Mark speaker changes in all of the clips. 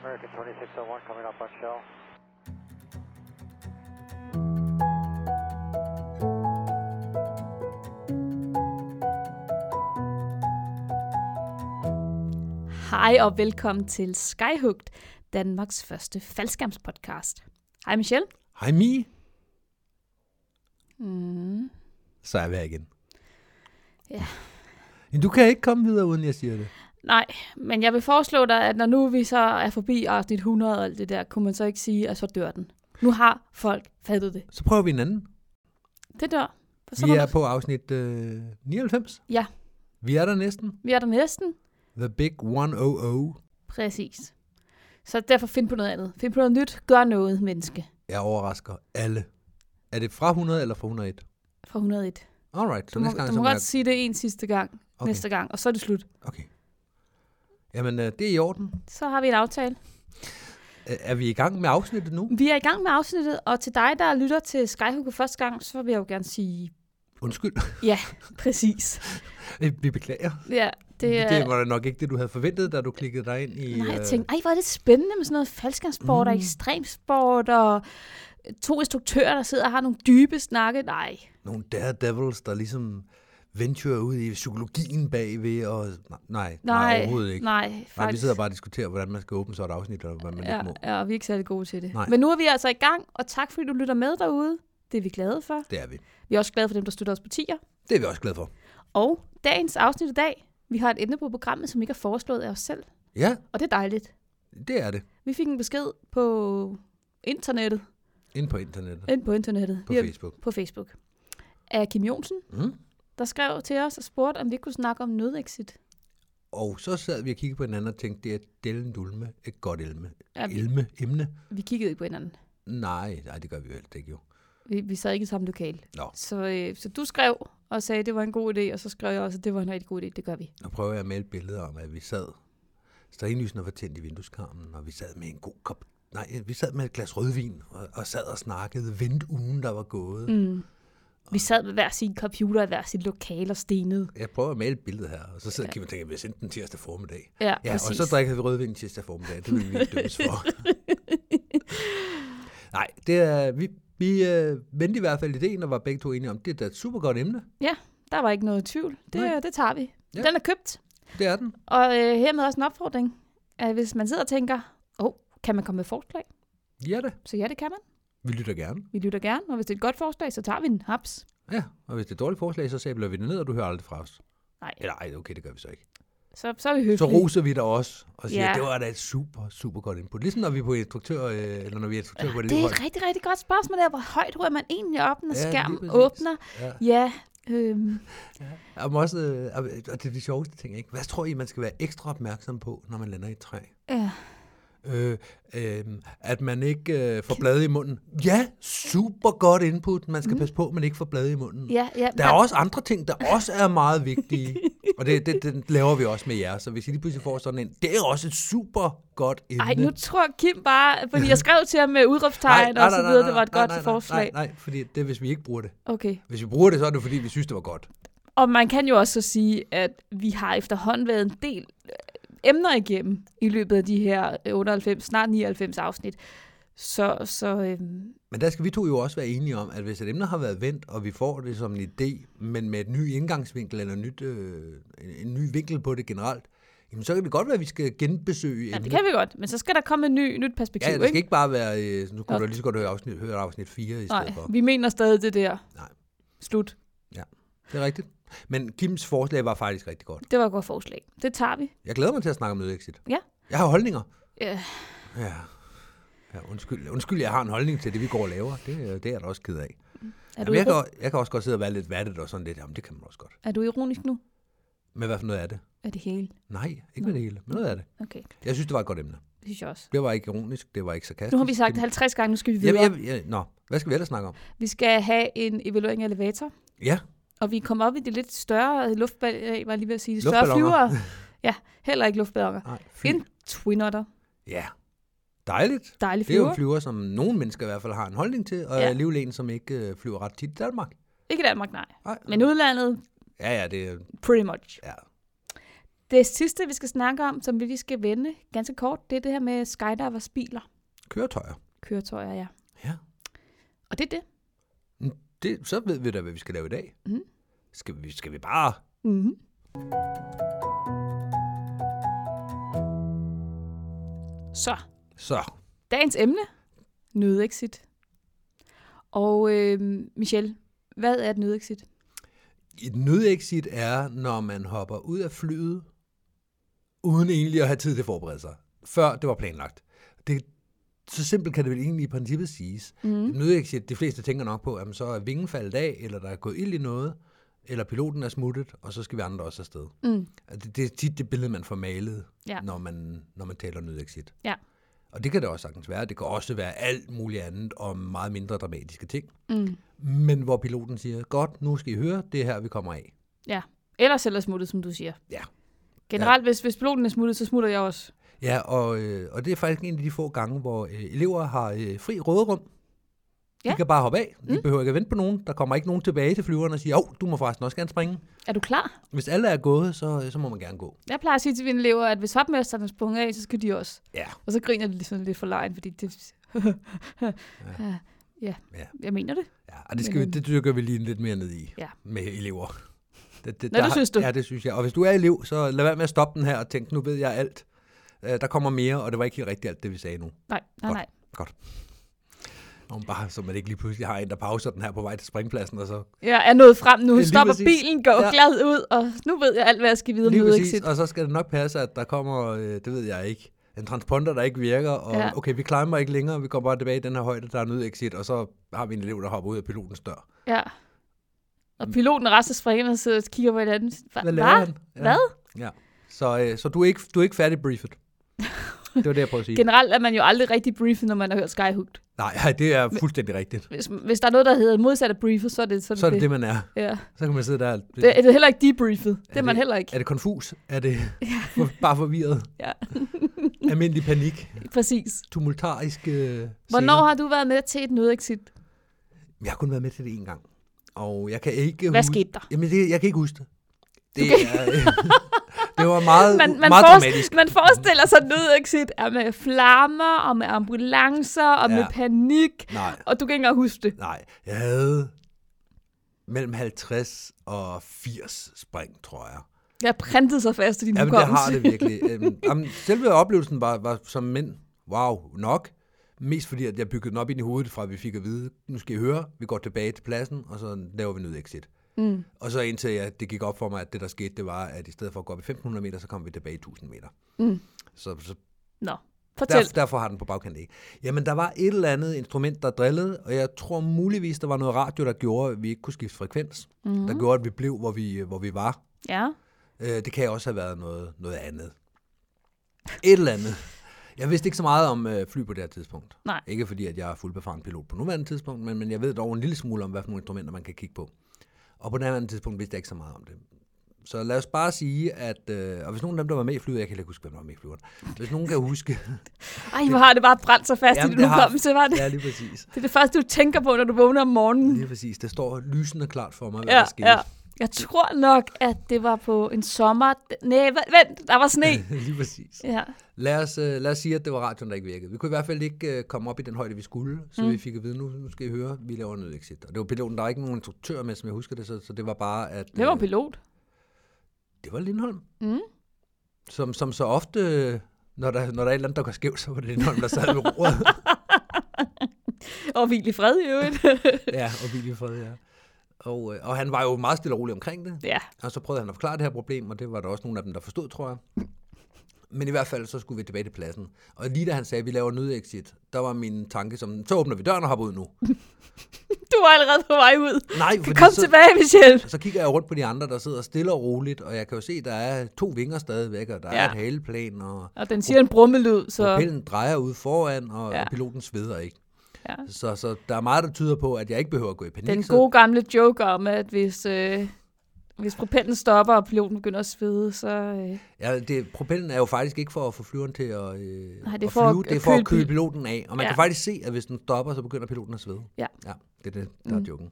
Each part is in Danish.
Speaker 1: American 2601 coming up on shell.
Speaker 2: Hej og velkommen til Skyhugt, Danmarks første faldskærmspodcast. Hej Michelle.
Speaker 3: Hej Mi.
Speaker 2: Mm.
Speaker 3: Så er jeg væk igen.
Speaker 2: Ja.
Speaker 3: Men du kan ikke komme videre, uden jeg siger det.
Speaker 2: Nej, men jeg vil foreslå dig, at når nu vi så er forbi afsnit 100 og alt det der, kunne man så ikke sige, at så dør den. Nu har folk fattet det.
Speaker 3: Så prøver vi en anden.
Speaker 2: Det dør. Og så
Speaker 3: Vi
Speaker 2: må
Speaker 3: er
Speaker 2: du-
Speaker 3: på afsnit øh, 99.
Speaker 2: Ja.
Speaker 3: Vi er der næsten.
Speaker 2: vi er der næsten.
Speaker 3: The Big 100.
Speaker 2: Præcis. Så derfor find på noget andet. Find på noget nyt. Gør noget, menneske.
Speaker 3: Jeg overrasker alle. Er det fra 100 eller fra 101?
Speaker 2: Fra 101.
Speaker 3: Alright, så
Speaker 2: Du må,
Speaker 3: næste gang
Speaker 2: du
Speaker 3: så
Speaker 2: må
Speaker 3: må
Speaker 2: godt sige det en sidste gang. Okay.
Speaker 3: Okay.
Speaker 2: Næste gang. Og så er det slut.
Speaker 3: Okay. Jamen, øh, det er i orden.
Speaker 2: Så har vi en aftale.
Speaker 3: Øh, Er vi i gang med afsnittet nu?
Speaker 2: Vi er i gang med afsnittet, og til dig, der lytter til Skyhook for første gang, så vil jeg jo gerne sige
Speaker 3: Undskyld,
Speaker 2: præcis.
Speaker 3: vi beklager.
Speaker 2: Ja, det er...
Speaker 3: det var nok ikke det, du havde forventet, da du klikkede dig ind i...
Speaker 2: Nej, jeg
Speaker 3: øh,
Speaker 2: tænkte, ej, hvor er det spændende med sådan noget faldskærmsport mm. og
Speaker 3: Mm.
Speaker 2: ekstremsport, og øh, to instruktører, der sidder og har nogle dybe snakke. Nej,
Speaker 3: nogle daredevils, der ligesom venturer ud i psykologien bagved, og nej, nej, nej
Speaker 2: nej,
Speaker 3: overhovedet ikke.
Speaker 2: nej, faktisk.
Speaker 3: nej, vi sidder bare og diskuterer, hvordan man skal åbne så et afsnit, eller hvad man ja.
Speaker 2: ja,
Speaker 3: ikke må.
Speaker 2: ja, og vi er ikke særlig gode til det.
Speaker 3: Nej.
Speaker 2: Men nu er vi altså i gang, og tak fordi du lytter med derude. Det er vi glade for.
Speaker 3: Det er vi.
Speaker 2: Vi er også glade for dem, der støtter os på tier.
Speaker 3: Det er vi også glade for.
Speaker 2: Og dagens afsnit i dag, vi har et emne på programmet, som ikke er foreslået af os selv,
Speaker 3: Ja,
Speaker 2: og det er dejligt.
Speaker 3: det er det.
Speaker 2: Vi fik en besked på internettet,
Speaker 3: Inde på internettet,
Speaker 2: ind på internettet,
Speaker 3: på
Speaker 2: via-
Speaker 3: Facebook.
Speaker 2: på Facebook, af Kim Jonsen,
Speaker 3: Mm.
Speaker 2: der skrev til os og spurgte, om vi ikke kunne snakke om nødexit.
Speaker 3: Og så sad vi og kiggede på hinanden og tænkte, det er delen dulme, et godt elme.
Speaker 2: Ja, vi,
Speaker 3: Elme, emne.
Speaker 2: vi kiggede ikke på hinanden.
Speaker 3: Nej, nej, det gør vi jo helst ikke jo.
Speaker 2: Vi, vi sad ikke i samme lokal.
Speaker 3: Nå.
Speaker 2: Så, øh, så du skrev og sagde, at det var en god idé, og så skrev jeg også, at det var en rigtig god idé. Det gør vi.
Speaker 3: Nu prøver jeg at male billeder om, at vi sad. Strinlysene var tændt i vindueskarmen, og vi sad med en god kop. Nej, vi sad med et glas rødvin og, og sad og snakkede. Vent ugen, der var gået. Mm.
Speaker 2: Vi sad med hver sin computer i hver sit lokal og stenede.
Speaker 3: Jeg prøver at male et billede her, og så sidder Kim og tænker, at vi har sendt den tirsdag formiddag.
Speaker 2: Ja,
Speaker 3: Ja,
Speaker 2: præcis.
Speaker 3: og så drikker vi rødvin tirsdag formiddag. Det vil vi ikke dømmes for. Nej, det er, vi, vi øh, vendte i hvert fald ideen og var begge to enige om, det er da et super godt emne.
Speaker 2: Der var ikke noget tvivl.
Speaker 3: Nej.
Speaker 2: Det, det tager vi. Ja.
Speaker 3: Ja.
Speaker 2: Den er købt.
Speaker 3: Det er den.
Speaker 2: Og øh, hermed også en opfordring, at hvis man sidder og tænker, åh, oh, kan man komme med forslag?
Speaker 3: Ja da,
Speaker 2: Så ja, det kan man.
Speaker 3: vi lytter gerne.
Speaker 2: Vi lytter gerne, og hvis det er et godt forslag, så tager vi den. Haps.
Speaker 3: Ja, og hvis det er et dårligt forslag, så sabler vi det ned, og du hører aldrig fra os.
Speaker 2: Nej,
Speaker 3: Eller ej, okay, det gør vi så ikke.
Speaker 2: så, så er vi
Speaker 3: så
Speaker 2: høflige.
Speaker 3: roser vi dig også, og siger,
Speaker 2: Ja.
Speaker 3: ja. det var da et super, super godt input. Ligesom når vi er på instruktør, øh, eller når vi er instruktør på det,
Speaker 2: Det er et rigtig, rigtig godt spørgsmål der. Hvor højt rører man egentlig op, når ja,
Speaker 3: Ja, lige
Speaker 2: skærmen
Speaker 3: præcis.
Speaker 2: åbner?
Speaker 3: Ja.
Speaker 2: Ja, øhm,
Speaker 3: Og, man også, øh, og og det er de sjoveste ting, ikke? Hvad tror I, man skal være ekstra opmærksom på, når man lander i et træ?
Speaker 2: ja.
Speaker 3: Øh, øh, at man ikke øh, får blade i munden. Ja, super godt input. Man skal mm. passe på, at man ikke får blade i munden.
Speaker 2: ja, ja
Speaker 3: Der er også andre ting, der også er meget vigtige. og det, det, det laver vi også med jer. Så hvis I lige pludselig får sådan en, det er også et super godt emne.
Speaker 2: Ej, nu tror Kim bare, fordi jeg skrev til ham med udråbstegn og så videre, det var et godt
Speaker 3: nej, nej,
Speaker 2: forslag.
Speaker 3: Nej, nej, fordi det er, hvis vi ikke bruger det.
Speaker 2: Okay.
Speaker 3: Hvis vi bruger det, så er det fordi, vi synes, det var godt.
Speaker 2: Og man kan jo også så sige, at vi har efterhånden været en del øh, emner igennem i løbet af de her øh, 98, snart 99 afsnit. Så, så øhm,
Speaker 3: Men der skal vi to jo også være enige om, at hvis et emne har været vendt, og vi får det som en idé, men med et ny indgangsvinkel eller nyt, øh, en, en ny vinkel på det generelt, jamen så kan det godt være, at vi skal genbesøge
Speaker 2: ja, det kan vi godt, men så skal der komme et ny, nyt perspektiv,
Speaker 3: Ja, det skal
Speaker 2: ikke?
Speaker 3: ikke bare være, øh, så nu kunne
Speaker 2: Nå.
Speaker 3: du lige så godt høre afsnit, høre afsnit 4 i stedet
Speaker 2: Nej,
Speaker 3: for.
Speaker 2: vi mener stadig det der.
Speaker 3: Nej.
Speaker 2: Slut.
Speaker 3: Det er rigtigt. Men Kims forslag var faktisk rigtig godt.
Speaker 2: Det var et godt forslag. Det tager vi.
Speaker 3: Jeg glæder mig til at snakke om nødexit.
Speaker 2: Ja.
Speaker 3: Jeg har holdninger.
Speaker 2: Ja.
Speaker 3: Ja. ja undskyld. undskyld, jeg har en holdning til det, vi går og laver. Det, øh, det er jeg da også ked af.
Speaker 2: Er, du
Speaker 3: Jamen, jeg, kan,
Speaker 2: iro-
Speaker 3: o- jeg kan også godt sidde og være lidt vattet og sådan lidt. Jamen, det kan man også godt.
Speaker 2: er du ironisk nu?
Speaker 3: Men hvad for noget er det?
Speaker 2: Er det hele?
Speaker 3: Nej, ikke med det hele. Men noget af det.
Speaker 2: Okay,
Speaker 3: Jeg synes, det var et godt emne.
Speaker 2: det synes jeg også.
Speaker 3: Det var ikke ironisk, det var ikke sarkastisk.
Speaker 2: Nu har vi sagt det
Speaker 3: det
Speaker 2: 50 gange, nu skal vi
Speaker 3: jeg,
Speaker 2: videre.
Speaker 3: jeg, jeg, Nå, hvad skal vi ellers snakke om?
Speaker 2: Vi skal have en evaluering af elevator,
Speaker 3: Ja,
Speaker 2: og vi kommer op i det lidt større luftballon, jeg var lige ved at sige, større flyver.
Speaker 3: Luftballoner.
Speaker 2: Ja, heller ikke luftballoner.
Speaker 3: nej, fly.
Speaker 2: En twinotter,
Speaker 3: Ja, dejligt.
Speaker 2: dejlig
Speaker 3: Det er jo
Speaker 2: flyver.
Speaker 3: en flyver, som nogle mennesker i hvert fald har en holdning til, og
Speaker 2: Ja.
Speaker 3: ja. alligevel en, som ikke øh, flyver ret tit i Danmark.
Speaker 2: Ikke i Danmark, nej.
Speaker 3: Nej.
Speaker 2: Men udlandet,
Speaker 3: Ja, ja, det er...
Speaker 2: pretty much.
Speaker 3: Ja.
Speaker 2: Det sidste, vi skal snakke om, som vi lige skal vende ganske kort, det er det her med skydivers biler.
Speaker 3: Køretøjer.
Speaker 2: Køretøjer, ja.
Speaker 3: Ja.
Speaker 2: Og det er det.
Speaker 3: Men Det, så ved vi da, hvad vi skal lave i dag.
Speaker 2: Mhm.
Speaker 3: Skal, vi, skal vi bare...
Speaker 2: Mm-hmm. Så,
Speaker 3: Så,
Speaker 2: dagens emne. Nødexit. Og øh, Michelle, hvad er et nødexit?
Speaker 3: et nødexit er, når man hopper ud af flyet, uden egentlig at have tid til at forberede sig, før det var planlagt. Det, så simpelt kan det vel egentlig i princippet siges. Mm. Et nødexit, de fleste tænker nok på, at så er vingen faldet af, eller der er gået ild i noget, eller piloten er smuttet, og så skal vi andre også afsted.
Speaker 2: Mm.
Speaker 3: Altså, Det, det er tit det billede, man får malet,
Speaker 2: Ja.
Speaker 3: når, man, når man taler nødexit.
Speaker 2: Ja.
Speaker 3: Og det kan det også sagtens være. Det kan også være alt muligt andet og meget mindre dramatiske ting.
Speaker 2: Mm.
Speaker 3: Men hvor piloten siger, godt, nu skal I høre, det er her, vi kommer af.
Speaker 2: Ja. Ellers eller smuttet, som du siger.
Speaker 3: Ja.
Speaker 2: Generelt, ja. hvis, hvis piloten er smuttet, så smutter jeg også.
Speaker 3: Ja, og, øh, og det er faktisk en af de få gange, hvor øh, elever har øh, fri råderum. De
Speaker 2: Ja.
Speaker 3: kan bare hoppe af. De mm. behøver ikke at vente på nogen. Der kommer ikke nogen tilbage til flyveren og siger, åh, du må forresten også gerne springe.
Speaker 2: Er du klar?
Speaker 3: Hvis alle er gået, så, så må man gerne gå.
Speaker 2: Jeg plejer at sige til mine elever, at hvis hopmesterne sprunget af, så skal de også.
Speaker 3: Ja,
Speaker 2: Og så griner de sådan lidt for lejen, fordi det... ja. ja.
Speaker 3: Ja.
Speaker 2: jeg mener det.
Speaker 3: ja. og det, skal vi,
Speaker 2: Men, øhm,
Speaker 3: det dykker vi lige lidt mere ned i
Speaker 2: Ja.
Speaker 3: med elever. Det, det,
Speaker 2: Nå, det synes du?
Speaker 3: Ja, det synes jeg. Og hvis du er elev, så lad være med at stoppe den her og tænke, nu ved jeg alt. Øh, der kommer mere, og det var ikke helt rigtigt alt det, vi sagde nu.
Speaker 2: Nej, nej,
Speaker 3: Godt.
Speaker 2: nej.
Speaker 3: Om bare, så man ikke lige pludselig har en, der pauser den her på vej til springpladsen, og så
Speaker 2: Jeg er nået frem nu,
Speaker 3: Ja, lige
Speaker 2: stopper
Speaker 3: præcis.
Speaker 2: bilen, går
Speaker 3: Ja.
Speaker 2: ja. glad ud, og nu ved jeg alt, hvad jeg skal videre
Speaker 3: Lige
Speaker 2: med
Speaker 3: præcis,
Speaker 2: exit.
Speaker 3: og så skal det nok passe, at der kommer, øh, det ved jeg ikke, en transponder, der ikke virker, og ja.
Speaker 2: Ja.
Speaker 3: okay, vi climber ikke længere, vi går bare tilbage i den her højde, der er nødexit, og så har vi en elev, der hopper ud af pilotens dør.
Speaker 2: Ja. Og piloten og resten af springerne sidder og kigger på hinanden. Hva?
Speaker 3: Mm. Hvad laver han? Ja.
Speaker 2: Hvad?
Speaker 3: Ja. Så, øh, så du, er ikke, du er ikke færdig briefet. Det var det, jeg prøvede at sige.
Speaker 2: Generelt er man jo aldrig rigtig briefet, når man har hørt Skyhooked.
Speaker 3: Nej, ej, det er fuldstændig rigtigt.
Speaker 2: Hvis, hvis der er noget, der hedder modsat af briefet, så er det sådan
Speaker 3: Så er det det, man er.
Speaker 2: Ja.
Speaker 3: Så kan man sidde der.
Speaker 2: Det, er det er heller ikke debriefet. Det er,
Speaker 3: det-
Speaker 2: man heller ikke.
Speaker 3: Er det konfus? Er det for- bare forvirret?
Speaker 2: Ja.
Speaker 3: Almindelig panik?
Speaker 2: Præcis.
Speaker 3: Tumultarisk øh,
Speaker 2: Hvornår
Speaker 3: scener?
Speaker 2: har du været med til et nødexit?
Speaker 3: Jeg har kun været med til det en gang. Og jeg kan ikke
Speaker 2: Hvad
Speaker 3: huske...
Speaker 2: skete der?
Speaker 3: Jamen, det, jeg kan ikke huske det. Det, er, det var meget,
Speaker 2: Man, man,
Speaker 3: meget
Speaker 2: forest,
Speaker 3: dramatisk.
Speaker 2: man forestiller sig nødexit er med flammer, og med ambulancer, og
Speaker 3: Ja.
Speaker 2: med panik,
Speaker 3: Nej,
Speaker 2: og du kan ikke engang huske det.
Speaker 3: nej. Jeg havde mellem 50 og 80 spring, tror jeg.
Speaker 2: Jeg har printet sig fast i din
Speaker 3: Jamen, det
Speaker 2: hukommelse.
Speaker 3: har det virkelig. Øhm, Jamen, selve oplevelsen var, var som mænd, wow, nok. Mest fordi, at jeg byggede den op ind i hovedet, fra at vi fik at vide, nu skal I høre, vi går tilbage til pladsen, og så laver vi nødexit. Mm. Og så indtil jeg, det gik op for mig, at det der skete, det var, at i stedet for at gå op i 1500 meter, så kom vi tilbage i 1000 meter.
Speaker 2: Mm.
Speaker 3: Så, så
Speaker 2: Nå, fortæl.
Speaker 3: Derfor, derfor har den på bagkant ikke. Jamen, der var et eller andet instrument, der drillede, og jeg tror muligvis, der var noget radio, der gjorde, at vi ikke kunne skifte frekvens.
Speaker 2: Mm.
Speaker 3: Mm-hmm. Der gjorde, at vi blev, hvor vi, hvor vi var.
Speaker 2: Ja.
Speaker 3: Øh, det kan også have været noget, noget andet. Et eller andet. Jeg vidste ikke så meget om øh, fly på det her tidspunkt.
Speaker 2: Nej.
Speaker 3: Ikke fordi, at jeg er fuldbefaren pilot på nuværende tidspunkt, men, men jeg ved dog en lille smule om, hvad for nogle instrumenter man kan kigge på. Og på det andet tidspunkt vidste jeg ikke så meget om det. Så lad os bare sige, at... Øh, og hvis nogen af dem, der var med i flyet, jeg kan heller ikke huske, hvem der var med i flyet. Hvis nogen kan huske...
Speaker 2: Ej, hvor har det bare brændt sig fast i
Speaker 3: Jamen,
Speaker 2: din
Speaker 3: det har-
Speaker 2: hukommelse, var det?
Speaker 3: ja, lige præcis.
Speaker 2: Det er det første, du tænker på, når du vågner om morgenen.
Speaker 3: Lige præcis. Det står lysende klart for mig, hvad ja,
Speaker 2: Ja,
Speaker 3: der skete.
Speaker 2: ja. Jeg tror nok, at det var på en sommer... Nej, v- vent, der var sne.
Speaker 3: lige præcis.
Speaker 2: Ja.
Speaker 3: Lad os, øh, lad os sige, at det var radioen, der ikke virkede. Vi kunne i hvert fald ikke øh, komme op i den højde, vi skulle, så mm. vi fik at vide, nu, nu skal I høre, vi laver nødexit. Og det var piloten, der var ikke nogen instruktør med, som jeg husker det, så, så det var bare, at...
Speaker 2: Hvem var
Speaker 3: øh,
Speaker 2: pilot?
Speaker 3: Det var Lindholm.
Speaker 2: Mm.
Speaker 3: Som, som så ofte, øh, når der, når der er et eller andet, der går skævt, så var det Lindholm, der sad ved roret.
Speaker 2: Og hvil i fred i øvrigt.
Speaker 3: ja, og Billy Fred, ja. Og, øh, og han var jo meget stille og rolig omkring det.
Speaker 2: ja.
Speaker 3: Og så prøvede han at forklare det her problem, og det var der også nogle af dem, der forstod, tror jeg. Men i hvert fald, så skulle vi tilbage til pladsen. Og lige da han sagde, at vi laver nødexit, der var min tanke som, så åbner vi døren og hopper ud nu.
Speaker 2: Du var allerede på vej ud.
Speaker 3: Nej,
Speaker 2: Du
Speaker 3: fordi
Speaker 2: kom
Speaker 3: så,
Speaker 2: tilbage, Michelle.
Speaker 3: så kigger jeg rundt på de andre, der sidder stille og roligt, og jeg kan jo se, der er to vinger stadigvæk, og der ja. er
Speaker 2: Ja.
Speaker 3: et haleplan, og
Speaker 2: Og den siger en brummelyd, så...
Speaker 3: propellen drejer ud foran, og, ja.
Speaker 2: Ja.
Speaker 3: og piloten sveder ikke.
Speaker 2: Ja.
Speaker 3: Så, så der er meget, der tyder på, at jeg ikke behøver at gå i panik.
Speaker 2: Den
Speaker 3: så-
Speaker 2: gode gamle joke om, at hvis, øh, hvis propellen stopper, og piloten begynder at svede, så... Øh,
Speaker 3: Ja, det, propellen er jo faktisk ikke for at få flyveren til at, øh,
Speaker 2: Nej, det er
Speaker 3: at
Speaker 2: for at-
Speaker 3: flyve, det er
Speaker 2: at
Speaker 3: for at
Speaker 2: køle
Speaker 3: køle
Speaker 2: bil-
Speaker 3: piloten af. Og man ja.
Speaker 2: Ja.
Speaker 3: kan faktisk se, at hvis den stopper, så begynder piloten at svede.
Speaker 2: Ja.
Speaker 3: ja det er det, der mm. er joken.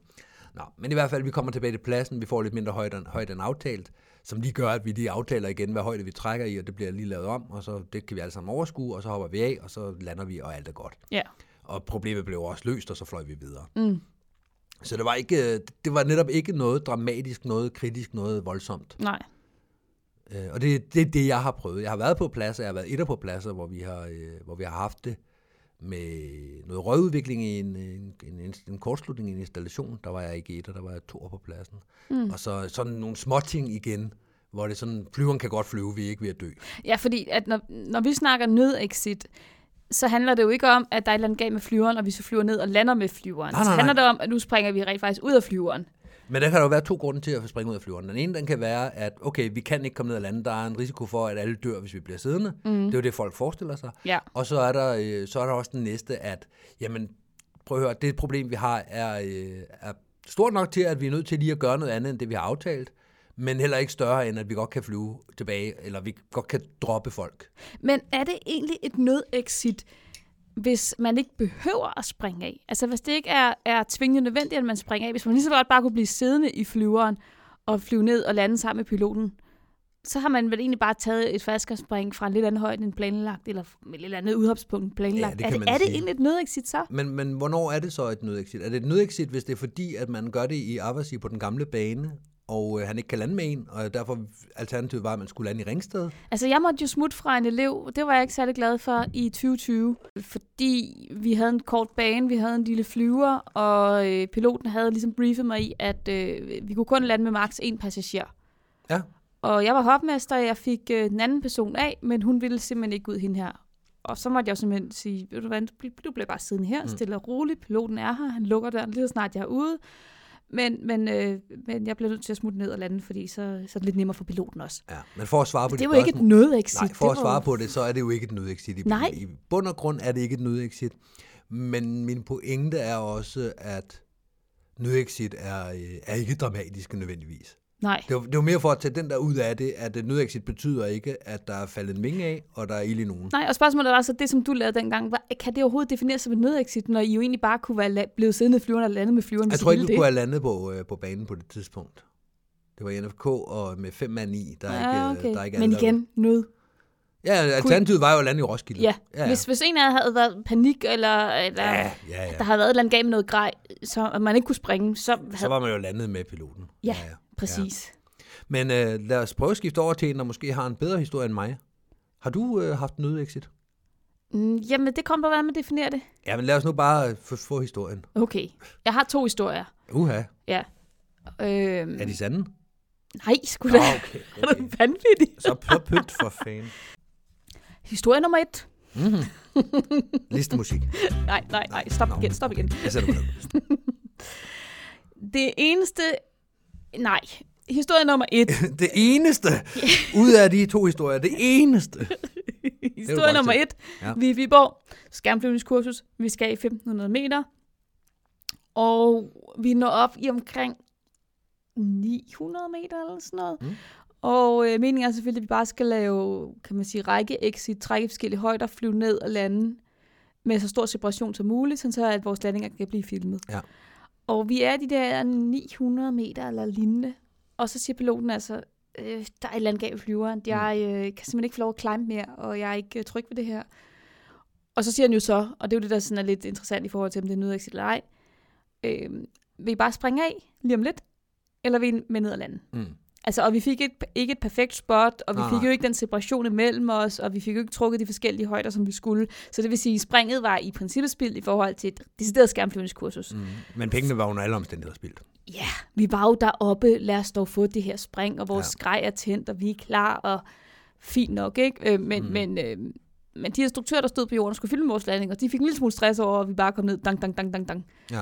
Speaker 3: Nå, men i hvert fald, vi kommer tilbage til pladsen, vi får lidt mindre højde, højde end aftalt, som lige gør, at vi lige aftaler igen, hvad højde vi trækker i, og det bliver lige lavet om, og så det kan vi alle sammen overskue, og så hopper vi af, og så lander vi, og alt er godt.
Speaker 2: Ja.
Speaker 3: Og problemet blev også løst, og så fløj vi videre.
Speaker 2: Mm.
Speaker 3: Så det var, ikke, øh, det var netop ikke noget dramatisk, noget kritisk, noget voldsomt.
Speaker 2: Nej.
Speaker 3: Øh, og det er det, er det, jeg har prøvet. Jeg har været på pladser, jeg har været etter på pladser, hvor vi har, øh, hvor vi har haft det med noget rødudvikling i en, en, en, en kortslutning i en installation. Der var jeg ikke etter, der var jeg to på pladsen. Mm. Og så sådan nogle småting igen, hvor det er sådan, flyveren kan godt flyve, vi er ikke ved at dø.
Speaker 2: Ja, fordi at når, når vi snakker nødexit, så handler det jo ikke om, at der er et eller andet galt med flyveren, og vi så flyver ned og lander med flyveren.
Speaker 3: Nej,
Speaker 2: så
Speaker 3: nej,
Speaker 2: handler det om, at nu springer vi rent faktisk ud af flyveren.
Speaker 3: Men der kan der jo være to grunde til at springe ud af flyveren. Den ene den kan være, at okay, vi kan ikke komme ned og lande. Der er en risiko for, at alle dør, hvis vi bliver siddende. Mm. Det er jo det, folk forestiller sig.
Speaker 2: Ja.
Speaker 3: Og så er, der, øh, så er der også den næste, at jamen, prøv at høre, det problem, vi har, er, øh, er stort nok til, at vi er nødt til lige at gøre noget andet, end det, vi har aftalt. Men heller ikke større, end at vi godt kan flyve tilbage, eller vi godt kan droppe folk.
Speaker 2: Men er det egentlig et nødexit, hvis man ikke behøver at springe af? Altså hvis det ikke er, er tvingende nødvendigt, at man springer af, hvis man lige så godt bare kunne blive siddende i flyveren og flyve ned og lande sammen med piloten, så har man vel egentlig bare taget et flaskerspring fra en lidt anden højde end planlagt, eller et lidt andet udholdspunkt end planlagt.
Speaker 3: det
Speaker 2: er det,
Speaker 3: kan man
Speaker 2: er det
Speaker 3: sige.
Speaker 2: egentlig et nødexit så?
Speaker 3: Men, men hvornår er det så et nødexit? Er det et nødexit, hvis det er fordi, at man gør det i Abbasi på den gamle bane, og øh, han ikke kan lande med en, og derfor alternativet var, at man skulle lande i Ringsted?
Speaker 2: Altså, jeg måtte jo smutte fra en elev, det var jeg ikke særlig glad for i 2020, fordi vi havde en kort bane, vi havde en lille flyver, og øh, piloten havde ligesom briefet mig i, at øh, vi kunne kun lande med maks. én passager.
Speaker 3: Ja.
Speaker 2: Og jeg var hopmester, og jeg fik øh, den anden person af, men hun ville simpelthen ikke ud hende her. Og så måtte jeg jo simpelthen sige, ved du hvad, du bl- du bliver bare siddende
Speaker 3: Mm.
Speaker 2: her, stille og roligt, piloten er her, han lukker døren lige så snart jeg er ude. Men, men, øh, men jeg blev nødt til at smutte ned og lande, fordi så, så er det lidt nemmere for piloten også.
Speaker 3: ja. Men for at svare på
Speaker 2: Det
Speaker 3: dit
Speaker 2: var ikke
Speaker 3: spørgsmål-
Speaker 2: et nødexit.
Speaker 3: Nej, for
Speaker 2: det
Speaker 3: at
Speaker 2: var
Speaker 3: svare
Speaker 2: jo-
Speaker 3: på det, så er det jo ikke et nødexit. I,
Speaker 2: Nej.
Speaker 3: I bund og grund er det ikke et nødexit. Men min pointe er også, at nødexit er, øh, er ikke dramatisk nødvendigvis.
Speaker 2: Nej,
Speaker 3: Det var, det var mere for at tage den der ud af det, at øh, nødexit betyder ikke, at der er faldet en vinge af, og der er ild i nogen.
Speaker 2: nej, og spørgsmålet var så, det som du lavede dengang, var, kan det overhovedet defineres som et nødexit, når I jo egentlig bare kunne være la- blevet siddende i flyveren og landet med flyveren?
Speaker 3: Jeg
Speaker 2: hvis
Speaker 3: tror ikke,
Speaker 2: ville
Speaker 3: du
Speaker 2: det?
Speaker 3: kunne have landet på, øh, på banen på det tidspunkt. Det var i NFK, og med fem mand i, der er
Speaker 2: Ja,
Speaker 3: ikke, øh,
Speaker 2: Ah, okay.
Speaker 3: der er ikke
Speaker 2: Men
Speaker 3: alle, der-
Speaker 2: igen, nød.
Speaker 3: Ja, alternativet var jo at lande i Roskilde.
Speaker 2: Ja. ja. Hvis, hvis en af jer havde været panik, eller, eller
Speaker 3: ja,
Speaker 2: ja.
Speaker 3: ja, ja.
Speaker 2: der havde været et eller andet galt med noget grej, så at man ikke kunne springe, så
Speaker 3: Så
Speaker 2: havde...
Speaker 3: var man jo landet med piloten.
Speaker 2: Ja, præcis. Ja.
Speaker 3: Men øh, lad os prøve at skifte over til en, der måske har en bedre historie end mig. Har du øh, haft nødexit?
Speaker 2: Mm, jamen, det kommer på, hvordan man definerer det.
Speaker 3: Ja, men lad os nu bare øh, få, få historien.
Speaker 2: Okay. Jeg har to historier.
Speaker 3: Uha,
Speaker 2: Ja. Øhm,
Speaker 3: er de sande?
Speaker 2: Nej, skulle da.
Speaker 3: Nå, okay,
Speaker 2: Er du
Speaker 3: okay.
Speaker 2: vanvittig?
Speaker 3: Så, så pynt for fanden. Mhm,
Speaker 2: Historie nummer et.
Speaker 3: Listemusik.
Speaker 2: Nej, nej, nej. Stop
Speaker 3: Nå,
Speaker 2: igen, stop igen.
Speaker 3: Okay. Jeg sætter mig ned.
Speaker 2: Det eneste... Nej. Historie nummer et.
Speaker 3: Det eneste ud af de to historier, det eneste.
Speaker 2: Historie
Speaker 3: godt
Speaker 2: nummer
Speaker 3: til.
Speaker 2: et.
Speaker 3: Ja.
Speaker 2: Ja. Vi er i Viborg. Skærmflyvningskursus. Vi skal i 1500 meter. Og vi når op i omkring 900 meter eller sådan noget.
Speaker 3: Mm.
Speaker 2: Mm. Og øh, meningen er selvfølgelig, at vi bare skal lave, kan man sige, række exit, trække i forskellige højder, flyve ned og lande med så stor separation som muligt, sådan så at vores landinger kan blive filmet.
Speaker 3: Ja.
Speaker 2: Og vi er de der 900 meter eller lignende, og så siger piloten altså, øh, der er et eller andet galt med
Speaker 3: Mm.
Speaker 2: flyveren, jeg øh, kan simpelthen ikke få lov at climb mere, og jeg er ikke øh, tryg ved det her. Og så siger han jo så, og det er jo det, der sådan er lidt interessant i forhold til, om det er nødexit eller ej, øh, vil I bare springe af lige om lidt, eller vil I med ned og lande?
Speaker 3: Mm.
Speaker 2: Altså, og vi fik et, ikke et perfekt spot, og vi
Speaker 3: Nej,
Speaker 2: fik
Speaker 3: nej.
Speaker 2: jo ikke den separation imellem os, og vi fik jo ikke trukket de forskellige højder, som vi skulle. Så det vil sige, at springet var i princippet spild i forhold til et decideret skærmflyvningskursus. Mm.
Speaker 3: Mm. Men pengene var under alle omstændigheder spildt.
Speaker 2: Vi var jo deroppe, lad os dog få det her spring, og vores
Speaker 3: Ja.
Speaker 2: ja. skrej er tændt, og vi er klar, og fint nok, ikke? Øh, men, mm. men, øh, men de instruktører, der stod på jorden og skulle filme vores landinger, de fik en lille smule stress over, at vi bare kom ned, dang, dang, dang, dang, dang.
Speaker 3: Ja.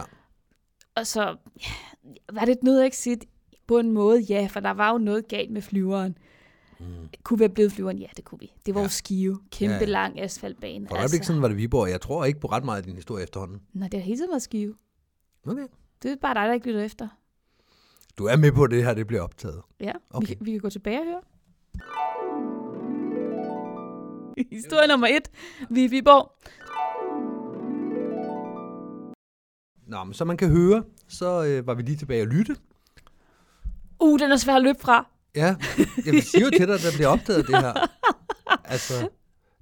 Speaker 2: Og så ja, var det et nødexit på en måde, ja, for der var jo noget galt med flyveren.
Speaker 3: Mm.
Speaker 2: Kunne vi have blevet flyveren? Ja, det kunne vi. Det var
Speaker 3: Ja.
Speaker 2: ja. jo skive. Kæmpe
Speaker 3: Ja,
Speaker 2: ja,
Speaker 3: ja.
Speaker 2: ja. lang asfaltbane.
Speaker 3: For altså. sådan var det Viborg. Jeg tror ikke på ret meget af din historie efterhånden.
Speaker 2: Nå, det har hele tiden været skive.
Speaker 3: Okay.
Speaker 2: Det er bare dig, der ikke lytter efter.
Speaker 3: Du er med på at det her, det bliver optaget.
Speaker 2: Ja, okay. vi,
Speaker 3: Okay.
Speaker 2: kan- vi kan gå tilbage og høre. Historie nummer et. Vi er i Viborg.
Speaker 3: Nå, men som man kan høre, så øh, var vi lige tilbage og lytte.
Speaker 2: Uh, den er svær at løbe fra.
Speaker 3: Ja, jeg siger jo til dig, at der bliver opdaget det her. Altså,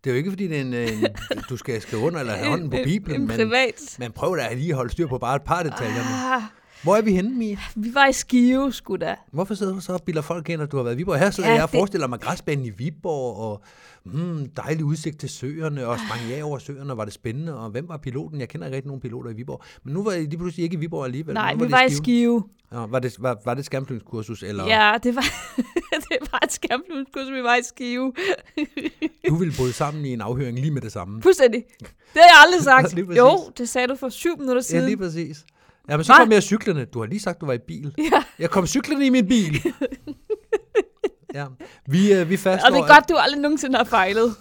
Speaker 3: det er jo ikke, fordi det er en, en, du skal skrive under eller have hånden på
Speaker 2: En- en-
Speaker 3: Bibelen,
Speaker 2: En
Speaker 3: men,
Speaker 2: privat.
Speaker 3: men prøv da lige at holde styr på bare et par detaljer.
Speaker 2: Ah,
Speaker 3: Hvor er vi henne, Mia?
Speaker 2: vi var i Skive, sgu da.
Speaker 3: Hvorfor sidder du så og bilder folk ind, at du har været i Viborg? Her sidder
Speaker 2: Ja,
Speaker 3: ja, jeg og
Speaker 2: det-
Speaker 3: forestiller mig græsbanen i Viborg, og mm, dejlig udsigt til søerne, og sprang jeg over søerne, og var det spændende, og hvem var piloten? Jeg kender ikke rigtig nogen piloter i Viborg. Men nu var jeg lige pludselig ikke i Viborg alligevel.
Speaker 2: Nej,
Speaker 3: nu
Speaker 2: vi var i
Speaker 3: Skive.
Speaker 2: Skive.
Speaker 3: Ja, var, det, var, var det et skærmflyvningskursus, eller ja.
Speaker 2: Ja, det var, det var et skærmfludskurs, vi var i Skive.
Speaker 3: du ville bryde sammen i en afhøring lige med det samme?
Speaker 2: Fuldstændig. Det har jeg aldrig sagt.
Speaker 3: Lige præcis.
Speaker 2: Jo, det sagde du for syv minutter
Speaker 3: Ja,
Speaker 2: siden.
Speaker 3: lige præcis. Ja, men så
Speaker 2: Nej.
Speaker 3: kom jeg cyklerne. Du har lige sagt, du var i bil.
Speaker 2: Ja.
Speaker 3: Jeg kom cyklerne i min bil. ja. Vi, øh, vi fastslår,
Speaker 2: Og det er
Speaker 3: at-
Speaker 2: godt, du aldrig nogensinde har fejlet.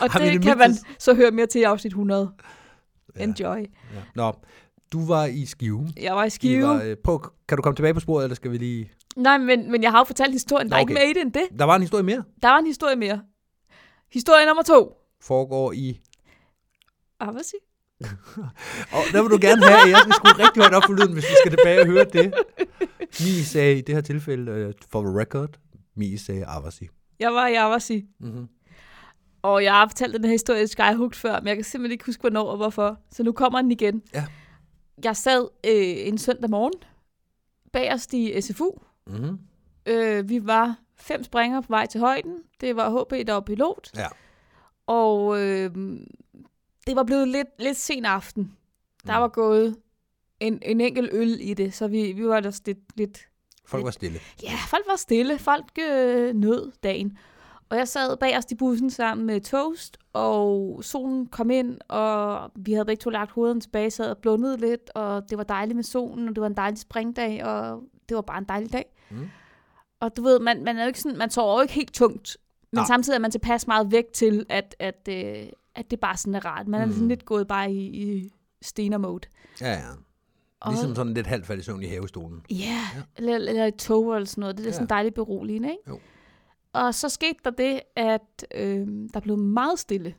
Speaker 2: Og
Speaker 3: Ej, men
Speaker 2: det
Speaker 3: det
Speaker 2: kan man
Speaker 3: mindste-
Speaker 2: så høre mere til i afsnit 100. Enjoy.
Speaker 3: Ja. Nå, du var i Skive.
Speaker 2: Jeg var i
Speaker 3: De
Speaker 2: Skive.
Speaker 3: var, øh, prøv, kan du komme tilbage på sporet, eller skal vi lige...
Speaker 2: Nej, men, men jeg har jo fortalt historien. Der er
Speaker 3: Nå,
Speaker 2: ikke
Speaker 3: okay.
Speaker 2: mere i det end det.
Speaker 3: Der var en historie mere.
Speaker 2: Der var en historie mere. Historie nummer to.
Speaker 3: Foregår i...
Speaker 2: Ah, hvad siger
Speaker 3: Og der vil du gerne have, at jeg skal skrue rigtig højt op for lyden, hvis vi skal tilbage og høre det. Mi sagde i det her tilfælde, øh, for the record, Mi sagde Avasi.
Speaker 2: Jeg var i Avasi.
Speaker 3: Mm-hmm.
Speaker 2: Og jeg har fortalt den her historie i Skyhooked før, men jeg kan simpelthen ikke huske, hvornår og hvorfor. Så nu kommer den igen.
Speaker 3: Ja.
Speaker 2: Jeg sad øh, en søndag morgen bagerst i SFU.
Speaker 3: Mm-hmm.
Speaker 2: Øh, vi var fem springere på vej til højden. Det var HB, der var pilot.
Speaker 3: Ja.
Speaker 2: Og øh, det var blevet lidt, lidt sen aften. Der
Speaker 3: Mm.
Speaker 2: var gået en, en enkelt øl i det, så vi, vi var ellers lidt, lidt
Speaker 3: Folk var stille.
Speaker 2: Ja, folk var stille. Folk øh, nød dagen. Og jeg sad bagerst i bussen sammen med Toast, og solen kom ind, og vi havde begge to lagt hovedet tilbage, sad og blundede lidt, og det var dejligt med solen, og det var en dejlig springdag, og det var bare en dejlig dag.
Speaker 3: Mm.
Speaker 2: Og du ved, man, man, er jo ikke sådan, man sover jo ikke helt tungt, men
Speaker 3: Nej.
Speaker 2: samtidig er man tilpas meget væk til, at, at, øh, at det bare sådan er rart. Man er
Speaker 3: Mm.
Speaker 2: sådan lidt gået bare i, i stener-mode.
Speaker 3: Ja, ja.
Speaker 2: Og-
Speaker 3: Ligesom sådan lidt halvt faldet i søvn i havestolen.
Speaker 2: Ja, eller, eller et tog eller sådan noget. Det er
Speaker 3: Ja.
Speaker 2: ja. sådan dejligt beroligende, ikke?
Speaker 3: Jo.
Speaker 2: Og så skete der det, at øh, der blev meget stille.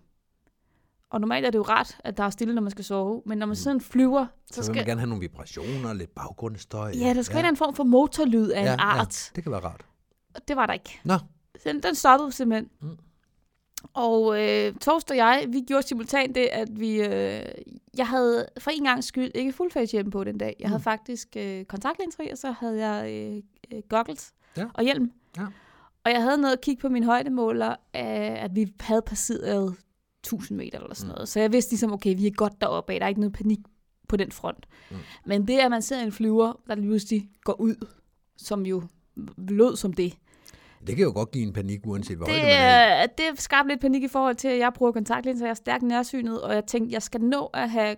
Speaker 2: Og normalt er det jo rart, at der er stille, når man skal sove. Men når man sådan flyver, Mm. så,
Speaker 3: Så, så vil man
Speaker 2: skal...
Speaker 3: gerne have nogle vibrationer, lidt baggrundsstøj.
Speaker 2: Ja, der skal ja. en form for motorlyd af ja, en art.
Speaker 3: Det kan være rart.
Speaker 2: Og det var der ikke.
Speaker 3: Nå.
Speaker 2: Den, den stoppede simpelthen.
Speaker 3: Mm.
Speaker 2: Mm. Og øh, Torst og jeg, vi gjorde simultant det, at vi... Øh, jeg havde for en gang skyld ikke fuldface hjemme på den dag. Jeg mm. havde faktisk øh, kontaktlinser i, og så havde jeg øh, øh, goggles
Speaker 3: Ja.
Speaker 2: ja. og hjelm.
Speaker 3: Ja.
Speaker 2: Og jeg havde noget at kigge på min højdemåler, øh, at vi havde passeret 1000 meter eller sådan
Speaker 3: Mm.
Speaker 2: noget. Så jeg vidste ligesom, okay, vi er godt deroppe af. Der er ikke noget panik på den front.
Speaker 3: Mm.
Speaker 2: Mm. Men det, at man ser en flyver, der lige pludselig går ud, som jo lød som det,
Speaker 3: Det kan jo godt give en panik, uanset hvor højt
Speaker 2: det,
Speaker 3: man er.
Speaker 2: øh, det skabte lidt panik i forhold til, at jeg bruger kontaktlinser, jeg er stærkt nærsynet, og jeg tænkte, jeg skal nå at have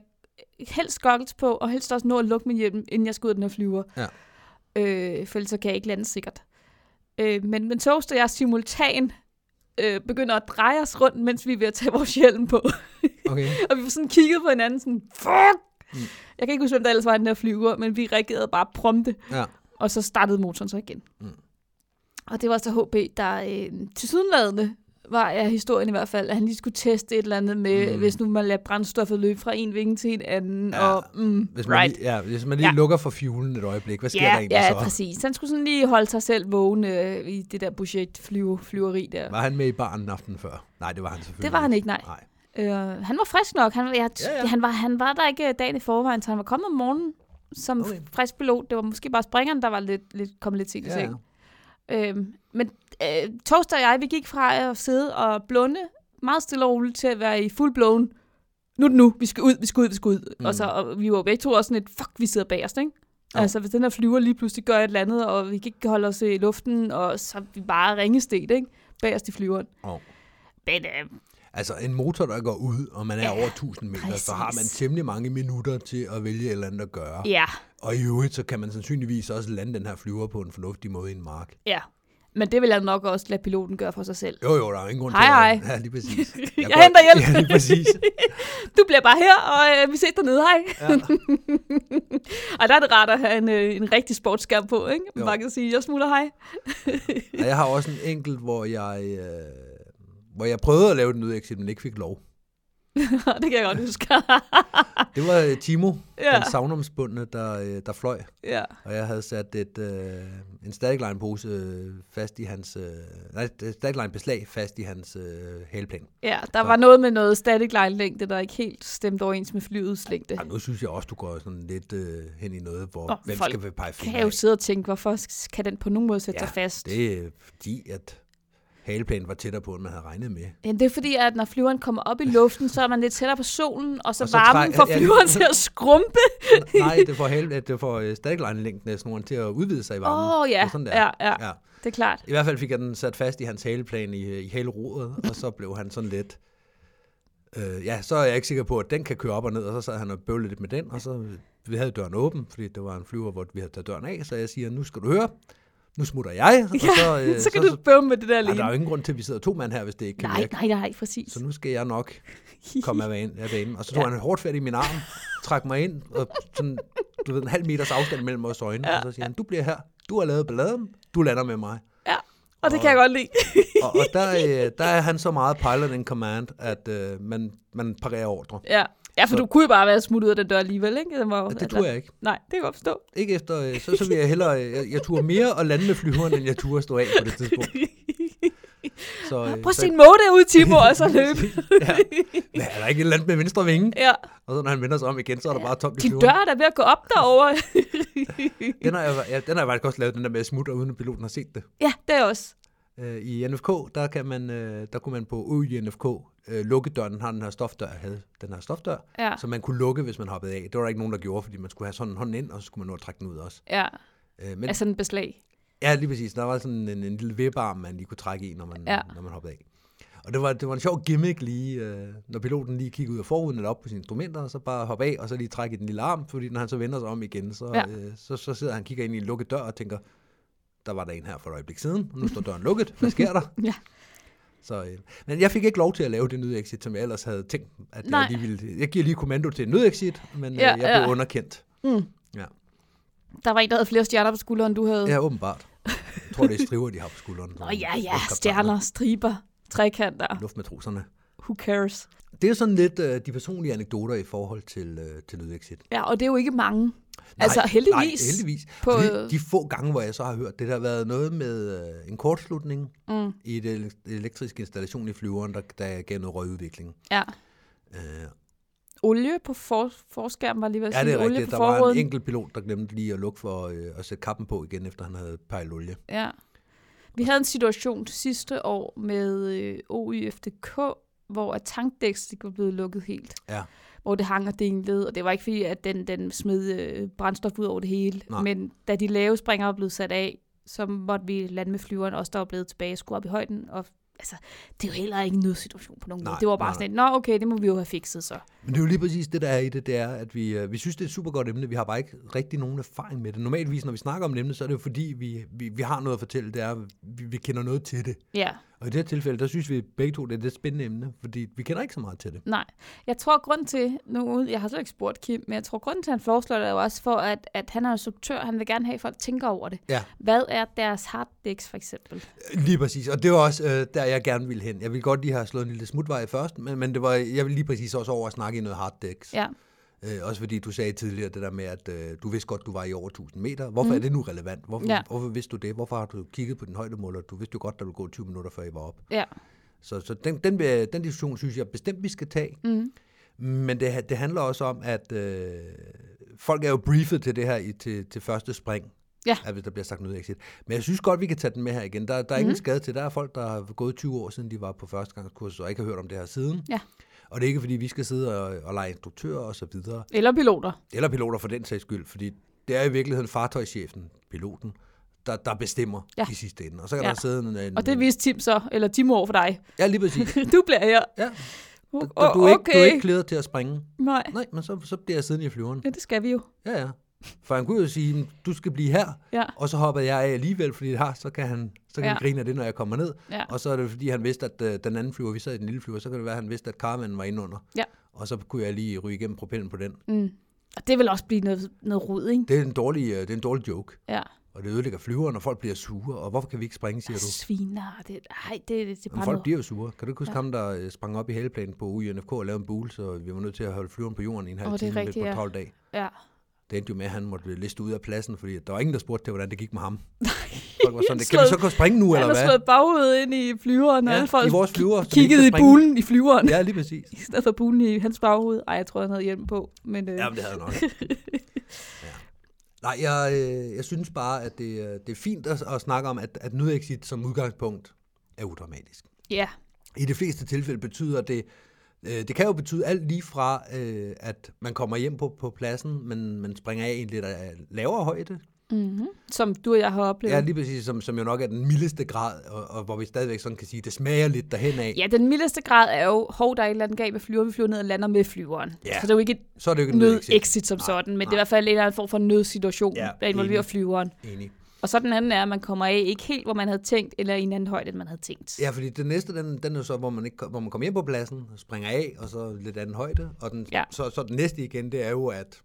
Speaker 2: helst goggles på, og helst også nå at lukke min hjelm, inden jeg skal ud af den her flyver.
Speaker 3: Ja.
Speaker 2: Øh, for ellers så kan jeg ikke lande sikkert. Øh, men, men Toast og jeg simultan øh, begynder at dreje os rundt, mens vi er ved at tage vores hjelm på.
Speaker 3: Okay.
Speaker 2: og vi var sådan kigget på hinanden, sådan, fuck!
Speaker 3: Mm.
Speaker 2: Mm. Jeg kan ikke huske, hvem der ellers var i den her flyver, men vi reagerede bare prompte.
Speaker 3: Ja.
Speaker 2: Og så startede motoren så igen.
Speaker 3: Mm.
Speaker 2: Mm. Og det var så HB, der øh, til sydenladende var ja, historien i hvert fald, at han lige skulle teste et eller andet med,
Speaker 3: Mm.
Speaker 2: mm. hvis nu man lader brændstoffet løbe fra en vinge til en anden,
Speaker 3: Ja,
Speaker 2: ja. og mm,
Speaker 3: Hvis man,
Speaker 2: right.
Speaker 3: lige, ja, hvis man lige
Speaker 2: Ja.
Speaker 3: lukker for fuelen et øjeblik, hvad sker der
Speaker 2: Ja,
Speaker 3: egentlig
Speaker 2: ja,
Speaker 3: så?
Speaker 2: præcis. Han skulle sådan lige holde sig selv vågen øh, i det der budget flyve, flyveri der.
Speaker 3: Var han med i baren aftenen før? Nej, det var han selvfølgelig.
Speaker 2: Det var han ikke, nej.
Speaker 3: Nej.
Speaker 2: Øh, han var frisk nok. Han, var- jeg,
Speaker 3: Ja,
Speaker 2: ja,
Speaker 3: ja.
Speaker 2: ja. Han, var, han var der ikke øh, dagen i forvejen, så han var kommet om morgenen som
Speaker 3: Okay.
Speaker 2: okay. frisk pilot. Det var måske bare springeren, der var lidt, lidt, kom lidt sent i
Speaker 3: Ja,
Speaker 2: seng. Øhm, men øh, Toaster og jeg, vi gik fra at sidde og blunde meget stille og roligt til at være i full blown. Nu er det nu, vi skal ud, vi skal ud, vi skal ud. Mm. Og så og vi var begge to også sådan lidt, fuck, vi sidder bagerst, ikke?
Speaker 3: Jo.
Speaker 2: Altså, hvis den her flyver lige pludselig gør et eller andet, og vi kan ikke holde os i luften, og så er vi bare ringestet, ikke? Bagerst i flyveren.
Speaker 3: Jo.
Speaker 2: Men øh,
Speaker 3: Altså en motor, der går ud, og man er
Speaker 2: Ja,
Speaker 3: over 1000 meter, så har man
Speaker 2: præcis.
Speaker 3: temmelig mange minutter til at vælge et eller andet at gøre.
Speaker 2: ja,
Speaker 3: Og i øvrigt, så kan man sandsynligvis også lande den her flyver på en fornuftig måde i en mark.
Speaker 2: ja. Men det vil jeg nok også lade piloten gøre for sig selv.
Speaker 3: Jo, jo, der er jo ingen grund
Speaker 2: Hej,
Speaker 3: til at...
Speaker 2: hej.
Speaker 3: Ja, lige præcis.
Speaker 2: Jeg
Speaker 3: går-
Speaker 2: henter hjælp.
Speaker 3: Ja, lige præcis.
Speaker 2: Du bliver bare her, og øh, vi ses dernede, hej.
Speaker 3: Ja.
Speaker 2: Og der er det rart at have en, øh, en rigtig sportsskærm på, ikke? Man
Speaker 3: Jo.
Speaker 2: bare kan sige, jeg smutter, hej.
Speaker 3: Og jeg har også en enkelt, hvor jeg, øh, hvor jeg prøvede at lave den nødexit, men ikke fik lov.
Speaker 2: det kan jeg godt huske.
Speaker 3: Det var øh, Timo, ja.
Speaker 2: ja.
Speaker 3: den savnomsbundne, der, øh, der fløj.
Speaker 2: ja.
Speaker 3: Og jeg havde sat et, øh, en static-line-pose øh, fast i hans... Øh, nej, et static-line-beslag fast i hans øh, hælplan.
Speaker 2: ja, der
Speaker 3: Så-
Speaker 2: var noget med noget static line længde, der ikke helt stemte overens med flyets længde.
Speaker 3: Og nu synes jeg også, du går sådan lidt øh, hen i noget, hvor
Speaker 2: Nå,
Speaker 3: oh, hvem
Speaker 2: folk
Speaker 3: skal vi pege
Speaker 2: Kan
Speaker 3: fingre
Speaker 2: jeg jo
Speaker 3: af?
Speaker 2: sidde og tænke, hvorfor kan den på nogen måde sætte
Speaker 3: Ja,
Speaker 2: ja, sig fast?
Speaker 3: Det er øh, fordi, at haleplanen var tættere på, end man havde regnet med.
Speaker 2: Jamen, det er fordi, at når flyveren kommer op i luften, så er man lidt tættere på solen, og så,
Speaker 3: Og
Speaker 2: og så
Speaker 3: så træ-
Speaker 2: varmen får
Speaker 3: ja, ja.
Speaker 2: flyveren til at skrumpe.
Speaker 3: Nej, det får, hale, det får øh, static-line-længden af snoren til at udvide sig i varmen.
Speaker 2: Åh oh,
Speaker 3: Det
Speaker 2: ja.
Speaker 3: er sådan der.
Speaker 2: ja, ja,
Speaker 3: Ja.
Speaker 2: det er klart.
Speaker 3: I hvert fald fik jeg den sat fast i hans haleplan i, i hele roret, og så blev han sådan lidt... Øh, ja, så er jeg ikke sikker på, at den kan køre op og ned, og så sad han og bøvlede lidt med den, og så øh, vi havde døren åben, fordi det var en flyver, hvor vi havde taget døren af, så jeg siger, nu skal du høre, nu smutter jeg, og
Speaker 2: Ja,
Speaker 3: Øh, så,
Speaker 2: så kan du bøve med det der
Speaker 3: ja, der er
Speaker 2: alene.
Speaker 3: jo ingen grund til, at vi sidder to mand her, hvis det ikke kan
Speaker 2: Nej,
Speaker 3: virke.
Speaker 2: nej, nej, præcis.
Speaker 3: Så nu skal jeg nok komme af banen. Af banen. Og så tog ja.
Speaker 2: Ja.
Speaker 3: han hårdt fat i min arm, trak mig ind, og sådan, du ved, en halv meters afstand mellem os øjne, ja. og så siger han, du bliver her, du har lavet balladen, du lander med mig.
Speaker 2: Ja, og det kan jeg godt lide.
Speaker 3: og, og der, øh, der er han så meget pilot in command, at øh, man, man parerer ordre.
Speaker 2: ja. ja, for
Speaker 3: Så-
Speaker 2: du kunne jo bare være smuttet ud af den dør alligevel, ikke? Den var, jo-
Speaker 3: Ja, det
Speaker 2: altså-
Speaker 3: turde jeg ikke.
Speaker 2: Nej, det kan jeg godt forstå.
Speaker 3: Ikke efter, øh, så, så vil jeg hellere, øh, jeg, jeg turde mere at lande med flyveren, end jeg turde at stå af på det tidspunkt. Så, øh,
Speaker 2: Prøv at
Speaker 3: så,
Speaker 2: se en måde derude, Timo, og så løbe.
Speaker 3: ja. Hvad, er der ikke et eller andet med venstre vinge?
Speaker 2: ja.
Speaker 3: Og så når han vender sig om igen, så er der bare tomt i
Speaker 2: Din
Speaker 3: flyveren.
Speaker 2: dør er da ved at gå op derovre.
Speaker 3: Den har, jeg, ja, den har jeg faktisk også lavet, den der med at smutte, uden at piloten har set det.
Speaker 2: ja, det er også.
Speaker 3: Øh, I NFK, der, kan man, øh, der kunne man på ø i NFK øh, lukke døren. Den har den her stofdør, havde den her stofdør,
Speaker 2: Ja.
Speaker 3: som man kunne lukke, hvis man hoppede af. Det var der ikke nogen, der gjorde, fordi man skulle have sådan en hånd ind, og så skulle man nå at trække den ud også.
Speaker 2: Ja,
Speaker 3: Øh, men, altså,
Speaker 2: altså en beslag.
Speaker 3: ja, lige præcis. Der var sådan en, en lille vipparm, man lige kunne trække i, når man, ja.
Speaker 2: Ja.
Speaker 3: når man hoppede af. Og det var, det var en sjov gimmick lige, øh, når piloten lige kiggede ud af forhuden eller op på sine instrumenter, og så bare hoppe af, og så lige trække i den lille arm, fordi når han så vender sig om igen, så, ja.
Speaker 2: Ja.
Speaker 3: øh, så, så sidder han og kigger ind i en lukket dør og tænker, der var der en her for et øjeblik siden, og nu står døren lukket, hvad sker der?
Speaker 2: Ja.
Speaker 3: Så, øh, men jeg fik ikke lov til at lave det nødexit, som jeg ellers havde tænkt, at jeg
Speaker 2: Nej.
Speaker 3: lige ville. Jeg giver lige kommando til en nødexit, men ja,
Speaker 2: Ja,
Speaker 3: øh, jeg blev
Speaker 2: ja.
Speaker 3: underkendt.
Speaker 2: Mm.
Speaker 3: Ja.
Speaker 2: Der var en, der havde flere stjerner på skulderen, end du havde.
Speaker 3: Ja, åbenbart. Jeg tror, det er striver, de har på skulderen.
Speaker 2: Nå
Speaker 3: Sådan
Speaker 2: ja, ja,
Speaker 3: luftkaptajner,
Speaker 2: stjerner, striber, trekanter,
Speaker 3: Luftmatroserne.
Speaker 2: who cares?
Speaker 3: Det er sådan lidt øh, de personlige anekdoter i forhold til, øh, til lydexit.
Speaker 2: Ja, og det er jo ikke mange.
Speaker 3: Nej,
Speaker 2: altså heldigvis.
Speaker 3: Nej, heldigvis.
Speaker 2: på,
Speaker 3: På,
Speaker 2: øh,
Speaker 3: de få gange, hvor jeg så har hørt, det der har været noget med øh, en kortslutning
Speaker 2: Mm,
Speaker 3: i et ele- elektrisk installation i flyveren, der, der gav noget røgudvikling.
Speaker 2: ja.
Speaker 3: Øh,
Speaker 2: Olie på for, forskærmen var lige ved at
Speaker 3: Ja,
Speaker 2: sige.
Speaker 3: det er
Speaker 2: olie
Speaker 3: rigtigt.
Speaker 2: på
Speaker 3: Der var en
Speaker 2: forruden.
Speaker 3: enkelt pilot, der glemte lige at lukke for øh, at sætte kappen på igen, efter han havde pejlet olie.
Speaker 2: Ja. Vi havde en situation sidste år med øh, OIFDK, hvor at tankdæks ikke var blevet lukket helt.
Speaker 3: Ja.
Speaker 2: Hvor det hang og dinglede, og det var ikke fordi, at den, den smed øh, brændstof ud over det hele.
Speaker 3: Nej.
Speaker 2: Men da de lave springer var blevet sat af, så måtte vi lande med flyveren, også der var blevet tilbage skruet op i højden. Og, altså, det er jo heller ikke en nødsituation på nogen
Speaker 3: Nej,
Speaker 2: måde. Det var bare
Speaker 3: nej,
Speaker 2: sådan et, nå okay, det må vi jo have fikset så.
Speaker 3: Men det er jo lige præcis det, der er i det, det er, at vi, øh, vi synes, det er et super godt emne. Vi har bare ikke rigtig nogen erfaring med det. Normalvis, når vi snakker om et emne, så er det jo fordi, vi, vi, vi har noget at fortælle. Det er, vi, vi kender noget til det.
Speaker 2: Ja.
Speaker 3: Og i det her tilfælde, der synes vi begge to, det er et lidt spændende emne, fordi vi kender ikke så meget til det.
Speaker 2: Nej. Jeg tror, grund til, nu uden- jeg har slet ikke spurgt Kim, men jeg tror, grund til, at han foreslår det er jo også for, at, at han er instruktør, han vil gerne have, at folk tænker over det.
Speaker 3: Ja.
Speaker 2: Hvad er deres harddæks, for eksempel?
Speaker 3: Øh, Lige præcis, og det var også øh, der, jeg gerne ville hen. Jeg ville godt lige have slået en lille smutvej først, men, men det var, jeg ville lige præcis også over at snakke i noget harddex.
Speaker 2: Ja.
Speaker 3: Øh, også fordi du sagde tidligere det der med, at øh, du vidste godt, du var i over 1000 meter. Hvorfor mm. er det nu relevant? Hvorfor, ja.
Speaker 2: Ja.
Speaker 3: hvorfor vidste du det? Hvorfor har du kigget på din højdemåler? Du vidste jo godt, der ville gå 20 minutter, før I var op.
Speaker 2: Ja.
Speaker 3: Så, så den, den, vil- den diskussion synes jeg bestemt, vi skal tage.
Speaker 2: Mm.
Speaker 3: Men det, ha- det handler også om, at øh, folk er jo briefet til det her i, til, til første spring.
Speaker 2: Ja.
Speaker 3: At, hvis der bliver sagt noget exit. Men jeg synes godt, vi kan tage den med her igen. Der, der er ingen
Speaker 2: Mm-hmm.
Speaker 3: skade til. Der er folk, der har gået 20 år siden, de var på førstegangskursus, og ikke har hørt om det her siden.
Speaker 2: Ja.
Speaker 3: Og det er ikke, fordi vi skal sidde og, og lege instruktører og så videre.
Speaker 2: Eller piloter.
Speaker 3: Eller piloter for den sags skyld, fordi det er i virkeligheden fartøjschefen, piloten, der, der bestemmer
Speaker 2: Ja.
Speaker 3: i sidste ende. Og så kan
Speaker 2: Ja.
Speaker 3: der sidde en... en
Speaker 2: Og det viste Tim så, eller Tim over for dig.
Speaker 3: Ja, lige præcis.
Speaker 2: du bliver her.
Speaker 3: Ja.
Speaker 2: O-
Speaker 3: Du, du, er ikke, du er
Speaker 2: okay.
Speaker 3: ikke klædet til at springe.
Speaker 2: Nej.
Speaker 3: Nej, men så, så bliver jeg siddende i flyveren.
Speaker 2: Ja, det skal vi jo.
Speaker 3: Ja, ja. For han kunne jo sige, "Men du skal blive her,
Speaker 2: Ja.
Speaker 3: og så hopper jeg af alligevel, fordi har, så kan han, så kan ja.
Speaker 2: Ja.
Speaker 3: han grine af det, når jeg kommer ned.
Speaker 2: Ja.
Speaker 3: Og så er det, fordi han vidste, at øh, den anden flyver, vi sad i den lille flyver, så kan det være, at han vidste, at Carmen var inde under.
Speaker 2: Ja.
Speaker 3: Og så kunne jeg lige ryge igennem propellen på den.
Speaker 2: Mm. Og det vil også blive noget, noget rod, ikke?
Speaker 3: Det er en dårlig, øh, det er en dårlig joke.
Speaker 2: Ja.
Speaker 3: Og det ødelægger flyveren, og folk bliver sure. Og hvorfor kan vi ikke springe, siger du?
Speaker 2: Sviner. og Det, ej, det, det, det er
Speaker 3: Men
Speaker 2: bare
Speaker 3: folk
Speaker 2: noget.
Speaker 3: bliver jo sure. Kan du ikke huske
Speaker 2: Ja.
Speaker 3: ja. ham, der øh, sprang op i haleplanen på UNFK og lavede en bule, så vi var nødt til at holde flyveren på jorden i en halv
Speaker 2: Åh, det er
Speaker 3: time
Speaker 2: rigtigt,
Speaker 3: på
Speaker 2: ja.
Speaker 3: en travl dag.
Speaker 2: Ja.
Speaker 3: Det endte jo med, at han måtte liste ud af pladsen, fordi der var ingen, der spurgte til, hvordan det gik med ham. Folk var
Speaker 2: han
Speaker 3: sådan, kan vi så gå og springe nu,
Speaker 2: Han
Speaker 3: eller
Speaker 2: har
Speaker 3: hvad?
Speaker 2: slået bagud ind i flyveren, og
Speaker 3: Ja,
Speaker 2: alle folk
Speaker 3: i vores
Speaker 2: ki-
Speaker 3: flyver, så vi
Speaker 2: kiggede
Speaker 3: ikke
Speaker 2: i
Speaker 3: kan springe.
Speaker 2: bulen i flyveren,
Speaker 3: Ja, lige præcis.
Speaker 2: i stedet for bulen i hans baghoved. Ej, jeg tror, han havde hjelm på. Men, øh,
Speaker 3: Ja, men det havde jeg nok. Ja. Nej, jeg, øh, jeg synes bare, at det, øh, det er fint at, at snakke om, at, at nødexit som udgangspunkt er udramatisk.
Speaker 2: ja.
Speaker 3: I de fleste tilfælde betyder det, øh, det kan jo betyde alt lige fra, øh, at man kommer hjem på, på pladsen, men man springer af i en lidt øh, lavere højde.
Speaker 2: Mm-hmm. Som du og jeg har oplevet.
Speaker 3: Ja, lige præcis, som, som jo nok er den mildeste grad, og, og hvor vi stadigvæk sådan kan sige, det smager lidt derhen af.
Speaker 2: Ja, den mildeste grad er jo, hov, der er et eller andet galt med flyver, vi flyver ned og lander med flyveren.
Speaker 3: Ja.
Speaker 2: Så det er jo ikke et
Speaker 3: Så er det jo ikke en nødexit.
Speaker 2: nød-exit som
Speaker 3: Nej,
Speaker 2: sådan, men det er i
Speaker 3: nej.
Speaker 2: hvert fald en eller anden form for nødsituation,
Speaker 3: Ja,
Speaker 2: ja, der involverer
Speaker 3: enig.
Speaker 2: flyveren.
Speaker 3: Enig.
Speaker 2: Og så den anden er, at man kommer af ikke helt, hvor man havde tænkt, eller i en anden højde, end man havde tænkt.
Speaker 3: Ja, fordi den næste, den, den er jo så, hvor man, ikke, kom- hvor man kommer hjem på pladsen, springer af, og så lidt anden højde. Og den,
Speaker 2: Ja.
Speaker 3: ja. så, så den næste igen, det er jo, at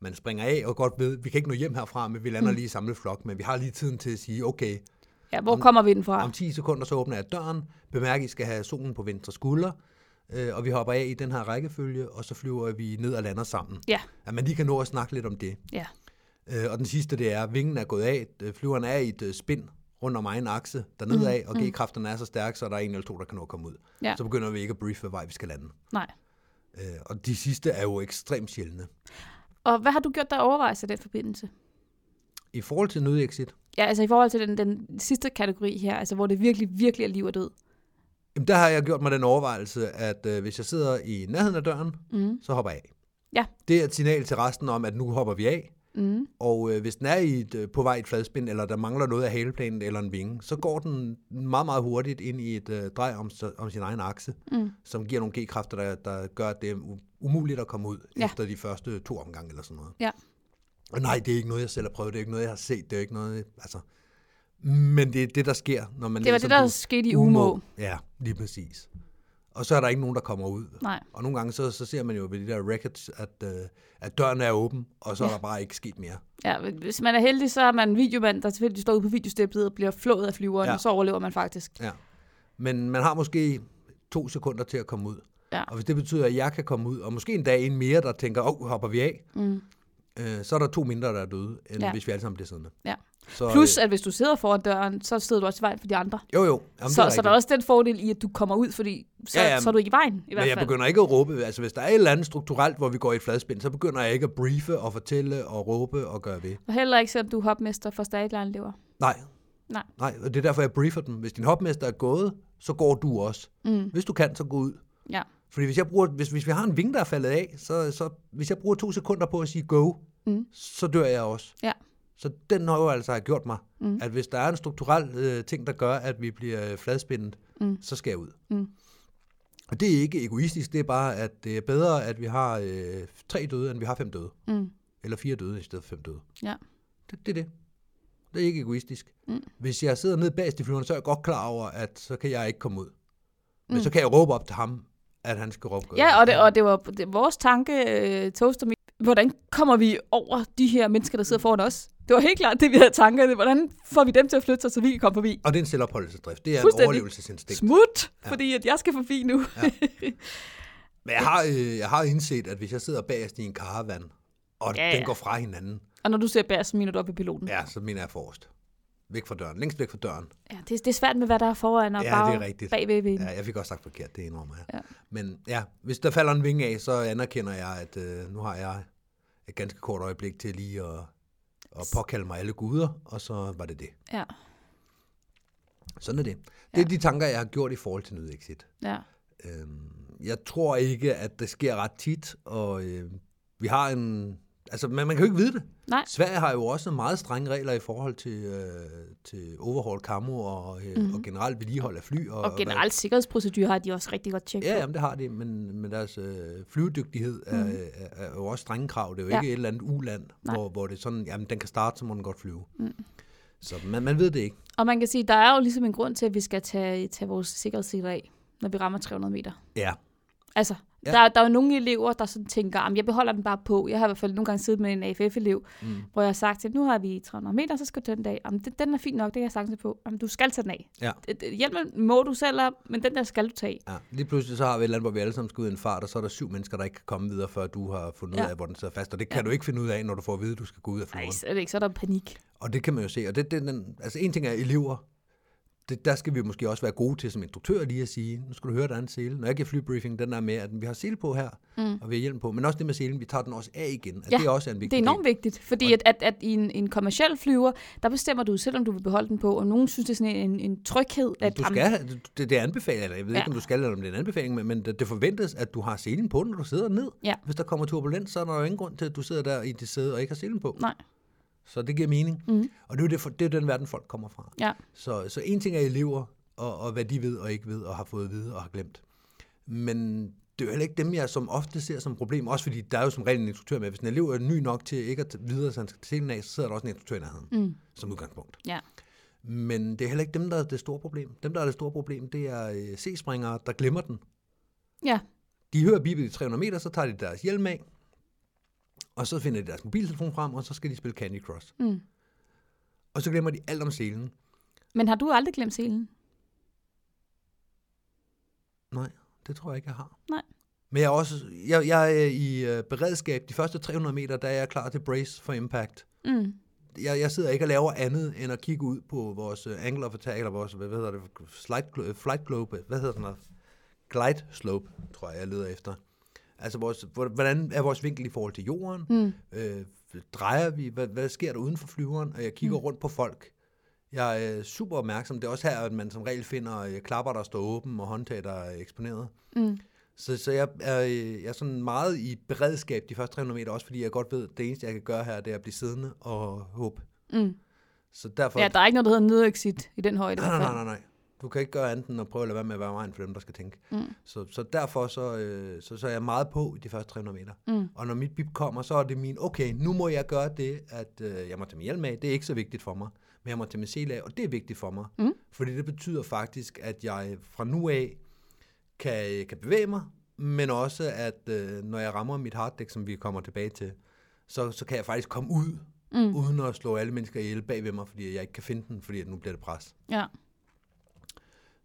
Speaker 3: man springer af og godt ved, vi kan ikke nå hjem herfra, men vi lander
Speaker 2: Mm.
Speaker 3: lige i samlet flok, men vi har lige tiden til at sige, okay,
Speaker 2: Ja, hvor kommer vi den fra?
Speaker 3: om 10 sekunder så åbner jeg døren, bemærk, I skal have solen på venstre skulder, øh, og vi hopper af i den her rækkefølge, og så flyver vi ned og lander sammen.
Speaker 2: Ja,
Speaker 3: At man lige kan nå at snakke lidt om det.
Speaker 2: ja.
Speaker 3: Øh, og den sidste, det er, vingen er gået af, øh, flyveren er i et øh, spind rundt om egen akse dernede af, og G-kræfterne er så stærke, så der er en eller to, der kan nå at komme ud.
Speaker 2: Ja.
Speaker 3: Så begynder vi ikke at briefe, hvad vej vi skal lande.
Speaker 2: Nej.
Speaker 3: Øh, og de sidste er jo ekstremt sjældne.
Speaker 2: Og hvad har du gjort der overvejelser i den forbindelse?
Speaker 3: I forhold til nødexit,
Speaker 2: Ja, altså i forhold til den, den sidste kategori her, altså hvor det virkelig, virkelig er liv og død.
Speaker 3: jamen der har jeg gjort mig den overvejelse, at øh, hvis jeg sidder i nærheden af døren,
Speaker 2: Mm.
Speaker 3: så hopper jeg af.
Speaker 2: Ja.
Speaker 3: Det er et signal til resten om, at nu hopper vi af.
Speaker 2: Mm.
Speaker 3: Og øh, hvis den er i et, øh, på vej i et fladspind, eller der mangler noget af haleplanen eller en vinge, så går den meget, meget hurtigt ind i et øh, drej om, s- om sin egen akse,
Speaker 2: Mm.
Speaker 3: som giver nogle G-kræfter, der, der gør, at det er u- umuligt at komme ud
Speaker 2: Ja.
Speaker 3: ja. efter de første to omgange eller sådan noget.
Speaker 2: Ja.
Speaker 3: Og nej, det er ikke noget, jeg selv har prøvet, det er ikke noget, jeg har set, det er ikke noget, altså... Men det er det, der sker, når man...
Speaker 2: Det var
Speaker 3: læser
Speaker 2: det, der
Speaker 3: den.
Speaker 2: skete i Umo.
Speaker 3: Ja, lige præcis. Og så er der ikke nogen, der kommer ud.
Speaker 2: Nej.
Speaker 3: Og nogle gange, så, så ser man jo ved de der records, at, øh, at døren er åben, og så ja. er der bare ikke sket mere.
Speaker 2: Ja, men hvis man er heldig, så er man en videomand, der tilfældigvis står ude på videostemplet og bliver flået af flyveren, ja.
Speaker 3: Ja.
Speaker 2: og så overlever man faktisk.
Speaker 3: Ja. Men man har måske to sekunder til at komme ud.
Speaker 2: Ja.
Speaker 3: Og hvis det betyder, at jeg kan komme ud, og måske en dag en mere, der tænker, åh, oh, hopper vi af,
Speaker 2: Mm.
Speaker 3: øh, så er der to mindre, der er døde, end
Speaker 2: Ja.
Speaker 3: ja. hvis vi alle sammen bliver siddende.
Speaker 2: Ja.
Speaker 3: Så,
Speaker 2: Plus, at hvis du sidder foran døren, så sidder du også i vejen for de andre.
Speaker 3: øh, jo, jo.
Speaker 2: Jamen,
Speaker 3: Jamen,
Speaker 2: så,
Speaker 3: det
Speaker 2: så der
Speaker 3: er rigtigt.
Speaker 2: er også den fordel i, at du kommer ud, fordi så, ja,
Speaker 3: Ja,
Speaker 2: ja,
Speaker 3: ja,
Speaker 2: så er du ikke i vejen, i hvert
Speaker 3: Men jeg
Speaker 2: fald.
Speaker 3: begynder ikke at råbe. Altså, hvis der er et eller andet strukturelt, hvor vi går i et fladspind, så begynder jeg ikke at briefe og fortælle og råbe og gøre ved.
Speaker 2: Og heller ikke, selvom du er hopmester for stadigland lever.
Speaker 3: Nej.
Speaker 2: Nej.
Speaker 3: Nej, og det er derfor, jeg briefer dem. Hvis din hopmester er gået, så går du også.
Speaker 2: Mm.
Speaker 3: Hvis du kan, så gå ud.
Speaker 2: Ja.
Speaker 3: Fordi hvis, jeg bruger, hvis, hvis vi har en vinge, der er faldet af, så, så hvis jeg bruger to sekunder på at sige go,
Speaker 2: Mm.
Speaker 3: så dør jeg også.
Speaker 2: Ja.
Speaker 3: Så den har jo altså har gjort mig,
Speaker 2: Mm.
Speaker 3: mm. at hvis der er en strukturel øh, ting, der gør, at vi bliver øh, fladspændet,
Speaker 2: Mm.
Speaker 3: så skal jeg ud.
Speaker 2: Mm.
Speaker 3: Og det er ikke egoistisk, det er bare, at det er bedre, at vi har øh, tre døde, end vi har fem døde.
Speaker 2: Mm.
Speaker 3: Eller fire døde i stedet for fem døde.
Speaker 2: Ja.
Speaker 3: Det, det er det. Det er ikke egoistisk.
Speaker 2: Mm.
Speaker 3: Hvis jeg sidder nede bagest i flyveren, så er jeg godt klar over, at så kan jeg ikke komme ud. Men
Speaker 2: Mm.
Speaker 3: så kan jeg råbe op til ham, at han skal råbe.
Speaker 2: Ja, og det, og det var det, vores tanke, øh, Toaster, hvordan kommer vi over de her mennesker, der sidder foran os? Det var helt klart det, vi havde tankerne. Hvordan får vi dem til at flytte sig, så vi kan komme forbi?
Speaker 3: Og det er en selvopholdelsesdrift. Det er en
Speaker 2: Fuldstændig.
Speaker 3: overlevelsesinstinkt.
Speaker 2: Smut, ja.
Speaker 3: Ja.
Speaker 2: fordi at jeg skal forbi nu.
Speaker 3: Men jeg har, øh, jeg har indset, at hvis jeg sidder bagerst i en karavan, og
Speaker 2: Ja,
Speaker 3: ja, den
Speaker 2: ja.
Speaker 3: går fra hinanden,
Speaker 2: Og når du ser bær, så mener du op i piloten.
Speaker 3: ja, så mener jeg forrest. Væk fra døren. Længst væk fra døren.
Speaker 2: Ja, det, det er svært med, hvad der er foran og
Speaker 3: Ja,
Speaker 2: bare
Speaker 3: det er rigtigt.
Speaker 2: bagved ved.
Speaker 3: Ja,
Speaker 2: Ja.
Speaker 3: jeg fik også sagt forkert, det indrømmer jeg.
Speaker 2: Ja.
Speaker 3: Men ja, hvis der falder en vinge af, så anerkender jeg, at øh, nu har jeg et ganske kort øjeblik til lige at, at påkalde mig alle guder, og så var det det.
Speaker 2: ja.
Speaker 3: Sådan er det. Det er
Speaker 2: Ja.
Speaker 3: de tanker, jeg har gjort i forhold til nødexit.
Speaker 2: ja.
Speaker 3: Øhm, jeg tror ikke, at det sker ret tit, og øh, vi har en... Altså, man, man kan jo ikke vide det.
Speaker 2: Nej.
Speaker 3: Sverige har jo også meget strenge regler i forhold til, øh, til overhaul, camo og, øh, mm-hmm. og generelt vedligehold af fly.
Speaker 2: Mhm. Og generelt sikkerhedsprocedurer har de også rigtig godt tjekket.
Speaker 3: Ja, jamen, det har de, men, men deres øh, flyvedygtighed er, mm. er, er jo også strenge krav. Det er jo
Speaker 2: Mhm. Ja.
Speaker 3: ja. ikke et eller andet uland,
Speaker 2: Nej.
Speaker 3: hvor, hvor det er sådan, jamen, den kan starte, så må den godt flyve. Mm. Så man, man ved det ikke.
Speaker 2: Og man kan sige, der er jo ligesom en grund til, at vi skal tage, tage vores sikkerhedsseler af, når vi rammer 300 meter.
Speaker 3: Ja,
Speaker 2: Altså,
Speaker 3: Ja.
Speaker 2: Ja. Der, der er jo nogle elever, der sådan tænker, at jeg beholder den bare på. Jeg har i hvert fald nogle gange siddet med en AFF-elev,
Speaker 3: Mm.
Speaker 2: mm. hvor jeg har sagt til, nu har vi 300 meter, så skal du den dag. Jamen, den, den er fint nok, det kan jeg sagtens på. Jamen, du skal tage den af.
Speaker 3: Ja.
Speaker 2: Øh, øh, Hjælpen må du selv op, men den der skal du tage.
Speaker 3: Ja, lige pludselig så har vi et eller andet, hvor vi alle sammen skal ud i en fart, og så er der syv mennesker, der ikke kan komme videre, før du har fundet ud
Speaker 2: Ja.
Speaker 3: af, hvor den sidder fast. Og det kan du ikke finde ud af, når du får at vide, at du skal gå ud af
Speaker 2: Nej,
Speaker 3: flyveren.
Speaker 2: slet ikke. Så er der panik.
Speaker 3: Og det kan man jo se. Og det, det, den, altså en ting er elever. Det, der skal vi måske også være gode til som instruktør lige at sige, nu skal du høre, der er en sele. Når jeg giver flybriefing, den der med, at vi har sele på her, mm. og vi har hjelm på. Men også det med selen, vi tager den også af igen. Altså,
Speaker 2: Ja,
Speaker 3: det er også en vigtig
Speaker 2: Det er enormt
Speaker 3: del.
Speaker 2: vigtigt, fordi at, at, at i en, en kommersiel flyver, der bestemmer du selv, om du vil beholde den på, og nogen synes, det er sådan en, en tryghed. At,
Speaker 3: Du
Speaker 2: jamen,
Speaker 3: skal, det, det er anbefalet, eller jeg ved ja.
Speaker 2: Ja.
Speaker 3: ikke, om du skal, eller om det er en anbefaling, men, men det, det forventes, at du har selen på, når du sidder ned.
Speaker 2: Ja.
Speaker 3: Hvis der kommer turbulens, så er der jo ingen grund til, at du sidder der i det sæde og ikke har selen på.
Speaker 2: Nej,
Speaker 3: Så det giver mening. Mm. Og det er jo det, for- det er jo den verden, folk kommer fra.
Speaker 2: ja.
Speaker 3: Så, så en ting er elever, og, og hvad de ved og ikke ved, og har fået at vide og har glemt. Men det er jo heller ikke dem, jeg som ofte ser som problem. Også fordi der er jo som regel en instruktør med. Hvis en elev er ny nok til ikke at t- vide, at han skal til af, så sidder der også en instruktør i nærheden mm. som udgangspunkt.
Speaker 2: ja.
Speaker 3: Men det er heller ikke dem, der er det store problem. Dem, der er det store problem, det er øh, C-springere, der glemmer den.
Speaker 2: Ja,
Speaker 3: De hører bippet i 300 meter, så tager de deres hjelm af, og så finder de deres mobiltelefon frem, og så skal de spille Candy Crush.
Speaker 2: Mm.
Speaker 3: Og så glemmer de alt om selen.
Speaker 2: men har du aldrig glemt selen?
Speaker 3: Nej, det tror jeg ikke, jeg har.
Speaker 2: Nej.
Speaker 3: Men jeg er også jeg, jeg er i øh, beredskab. De første 300 meter, der er jeg klar til brace for impact.
Speaker 2: Mm.
Speaker 3: Jeg, jeg sidder ikke og laver andet, end at kigge ud på vores øh, angle of attack, eller vores, hvad hedder det, slide, glo- øh, flight globe, hvad hedder den her? Glide slope, tror jeg, jeg leder efter. Altså, vores, hvor- hvordan er vores vinkel i forhold til jorden?
Speaker 2: Mm.
Speaker 3: Øh, drejer vi? Hvad, hvad sker der uden for flyveren? Og jeg kigger mm. rundt på folk. Jeg er øh, super opmærksom. Det er også her, at man som regel finder øh, klapper, der står åben, og håndtag, der er eksponeret.
Speaker 2: Mm.
Speaker 3: Så, så jeg, er, øh, jeg er sådan meget i beredskab de første 300 meter, også fordi jeg godt ved, at det eneste, jeg kan gøre her, det er at blive siddende og håbe.
Speaker 2: Mm.
Speaker 3: Så derfor...
Speaker 2: Ja, der er ikke noget, der hedder nødexit i den højde. i
Speaker 3: nej,
Speaker 2: hvert
Speaker 3: nej,
Speaker 2: fald.
Speaker 3: nej, nej. Du kan ikke gøre andet end at prøve at lade være med at være vejen for dem, der skal tænke.
Speaker 2: Mm.
Speaker 3: Så, så derfor så, øh, så, så er jeg meget på i de første 300 meter.
Speaker 2: Mm.
Speaker 3: Og når mit bip kommer, så er det min, okay, nu må jeg gøre det, at øh, jeg må tage min hjelm af. Det er ikke så vigtigt for mig. Men jeg må tage min sel af, og det er vigtigt for mig.
Speaker 2: Mm.
Speaker 3: Fordi det betyder faktisk, at jeg fra nu af kan, kan bevæge mig, men også at øh, når jeg rammer mit harddeck, som vi kommer tilbage til, så, så kan jeg faktisk komme ud,
Speaker 2: Mm.
Speaker 3: uden at slå alle mennesker ihjel bag ved mig, fordi jeg ikke kan finde den, fordi at nu bliver det pres.
Speaker 2: Ja.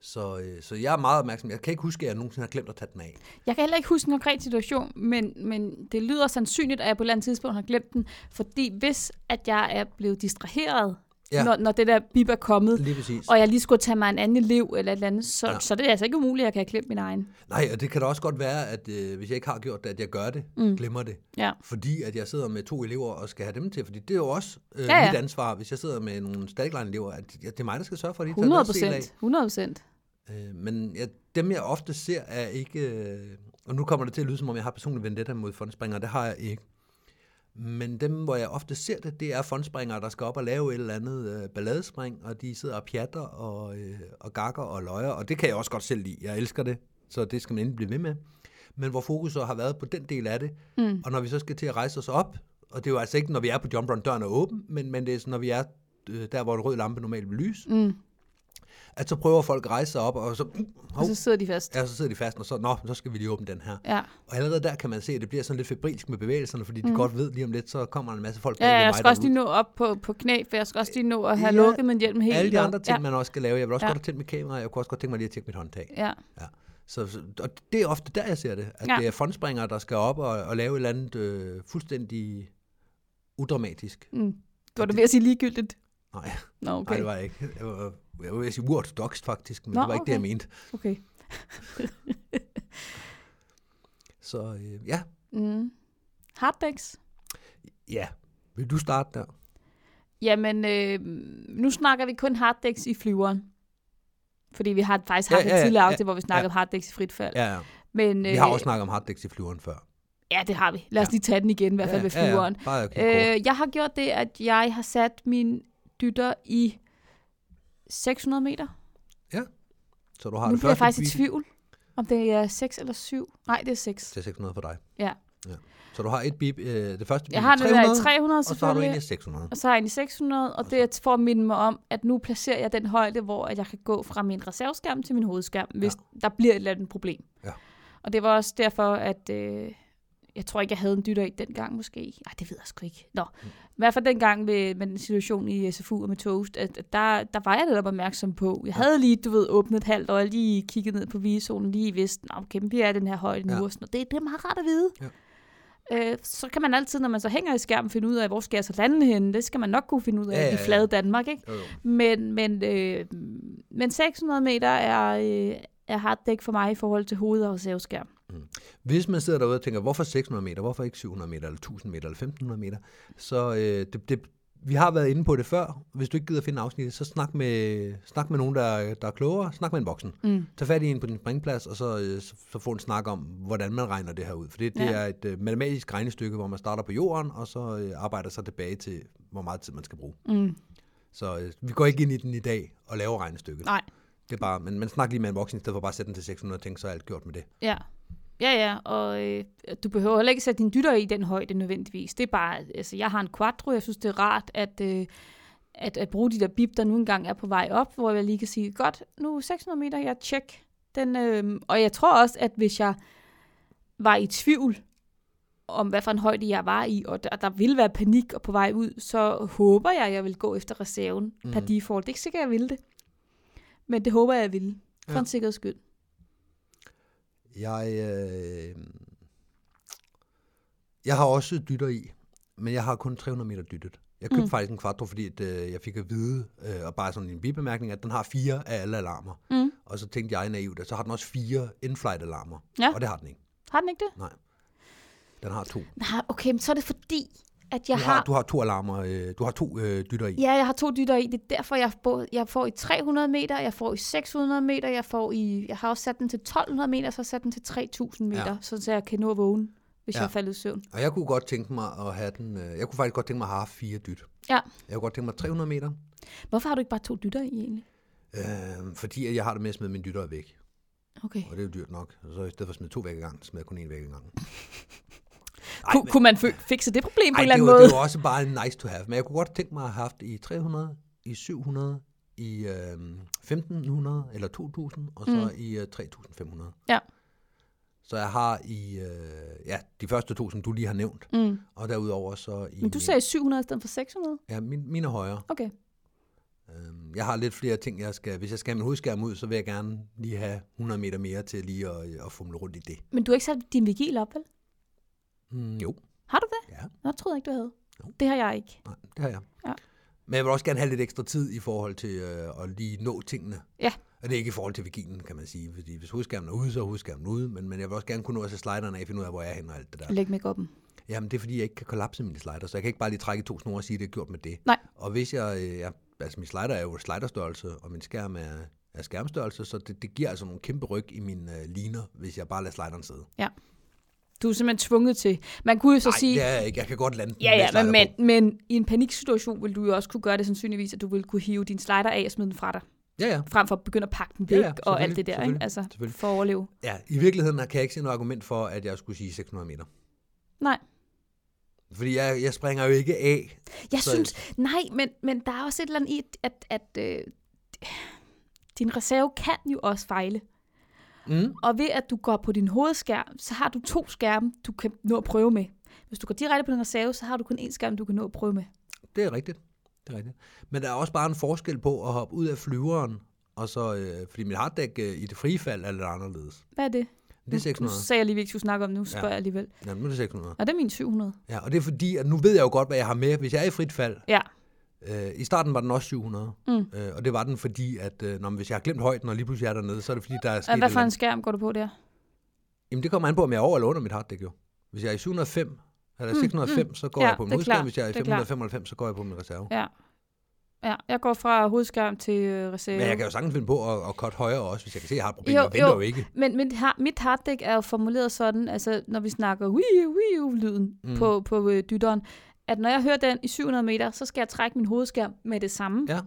Speaker 3: Så, øh, så jeg er meget opmærksom. Jeg kan ikke huske, at jeg nogensinde har glemt at tage den af.
Speaker 2: Jeg kan heller ikke huske en konkret situation, men, men det lyder sandsynligt, at jeg på et eller andet tidspunkt har glemt den, fordi hvis at jeg er blevet distraheret,
Speaker 3: Ja.
Speaker 2: ja. når, når det der bip er kommet,
Speaker 3: Lige præcis.
Speaker 2: og jeg lige skulle tage mig en anden elev eller et eller andet, så,
Speaker 3: Ja.
Speaker 2: ja. så det er altså ikke umuligt, at jeg kan have glemt min egen.
Speaker 3: Nej, og det kan da også godt være, at øh, hvis jeg ikke har gjort det, at jeg gør det, mm. glemmer det.
Speaker 2: Ja.
Speaker 3: Fordi at jeg sidder med to elever og skal have dem til, fordi det er jo også øh, ja,
Speaker 2: Ja,
Speaker 3: ja.
Speaker 2: ja.
Speaker 3: mit ansvar, hvis jeg sidder med nogle staldklejne-elever, at det, det er mig, der skal sørge for, at de
Speaker 2: 100
Speaker 3: tager deres
Speaker 2: procent. 100 procent.
Speaker 3: del af. Øh, men jeg, dem, jeg ofte ser, er ikke... Øh, og nu kommer det til at lyde, som om jeg har personlig vendetta mod fondspringere. Det har jeg ikke. Men dem, hvor jeg ofte ser det, det er fondspringere, der skal op og lave et eller andet øh, balladespring, og de sidder og pjatter og, øh, og gakker og løjer, og det kan jeg også godt selv lide. Jeg elsker det, så det skal man endelig blive ved med. Men hvor fokus så har været på den del af det, mm. og når vi så skal til at rejse os op, og det er jo altså ikke, når vi er på jump run, døren er åben, men, men det er sådan, når vi er øh, der, hvor en rød lampe normalt vil lyse,
Speaker 2: Mm.
Speaker 3: at så prøver folk at rejse sig op, og så, uh,
Speaker 2: Og
Speaker 3: hov,
Speaker 2: så sidder de fast.
Speaker 3: ja, så sidder de fast, og så, nå, så skal vi lige åbne den her.
Speaker 2: Ja.
Speaker 3: Og allerede der kan man se, at det bliver sådan lidt febrilsk med bevægelserne, fordi de mm. godt ved lige om lidt, så kommer der en masse
Speaker 2: Ja,
Speaker 3: folk. bag ved
Speaker 2: ja, jeg
Speaker 3: mig,
Speaker 2: skal
Speaker 3: der
Speaker 2: også
Speaker 3: vil
Speaker 2: lige nå op på, på knæ, for jeg skal også lige nå at have
Speaker 3: Ja,
Speaker 2: ja, lukket min hjelm helt.
Speaker 3: Alle de
Speaker 2: op.
Speaker 3: andre ting, ja. man også skal lave. Jeg vil også ja.
Speaker 2: Ja.
Speaker 3: godt have tændt mit kamera, og jeg kunne også godt tænke mig lige at tjekke mit håndtag.
Speaker 2: Ja. ja.
Speaker 3: Så, så, og det er ofte der, jeg ser det. At ja.
Speaker 2: Ja.
Speaker 3: det er fondspringere, der skal op og, og lave et eller andet øh, fuldstændig udramatisk.
Speaker 2: Mm. Du var da ved at sige ligegyldigt.
Speaker 3: Nej,
Speaker 2: Nå,
Speaker 3: okay. nej
Speaker 2: okay.
Speaker 3: det var jeg ikke. Jeg var, jeg var ved at sige uortodokst faktisk, men Nå,
Speaker 2: Nå,
Speaker 3: det var ikke okay. det, jeg
Speaker 2: okay.
Speaker 3: mente.
Speaker 2: okay.
Speaker 3: Så øh, ja,
Speaker 2: Mm. Hardbacks.
Speaker 3: ja. Vil du starte der?
Speaker 2: Jamen, øh, nu snakker vi kun harddæks i flyveren. Fordi vi har faktisk haft ja, ja, ja, en tidligere
Speaker 3: ja,
Speaker 2: aftale, hvor vi snakkede ja, om harddæks i frit fald. Ja,
Speaker 3: Ja, ja.
Speaker 2: Men, øh,
Speaker 3: Vi har også snakket om harddæks i flyveren før.
Speaker 2: Ja, det har vi. Lad os
Speaker 3: Ja.
Speaker 2: lige tage den igen, i hvert fald
Speaker 3: ja,
Speaker 2: ved flyveren.
Speaker 3: Ja, ja. Bare okay, øh,
Speaker 2: Øh, jeg har gjort det, at jeg har sat min dytter i 600 meter.
Speaker 3: Så du har
Speaker 2: nu
Speaker 3: det
Speaker 2: bliver jeg
Speaker 3: første
Speaker 2: faktisk i
Speaker 3: beat
Speaker 2: tvivl, om det er 6 eller 7. Nej, det er 6.
Speaker 3: til 600 for dig.
Speaker 2: Ja.
Speaker 3: ja. Så du har et bip, øh, det første bip
Speaker 2: Jeg har
Speaker 3: i
Speaker 2: den der i
Speaker 3: 300,
Speaker 2: 300
Speaker 3: og så har du
Speaker 2: selvfølgelig,
Speaker 3: en i 600.
Speaker 2: og så har jeg en i 600, og det er for at minde mig om, at nu placerer jeg den højde, hvor at jeg kan gå fra min reserveskærm til min hovedskærm, hvis ja. der bliver et eller andet problem.
Speaker 3: Ja.
Speaker 2: Og det var også derfor, at øh, jeg tror ikke, jeg havde en dytter i dengang måske. Ej, det ved jeg sgu ikke. Nå, i hvert fald dengang med, med den situation i SFU og med Toast, at, at der, der var jeg netop opmærksom på. Jeg havde lige, du ved, åbnet et halvt øje, lige kigget ned på vigezonen, lige vidst, nå, okay, men vi er i den her højde nu,
Speaker 3: Ja.
Speaker 2: ja. og sådan noget. Det, det er meget rart at vide.
Speaker 3: Ja.
Speaker 2: Øh, så kan man altid, når man så hænger i skærmen, finde ud af, hvor skal jeg så lande henne. Det skal man nok kunne finde ud af
Speaker 3: Ja,
Speaker 2: ja,
Speaker 3: ja,
Speaker 2: ja,
Speaker 3: ja.
Speaker 2: i flade Danmark, ikke?
Speaker 3: Jo, jo.
Speaker 2: Men, men, øh, men 600 meter er, øh, er harddæk for mig i forhold til hoved- og reserveskærm.
Speaker 3: Hvis man sidder derude og tænker, hvorfor 600 meter, hvorfor ikke 700 meter, eller 1000 meter, eller 1500 meter, så øh, det, det, vi har været inde på det før. Hvis du ikke gider finde afsnittet, så snak med, snak med nogen, der, der er klogere. Snak med en voksen.
Speaker 2: Mm.
Speaker 3: Tag fat i en på din springplads, og så, øh, så, så få en snak om, hvordan man regner det her ud. For det, det
Speaker 2: Ja.
Speaker 3: er et øh, matematisk regnestykke, hvor man starter på jorden, og så øh, arbejder sig tilbage til, hvor meget tid man skal bruge.
Speaker 2: Mm.
Speaker 3: Så øh, vi går ikke ind i den i dag og laver regnestykket.
Speaker 2: Nej.
Speaker 3: Det er bare, men man snakker lige med en voksen, i stedet for bare at sætte den til 600 og tænke, så er alt gjort med det.
Speaker 2: Ja. Ja, ja, og øh, du behøver heller ikke sætte din dytter i den højde nødvendigvis. Det er bare, altså jeg har en quattro, jeg synes det er rart at, øh, at, at bruge de der bip, der nu engang er på vej op, hvor jeg lige kan sige, godt, nu er 600 meter, jeg tjek. Den, øh, og jeg tror også, at hvis jeg var i tvivl om, hvad for en højde jeg var i, og der, der ville være panik og på vej ud, så håber jeg, at jeg vil gå efter reserven mm. per
Speaker 3: Mhm.
Speaker 2: default. Det er ikke sikkert, jeg ville det, men det håber jeg, jeg ville, for
Speaker 3: Ja.
Speaker 2: ja. en sikkerheds skyld.
Speaker 3: Jeg, øh, jeg har også dytter i, men jeg har kun 300 meter dyttet. Jeg købte mm.
Speaker 2: Mm.
Speaker 3: faktisk en quattro, fordi at, øh, jeg fik at vide, øh, og bare sådan en bibemærkning, at den har fire af alle alarmer.
Speaker 2: Mm.
Speaker 3: Og så tænkte jeg naivt, at så har den også fire in-flight alarmer.
Speaker 2: Ja.
Speaker 3: Og det har den ikke.
Speaker 2: Har den ikke det?
Speaker 3: Den har to.
Speaker 2: Nej, okay, men så er det fordi, at jeg
Speaker 3: Du har,
Speaker 2: har...
Speaker 3: du har to alarmer, øh, du har to øh, dytter i.
Speaker 2: Ja, jeg har to dytter i. Det er derfor, jeg, bo, jeg får i 300 meter, jeg får i 600 meter, jeg, får i, jeg har også sat den til 1200 meter, så har jeg sat den til 3000 meter,
Speaker 3: Ja.
Speaker 2: ja. sådan så jeg kan nå at vågne, hvis
Speaker 3: Ja.
Speaker 2: ja. jeg falder i søvn.
Speaker 3: Og jeg kunne godt tænke mig at have den, øh, jeg kunne faktisk godt tænke mig at have haft fire dyt.
Speaker 2: Ja.
Speaker 3: Jeg kunne godt tænke mig 300 meter,
Speaker 2: Hvorfor har du ikke bare to dytter i egentlig?
Speaker 3: øh, fordi at jeg har det med at smide mine dytter væk.
Speaker 2: Okay.
Speaker 3: Og det er jo dyrt nok. Så i stedet for at smide to væk ad gangen, smider jeg kun en væk ad gangen.
Speaker 2: Ej, kunne,
Speaker 3: men-
Speaker 2: kunne man f- fikse det problem på
Speaker 3: ej,
Speaker 2: en eller anden
Speaker 3: det, er jo,
Speaker 2: måde?
Speaker 3: det er jo også bare nice to have. Men jeg kunne godt tænke mig at have haft i 300, i 700, i øh, 1500 eller 2000, og så mm. i øh, 3500.
Speaker 2: Ja.
Speaker 3: Så jeg har i, øh, ja, de første to, som du lige har nævnt,
Speaker 2: Mm.
Speaker 3: og derudover så i...
Speaker 2: Men du sagde 700 i stedet for 600?
Speaker 3: Ja, min, mine er højere.
Speaker 2: Okay.
Speaker 3: Øhm, Jeg har lidt flere ting, jeg skal... Hvis jeg skal have min hovedskærm ud, så vil jeg gerne lige have 100 meter mere til lige at, at fumle rundt i det.
Speaker 2: Men du har ikke sat din vigil op, vel?
Speaker 3: Mm, jo,
Speaker 2: Har du det?
Speaker 3: Ja.
Speaker 2: Nå, det troede jeg ikke, du havde.
Speaker 3: Jo.
Speaker 2: Det har jeg ikke.
Speaker 3: Nej, det har jeg.
Speaker 2: Ja.
Speaker 3: Men jeg vil også gerne have lidt ekstra tid i forhold til øh, at lige nå tingene.
Speaker 2: Ja.
Speaker 3: Og det er ikke i forhold til vaginen, kan man sige. Fordi hvis hovedskærmen er ude, så er hovedskærmen ude. Men, men jeg vil også gerne kunne nå at se sliderne af, finde ud af, hvor jeg er henne og alt det der.
Speaker 2: Læg mig op
Speaker 3: Jamen, det er fordi, jeg ikke kan kollapse mine slider, så jeg kan ikke bare lige trække i to snore og sige, at det er gjort med det.
Speaker 2: Nej.
Speaker 3: Og hvis jeg... Øh, jeg altså, min slider er jo sliderstørrelse, og min skærm er, er skærmstørrelse, så det, det giver altså nogle kæmpe ryg i mine øh, liner, hvis jeg bare lader slideren sidde.
Speaker 2: Du er simpelthen tvunget til. Man kunne jo så
Speaker 3: Nej,
Speaker 2: sige...
Speaker 3: det er jeg ikke. Jeg kan godt lande den med
Speaker 2: Ja, ja,
Speaker 3: slider
Speaker 2: men,
Speaker 3: på.
Speaker 2: men, men i en paniksituation vil du jo også kunne gøre det sandsynligvis, at du vil kunne hive din slider af og smide den fra dig,
Speaker 3: Ja, ja.
Speaker 2: frem for at begynde at pakke den
Speaker 3: Ja,
Speaker 2: væk
Speaker 3: ja,
Speaker 2: ja, ja, og alt det
Speaker 3: selvfølgelig,
Speaker 2: der, ikke?
Speaker 3: selvfølgelig,
Speaker 2: Altså,
Speaker 3: selvfølgelig.
Speaker 2: for at overleve.
Speaker 3: Ja, i virkeligheden kan jeg ikke se noget argument for, at jeg skulle sige 600 meter.
Speaker 2: Nej.
Speaker 3: Fordi jeg, jeg springer jo ikke af.
Speaker 2: Jeg
Speaker 3: Så-
Speaker 2: så... synes, nej, men, men der er også et eller andet i, at, at øh, din reserve kan jo også fejle.
Speaker 3: Mm.
Speaker 2: Og ved at du går på din hovedskærm, så har du to skærme, du kan nå at prøve med. Hvis du går direkte på din reserve, så har du kun én skærm, du kan nå at prøve med.
Speaker 3: Det er rigtigt. Det er rigtigt. Men der er også bare en forskel på at hoppe ud af flyveren, og så, øh, fordi mit harddæk øh, i det frie fald er lidt anderledes.
Speaker 2: Hvad er det?
Speaker 3: Det er
Speaker 2: Nu
Speaker 3: 600.
Speaker 2: sagde jeg lige, vi ikke skulle snakke om det, nu spørger ja. jeg alligevel.
Speaker 3: Ja, nu er det 600.
Speaker 2: Og det er min 700.
Speaker 3: Ja, og det er fordi, at nu ved jeg jo godt, hvad jeg har med, hvis jeg er i frit fald.
Speaker 2: Ja.
Speaker 3: Øh, I starten var den også 700,
Speaker 2: Mm.
Speaker 3: øh, og det var den fordi, at øh, når, hvis jeg har glemt højden, og lige pludselig er dernede, så er det fordi, der er sket
Speaker 2: Og hvad
Speaker 3: et
Speaker 2: for
Speaker 3: eller
Speaker 2: en
Speaker 3: andet.
Speaker 2: skærm går du på der?
Speaker 3: Jamen det kommer an på, om jeg er over eller under mit harddæk jo. Hvis jeg er i 705, eller 605, så går
Speaker 2: Mm, Ja,
Speaker 3: jeg på min
Speaker 2: det er
Speaker 3: modskærm.
Speaker 2: klart.
Speaker 3: Hvis jeg er i
Speaker 2: Det er klart.
Speaker 3: 595, så går jeg på min reserve.
Speaker 2: Ja. Ja, jeg går fra hovedskærm til øh, reserve.
Speaker 3: Men jeg kan jo sagtens finde på at, at cut højere også, hvis jeg kan se, at jeg har et problem.
Speaker 2: Jo,
Speaker 3: jeg venter jo,
Speaker 2: jo.
Speaker 3: ikke.
Speaker 2: Men mit, har, mit harddæk er jo formuleret sådan, altså når vi snakker wiu, wiu, lyden
Speaker 3: Mm.
Speaker 2: mm. på, på øh, dytteren, at når jeg hører den i 700 meter, så skal jeg trække min hovedskærm med det samme.
Speaker 3: Ja.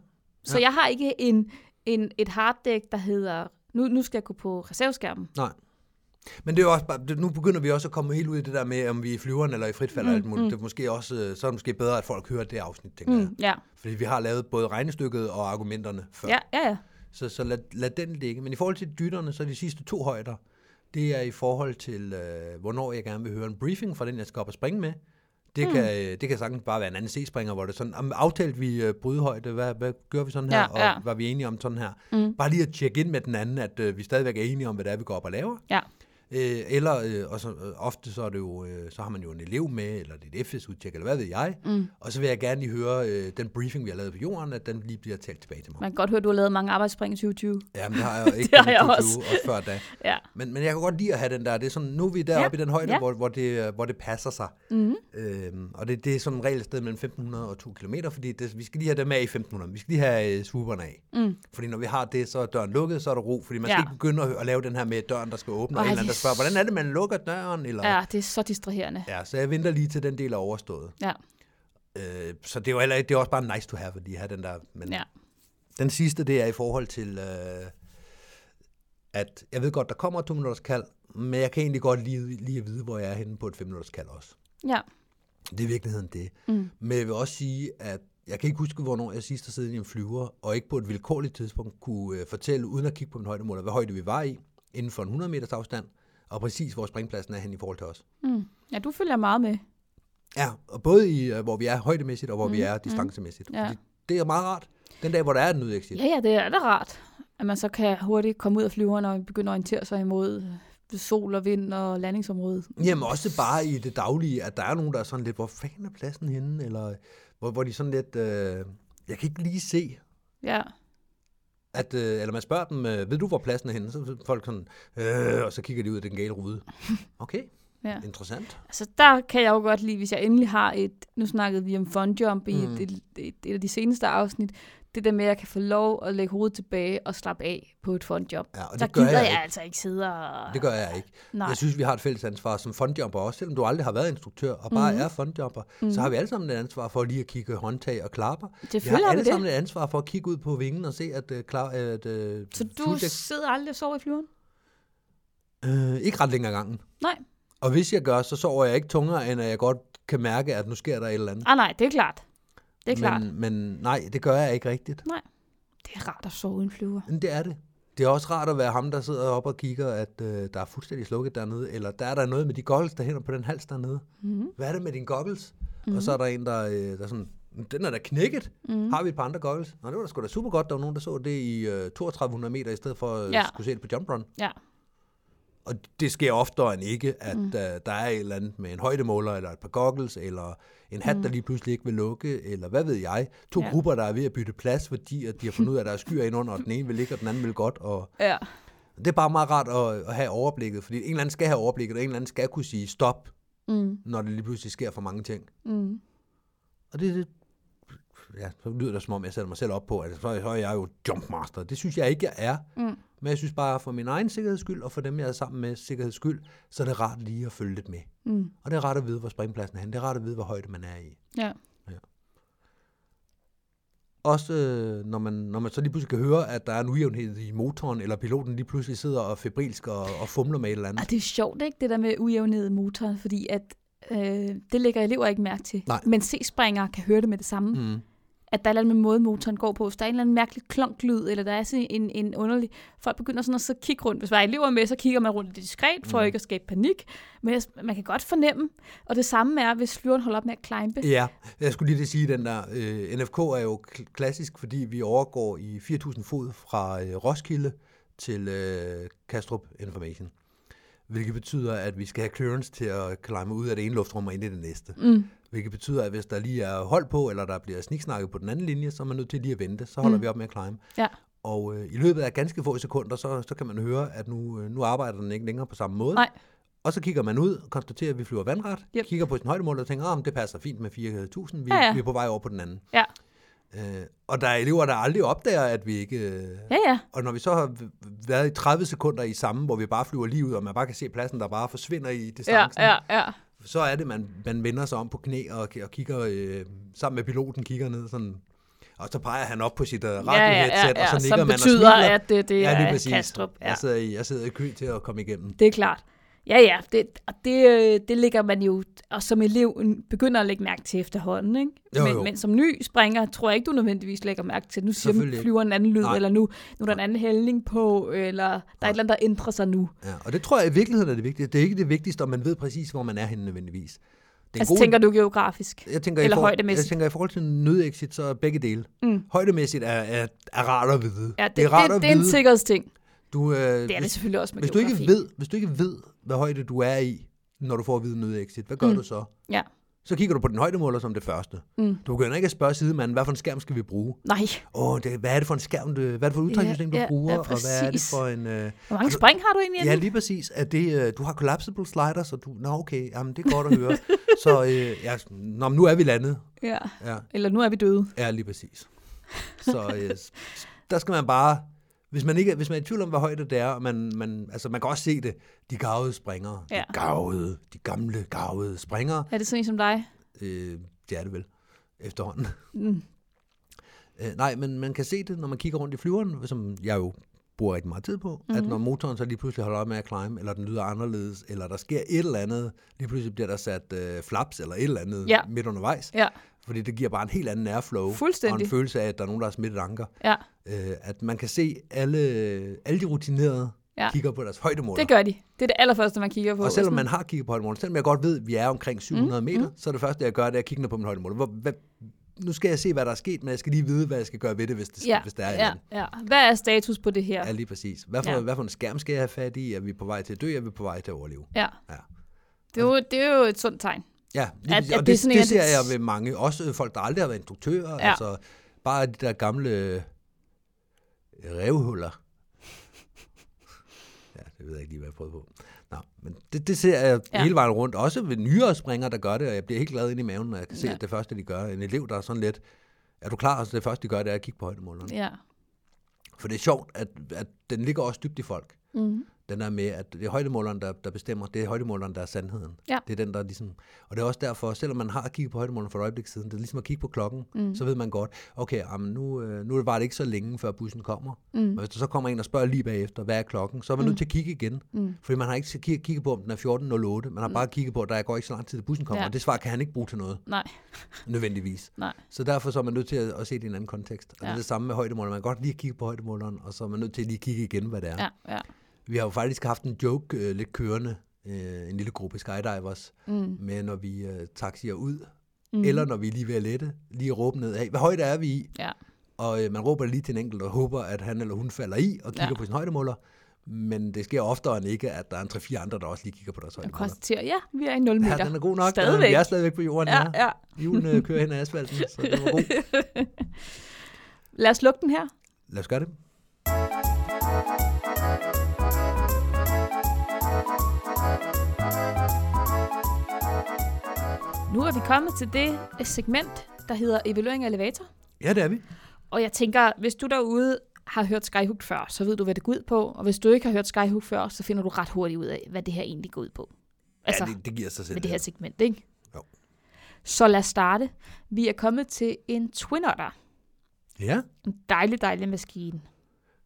Speaker 2: Så
Speaker 3: Ja.
Speaker 2: jeg har ikke en, en, et harddæk, der hedder, nu, nu skal jeg gå på reserveskærmen.
Speaker 3: Men det er jo også bare, det, nu begynder vi også at komme helt ud i det der med, om vi er i flyveren eller i fritfald mm, og alt muligt. Mm. Det er måske også, øh, så er det måske bedre, at folk hører det afsnit, tænker mm. jeg.
Speaker 2: Mm, ja.
Speaker 3: Fordi vi har lavet både regnestykket og argumenterne før.
Speaker 2: Ja, ja, ja.
Speaker 3: Så, så lad, lad den ligge. Men i forhold til dytterne, så er de sidste to højder, det er i forhold til, øh, hvornår jeg gerne vil høre en briefing fra den, jeg skal op og springe med. Det, mm. kan, øh, det kan sagtens bare være en anden C-springer, hvor det er sådan, "Jamen, aftalte vi øh, brydhøjde, hvad, hvad gør vi sådan her,
Speaker 2: Ja, ja.
Speaker 3: og var vi enige om sådan her. Mm. Bare lige at tjekke ind med den anden, at øh, vi stadigvæk er enige om, hvad det er, vi går op og laver.
Speaker 2: Ja.
Speaker 3: Øh, eller øh, og så, øh, ofte så, er det jo, øh, så har man jo en elev med, eller det er et FS-udtjek, eller hvad ved jeg. Mm. Og så vil jeg gerne lige høre øh, den briefing, vi har lavet på jorden, at den lige bliver talt tilbage til mig.
Speaker 2: Man kan godt høre, at du har lavet mange arbejdsspring i 2020.
Speaker 3: Jamen, det har jeg jo ikke
Speaker 2: Det har
Speaker 3: kun i
Speaker 2: jeg
Speaker 3: 2020
Speaker 2: også.
Speaker 3: også før da.
Speaker 2: Ja.
Speaker 3: Men, men jeg kan godt lide at have den der. Det er sådan, nu er vi deroppe ja. i den højde, ja.
Speaker 2: Ja. Mhm.
Speaker 3: hvor, hvor, det, hvor det passer sig. Mm. Øhm, og det, det er som regel et sted mellem 1500 og 2 km, fordi det, vi skal lige have dem af i 1500. Vi skal lige have øh, swooperne af. Mm. Fordi når vi har det, så er døren lukket, så er der ro. Fordi man skal
Speaker 2: Ja.
Speaker 3: ikke begynde at, at lave den her med døren, der skal åbne, og
Speaker 2: Ej,
Speaker 3: en eller anden,
Speaker 2: det
Speaker 3: der
Speaker 2: er
Speaker 3: spørger, hvordan er det, man lukker døren? Eller,
Speaker 2: ja, det er så distraherende.
Speaker 3: ja. Så jeg venter lige til den del er overstået.
Speaker 2: Ja.
Speaker 3: Øh, så det er jo heller, ikke- det er også bare nice to have, fordi have den der. Men,
Speaker 2: ja.
Speaker 3: den sidste, det er i forhold til, øh, at jeg ved godt, der kommer et to minutters kald, men jeg kan egentlig godt lige, lige at vide, hvor jeg er henne på et fem minutters kald også.
Speaker 2: Ja.
Speaker 3: Det er i virkeligheden det. Mm. Men jeg vil også sige, at jeg kan ikke huske, hvornår jeg sidst har siddet i en flyver, og ikke på et vilkårligt tidspunkt kunne øh, fortælle, uden at kigge på min højdemåler, hvad højde vi var i, inden for en 100 meters afstand, og præcis hvor springpladsen er hen i forhold til os.
Speaker 2: Mm. Ja, du følger meget med.
Speaker 3: Ja, og både i, øh, hvor vi er højdemæssigt, og hvor mm. vi er distancemæssigt.
Speaker 2: Ja.
Speaker 3: Fordi Det er meget rart. Den dag, hvor der er en udexit.
Speaker 2: Ja, ja, det er da rart, at man så kan hurtigt komme ud af flyveren og begynde at orientere sig imod øh, sol og vind og landingsområdet.
Speaker 3: Jamen også bare i det daglige, at der er nogen, der er sådan lidt, hvor fanden er pladsen henne? Eller hvor, hvor de sådan lidt, øh, jeg kan ikke lige se,
Speaker 2: Ja,
Speaker 3: at, øh, eller man spørger dem, øh, ved du, hvor pladsen er henne? Så er folk sådan, øh, og så kigger de ud af den gale rude. Okay,
Speaker 2: ja.
Speaker 3: interessant.
Speaker 2: Altså, der kan jeg jo godt lide, hvis jeg endelig har et... Nu snakkede vi om fondjump i
Speaker 3: Mm.
Speaker 2: et, et, et, et af de seneste afsnit. Det der med, at jeg kan få lov at lægge hovedet tilbage og slappe af på et fondjump.
Speaker 3: Ja, og
Speaker 2: der
Speaker 3: det gør
Speaker 2: gider
Speaker 3: jeg
Speaker 2: jeg,
Speaker 3: ikke.
Speaker 2: altså ikke sidde og...
Speaker 3: Det gør jeg ikke.
Speaker 2: Nej.
Speaker 3: Jeg synes, vi har et fælles ansvar som fondjumper også, selvom du aldrig har været instruktør og bare
Speaker 2: Mhm.
Speaker 3: mm-hmm. er fondjumper, mm-hmm. så har vi alle sammen et ansvar for lige at kigge håndtag og klapper. Vi
Speaker 2: Selvfølgelig
Speaker 3: har
Speaker 2: har vi
Speaker 3: alle
Speaker 2: det.
Speaker 3: sammen et ansvar for at kigge ud på vingen og se, at, øh, klar, at øh,
Speaker 2: Så du
Speaker 3: flyvedæk-
Speaker 2: sidder aldrig og sover i flyveren?
Speaker 3: øh, ikke ret længere gangen.
Speaker 2: Nej.
Speaker 3: Og hvis jeg gør, så sover jeg ikke tungere, end at jeg godt kan mærke, at nu sker der et eller andet.
Speaker 2: Ah, nej, det er klart. Det er klart.
Speaker 3: Men, men nej, det gør jeg ikke rigtigt.
Speaker 2: Det er rart at sove i en flyver.
Speaker 3: Men det er det. Det er også rart at være ham, der sidder oppe og kigger, at øh, der er fuldstændig slukket dernede, eller der er der noget med de goggles, der hænder på den hals dernede.
Speaker 2: Mm-hmm.
Speaker 3: Hvad er det med dine goggles? Mm-hmm.
Speaker 2: Mhm.
Speaker 3: Og så er der en, der, øh, der er sådan, "Men den er da knækket. Mm-hmm. Har vi et par andre goggles? Nå, det var da sgu da super godt, der var nogen, der så det i øh, 3200 meter, i stedet for at øh, ja.
Speaker 2: Ja.
Speaker 3: skulle se det på jump run.
Speaker 2: Ja.
Speaker 3: Og det sker oftere end ikke, at mm. uh, der er et eller andet med en højdemåler, eller et par goggles, eller en hat, mm. der lige pludselig ikke vil lukke, eller hvad ved jeg. To ja.
Speaker 2: Ja.
Speaker 3: grupper, der er ved at bytte plads, fordi at de har fundet ud af, at der er skyer indenunder, og den ene vil ligge, og den anden vil godt. Og
Speaker 2: Ja.
Speaker 3: det er bare meget rart at, at have overblikket, fordi en eller anden skal have overblikket, og en eller anden skal kunne sige stop,
Speaker 2: Mm.
Speaker 3: når det lige pludselig sker for mange ting.
Speaker 2: Mm.
Speaker 3: Og det, det ja, så lyder det som om, jeg sætter mig selv op på, at så, så er jeg jo jumpmaster. Det synes jeg ikke, jeg er.
Speaker 2: Mm.
Speaker 3: Men jeg synes bare, for min egen sikkerheds skyld, og for dem, jeg er sammen med sikkerheds skyld, så er det rart lige at følge lidt med.
Speaker 2: Mm.
Speaker 3: Og det er rart at vide, hvor springpladsen er henne. Det er rart at vide, hvor højde man er i.
Speaker 2: Ja.
Speaker 3: Også øh, når, man, når man så lige pludselig kan høre, at der er en ujævnhed i motoren, eller piloten lige pludselig sidder og febrilsk og, og fumler med et eller
Speaker 2: Og
Speaker 3: andet.
Speaker 2: det er sjovt, ikke, det der med ujævnhed i motoren, fordi at, øh, det lægger elever ikke mærke til.
Speaker 3: Nej.
Speaker 2: Men C-springere kan høre det med det samme. Mm.
Speaker 3: Mm.
Speaker 2: At der er en eller anden med måde, motoren går på. Hvis der er en eller anden mærkelig klonklyd, eller der er sådan en, en underlig... Folk begynder sådan at så kigge rundt. Hvis der er elever med, så kigger man rundt diskret,
Speaker 3: Mm.
Speaker 2: for ikke at skabe panik. Men ellers- man kan godt fornemme. Og det samme er, hvis flyveren holder op med at climbe.
Speaker 3: Ja, jeg skulle lige til at sige den der. Øh, NFK er jo kl- klassisk, fordi vi overgår i 4.000 fod fra øh, Roskilde til øh, Kastrup Information. Hvilket betyder, at vi skal have clearance til at klemme ud af det ene luftrum og ind i det næste.
Speaker 2: Mm.
Speaker 3: Hvilket betyder, at hvis der lige er hold på, eller der bliver sniksnakket på den anden linje, så er man nødt til lige at vente. Så holder mm. vi op med at climb.
Speaker 2: Ja.
Speaker 3: Og øh, i løbet af ganske få sekunder, så, så kan man høre, at nu, øh, nu arbejder den ikke længere på samme måde.
Speaker 2: Nej.
Speaker 3: Og så kigger man ud, konstaterer, at vi flyver vandret, yep.
Speaker 2: Yep.
Speaker 3: kigger på sin højdemål og tænker, at ah, men det passer fint med 4.000, vi, ja,
Speaker 2: Ja,
Speaker 3: ja.
Speaker 2: ja.
Speaker 3: vi er på vej over på den anden.
Speaker 2: Ja.
Speaker 3: Øh, og der er elever, der aldrig opdager, at vi ikke... Øh,
Speaker 2: Ja, ja.
Speaker 3: og når vi så har v- været i 30 sekunder i samme, hvor vi bare flyver lige ud, og man bare kan se pladsen, der bare forsvinder i
Speaker 2: Ja,
Speaker 3: distancen,
Speaker 2: ja, ja.
Speaker 3: så er det, man, man vender sig om på knæ og, og kigger øh, sammen med piloten, kigger ned sådan... Og så peger han op på sit uh,
Speaker 2: ja, ja,
Speaker 3: radioheadset,
Speaker 2: ja,
Speaker 3: og
Speaker 2: ja,
Speaker 3: så nikker
Speaker 2: som
Speaker 3: man og
Speaker 2: betyder,
Speaker 3: smiler.
Speaker 2: at det, det
Speaker 3: ja, lige
Speaker 2: er
Speaker 3: præcis.
Speaker 2: Kastrup. Ja.
Speaker 3: Jeg, sidder i, jeg sidder i kø til at komme igennem.
Speaker 2: Det er klart. Ja, ja, det, og det, øh, det ligger man jo, og som elev begynder at lægge mærke til efterhånden, ikke?
Speaker 3: Jo,
Speaker 2: men,
Speaker 3: jo.
Speaker 2: men som ny springer, tror jeg ikke, du nødvendigvis lægger mærke til. Nu siger
Speaker 3: Selvfølgelig
Speaker 2: man,
Speaker 3: ikke.
Speaker 2: flyver en anden lyd,
Speaker 3: Nej.
Speaker 2: eller nu, nu er der en anden hældning på, eller der er et eller andet, der ændrer sig nu.
Speaker 3: Ja, og det tror jeg i virkeligheden er det vigtigste. Det er ikke det vigtigste, om man ved præcis, hvor man er henne nødvendigvis. Det er
Speaker 2: Altså tænker du geografisk?
Speaker 3: jeg tænker,
Speaker 2: eller
Speaker 3: i forhold,
Speaker 2: højdemæssigt?
Speaker 3: Jeg tænker, i forhold til nødexit, så er begge dele.
Speaker 2: Mm.
Speaker 3: Højdemæssigt er, er, er rart at vide.
Speaker 2: Ja, det,
Speaker 3: det er rart
Speaker 2: det,
Speaker 3: at
Speaker 2: det er en
Speaker 3: vide.
Speaker 2: sikkerhedsting.
Speaker 3: du, øh,
Speaker 2: Det er det
Speaker 3: hvis,
Speaker 2: selvfølgelig også med
Speaker 3: hvis, du ikke
Speaker 2: geografi.
Speaker 3: ved, hvis du ikke ved, hvad højde du er i, når du får at vide nødexit, hvad gør
Speaker 2: Mm.
Speaker 3: du så?
Speaker 2: Ja.
Speaker 3: Så kigger du på den højdemåler som det første.
Speaker 2: Mm.
Speaker 3: Du begynder ikke at spørge sidemanden, hvad for en skærm skal vi bruge?
Speaker 2: Nej,
Speaker 3: Åh, oh, hvad er det for en skærm, du, hvad er det for
Speaker 2: Ja,
Speaker 3: et udtrækningssystem,
Speaker 2: ja,
Speaker 3: du
Speaker 2: ja,
Speaker 3: bruger? og hvad er det
Speaker 2: præcis.
Speaker 3: for en... Øh,
Speaker 2: hvor mange
Speaker 3: Altså,
Speaker 2: spring har du egentlig?
Speaker 3: Ja,
Speaker 2: Anne?
Speaker 3: lige præcis. At det, øh, du har collapsible sliders, så du... Nå, okay, jamen, det er godt at høre. så øh, ja, nå, men nu er vi landet.
Speaker 2: ja.
Speaker 3: Ja,
Speaker 2: Eller nu er vi døde.
Speaker 3: ja lige præcis. Så øh, s- s- der skal man bare... Hvis man, ikke, er- hvis man er i tvivl om, hvad højde det er, og man, man, altså man kan også se det, de gavede springere,
Speaker 2: Ja.
Speaker 3: de gavede, de gamle gavede springere,
Speaker 2: Er det sådan en som dig?
Speaker 3: øh, det er det vel efterhånden.
Speaker 2: Mm.
Speaker 3: Øh, nej, men man kan se det, når man kigger rundt i flyveren, som jeg jo bruger rigtig meget tid på, mm-hmm.
Speaker 2: Mhm.
Speaker 3: at når motoren så lige pludselig holder op med at climb, eller den lyder anderledes, eller der sker et eller andet, lige pludselig bliver der sat øh, flaps eller et eller andet
Speaker 2: Ja.
Speaker 3: midt undervejs,
Speaker 2: Ja,
Speaker 3: fordi det giver bare en helt anden airflow, og
Speaker 2: Fuldstændig.
Speaker 3: en følelse af, at der er nogen, der har smidt et anker.
Speaker 2: ja,
Speaker 3: Øh, at man kan se alle, alle de rutinerede
Speaker 2: Ja.
Speaker 3: ja. kigger på deres højdemåler.
Speaker 2: det gør de. Det er det allerførste, man kigger på. Mhm,
Speaker 3: og selvom man har kigget på højdemåler, selvom jeg godt ved, at vi er omkring 700 mm, meter, mm. så er det første, jeg gør, det er at kigge ned på min højdemåler. Hvor, hvad, nu skal jeg se, hvad der er sket, men jeg skal lige vide, hvad jeg skal gøre ved det, hvis, det,
Speaker 2: ja,
Speaker 3: hvis der er et eller
Speaker 2: ja,
Speaker 3: andet.
Speaker 2: ja. Hvad er status på det her?
Speaker 3: Ja, lige præcis. Hvad for,
Speaker 2: Ja.
Speaker 3: ja. hvad for en skærm skal jeg have fat i? Er vi på vej til at dø? Er vi på vej til at overleve?
Speaker 2: Ja.
Speaker 3: Ja.
Speaker 2: Det er, jo, det er jo et sundt tegn.
Speaker 3: Ja, lige
Speaker 2: At-
Speaker 3: præcis.
Speaker 2: at
Speaker 3: og
Speaker 2: det er
Speaker 3: det,
Speaker 2: sådan
Speaker 3: det,
Speaker 2: en af
Speaker 3: det ser
Speaker 2: de-
Speaker 3: jeg ved mange. Også øh, folk, der aldrig har været instruktører.
Speaker 2: Ja.
Speaker 3: Ja. Altså, bare de der gamle øh, revhuller. ja, det ved jeg ikke lige, hvad jeg prøvede på. Nå, men det, det ser jeg
Speaker 2: Ja.
Speaker 3: ja. hele vejen rundt. Også ved nyere springere, der gør det, og jeg bliver helt glad ind i maven, når jeg kan se,
Speaker 2: Ja.
Speaker 3: ja. at det første, de gør. En elev, der er sådan lidt, er du klar? Og så det første, de gør, det er at kigge på højdemålerne. Ja.
Speaker 2: Ja.
Speaker 3: For det er sjovt, at, at den ligger også dybt i folk.
Speaker 2: Mm.
Speaker 3: den der med, at det er højdemåleren, der, der bestemmer, det er højdemåleren, der er sandheden.
Speaker 2: Ja.
Speaker 3: Det er den, der ligesom, og det er også derfor, selvom man har kigget på højdemåleren for et øjeblik siden, det er ligesom at kigge på klokken, mm. så ved man godt, okay, jamen nu, øh, nu var det ikke så længe, før bussen kommer. Mm. Men hvis der så kommer en og spørger lige bagefter, hvad er klokken, så er man nødt til at kigge igen. Mm. Fordi man har ikke kigget kigget på, om den er 14.08, man har bare kigget på, at der går ikke så lang tid, til bussen kommer,
Speaker 2: Ja.
Speaker 3: ja. og det svar kan han ikke bruge til noget,
Speaker 2: Nej,
Speaker 3: nødvendigvis.
Speaker 2: nej.
Speaker 3: Så derfor så er man nødt til at, at se det i en anden kontekst. Og ja. det
Speaker 2: Ja.
Speaker 3: er det samme med højdemåleren. Man kan godt lige kigge på højdemåleren, og så er man nødt til lige at kigge igen, hvad det er.
Speaker 2: Ja, ja.
Speaker 3: Vi har jo faktisk haft en joke øh, lidt kørende, øh, en lille gruppe skydivers,
Speaker 2: Mm.
Speaker 3: med når vi øh, taxier ud, mm. eller når vi er lige ved at lette, lige råbe ned af, hvad højde er vi i?
Speaker 2: Ja.
Speaker 3: Og øh, man råber lige til en enkelt og håber, at han eller hun falder i og kigger
Speaker 2: Ja.
Speaker 3: ja. på sin højdemåler. Men det sker oftere end ikke, at der er en 3-4 andre, der også lige kigger på deres
Speaker 2: Og
Speaker 3: højdemåler.
Speaker 2: konstaterer, ja, vi er i 0 meter.
Speaker 3: Ja, den er god nok.
Speaker 2: Stadigvæk.
Speaker 3: Øh, Vi er stadigvæk på jorden,
Speaker 2: ja,
Speaker 3: ja. ja.
Speaker 2: ja.
Speaker 3: Hjulene kører hen ad asfalten, så det var god.
Speaker 2: Lad os lukke den her.
Speaker 3: Lad os gøre det.
Speaker 2: Nu er vi kommet til det segment, der hedder evaluering af elevator.
Speaker 3: Ja, det er vi.
Speaker 2: Og jeg tænker, hvis du derude har hørt Skyhook før, så ved du, hvad det går ud på. Og hvis du ikke har hørt Skyhook før, så finder du ret hurtigt ud af, hvad det her egentlig går ud på. Altså,
Speaker 3: ja, det, det giver sig selv.
Speaker 2: med det her segment, ikke?
Speaker 3: Jo.
Speaker 2: Så lad os starte. Vi er kommet til en Twin Otter.
Speaker 3: Ja.
Speaker 2: En dejlig, dejlig maskine.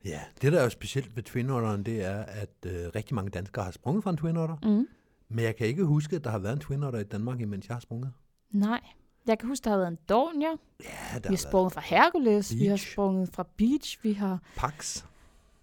Speaker 3: Ja, det der er jo specielt ved Twin Otteren, det er, at øh, rigtig mange danskere har sprunget fra en Twin Otter.
Speaker 2: Mm.
Speaker 3: Men jeg kan ikke huske, at der har været en Twin Otter i Danmark, imens jeg har sprunget.
Speaker 2: Nej. Jeg kan huske, der har været en Dornier.
Speaker 3: Ja, der
Speaker 2: Vi har
Speaker 3: har været
Speaker 2: sprunget fra Hercules. Vi har
Speaker 3: Beach.
Speaker 2: sprunget fra Beach. Vi har
Speaker 3: Pax.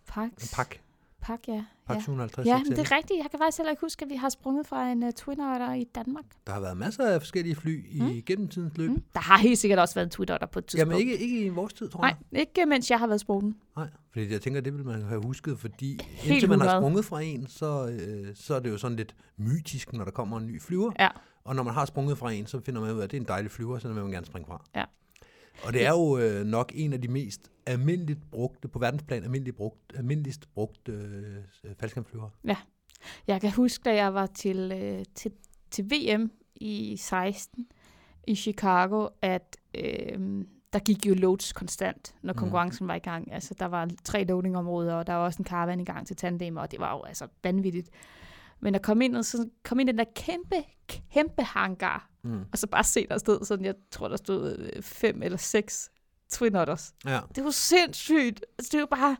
Speaker 2: Pax.
Speaker 3: En pak.
Speaker 2: Pak, ja.
Speaker 3: Pax
Speaker 2: ja.
Speaker 3: 750
Speaker 2: Ja,
Speaker 3: XL.
Speaker 2: men det er rigtigt. Jeg kan faktisk heller ikke huske, at vi har sprunget fra en uh, Twin Otter i Danmark.
Speaker 3: Der har været masser af forskellige fly i mm. gennem tidens løb. Mm.
Speaker 2: Der har helt sikkert også været en Twin Otter på et tidspunkt.
Speaker 3: Jamen ikke, ikke i vores tid, tror
Speaker 2: Nej,
Speaker 3: jeg.
Speaker 2: ikke mens jeg har været i sporten.
Speaker 3: Nej. Fordi jeg tænker, det vil man have husket, fordi indtil man
Speaker 2: 100.
Speaker 3: har sprunget fra en, så, øh, så er det jo sådan lidt mytisk, når der kommer en ny flyver.
Speaker 2: Ja.
Speaker 3: Og når man har sprunget fra en, så finder man ud af, at det er en dejlig flyver, så den vil man gerne springe fra.
Speaker 2: Ja.
Speaker 3: Og det er jo øh, nok en af de mest almindeligt brugte, på verdensplan almindeligt brugt, almindeligst brugte øh, faldskærmflyver.
Speaker 2: Jeg kan huske, da jeg var til, øh, til, til VM i 16 i Chicago, at øh, der gik jo loads konstant, når
Speaker 3: Mm.
Speaker 2: konkurrencen var i gang. Altså, der var tre loadingområder, og der var også en karavan i gang til tandem, og det var jo altså vanvittigt. Men at komme ind, og så kom ind i den der kæmpe, kæmpe hangar,
Speaker 3: Mm.
Speaker 2: og så bare se, der stod sådan, jeg tror, der stod øh, fem eller seks Twin Otters.
Speaker 3: Ja.
Speaker 2: Det var sindssygt. Altså, det var bare...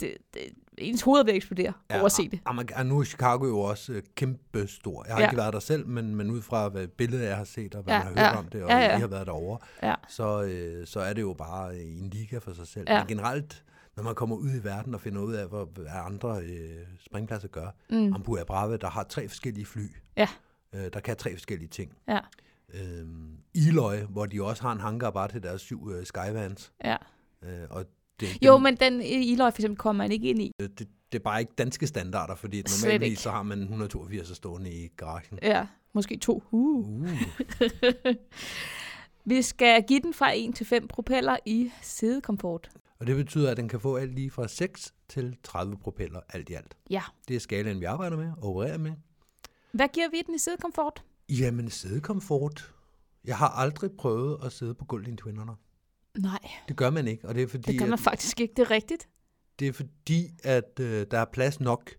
Speaker 2: det, det, ens hoved er ved at eksplodere ja, over at se det.
Speaker 3: Og, og, og Ah, nu er Chicago jo også øh, kæmpe stor. Jeg har
Speaker 2: Ja.
Speaker 3: ja. ikke været der selv, men, men ud fra hvad billedet jeg har set, og hvad
Speaker 2: Ja,
Speaker 3: ja, man har hørt
Speaker 2: ja.
Speaker 3: om det, og
Speaker 2: Ja,
Speaker 3: ja,
Speaker 2: ja.
Speaker 3: ja. I har været derovre,
Speaker 2: Ja.
Speaker 3: så, øh, så er det jo bare øh, en liga for sig selv.
Speaker 2: Ja.
Speaker 3: Ja. Men generelt, når man kommer ud i verden og finder ud af, hvor, hvad andre øh, springpladser gør.
Speaker 2: Mm.
Speaker 3: Mm. Ambu Brave, der har tre forskellige fly,
Speaker 2: Ja.
Speaker 3: øh, der kan tre forskellige ting.
Speaker 2: Ja.
Speaker 3: Øh, Iløj, hvor de også har en hangar bare til deres syv øh, Skyvans.
Speaker 2: Ja.
Speaker 3: Øh, og det,
Speaker 2: Jo,
Speaker 3: dem-
Speaker 2: men den i Iløj for eksempel kommer man ikke ind i.
Speaker 3: Øh, det, det er bare ikke danske standarder, fordi
Speaker 2: Slet ikke.
Speaker 3: normalt så har man 182 stående i garagen.
Speaker 2: Ja, måske to. Uh.
Speaker 3: Uh,
Speaker 2: Vi skal give den fra 1 til 5 propeller i sidekomfort.
Speaker 3: og det betyder, at den kan få alt lige fra 6 til 30 propeller alt i alt.
Speaker 2: Ja.
Speaker 3: Det er skalaen, vi arbejder med og opererer med.
Speaker 2: Hvad giver vi den i sidekomfort?
Speaker 3: Jamen, sædekomfort. Jeg har aldrig prøvet at sidde på gulvet i en twinner.
Speaker 2: Nej,
Speaker 3: Det gør man ikke, og det er fordi,
Speaker 2: det gør man
Speaker 3: at,
Speaker 2: faktisk ikke. Det er rigtigt.
Speaker 3: det er fordi, at øh, der er plads nok.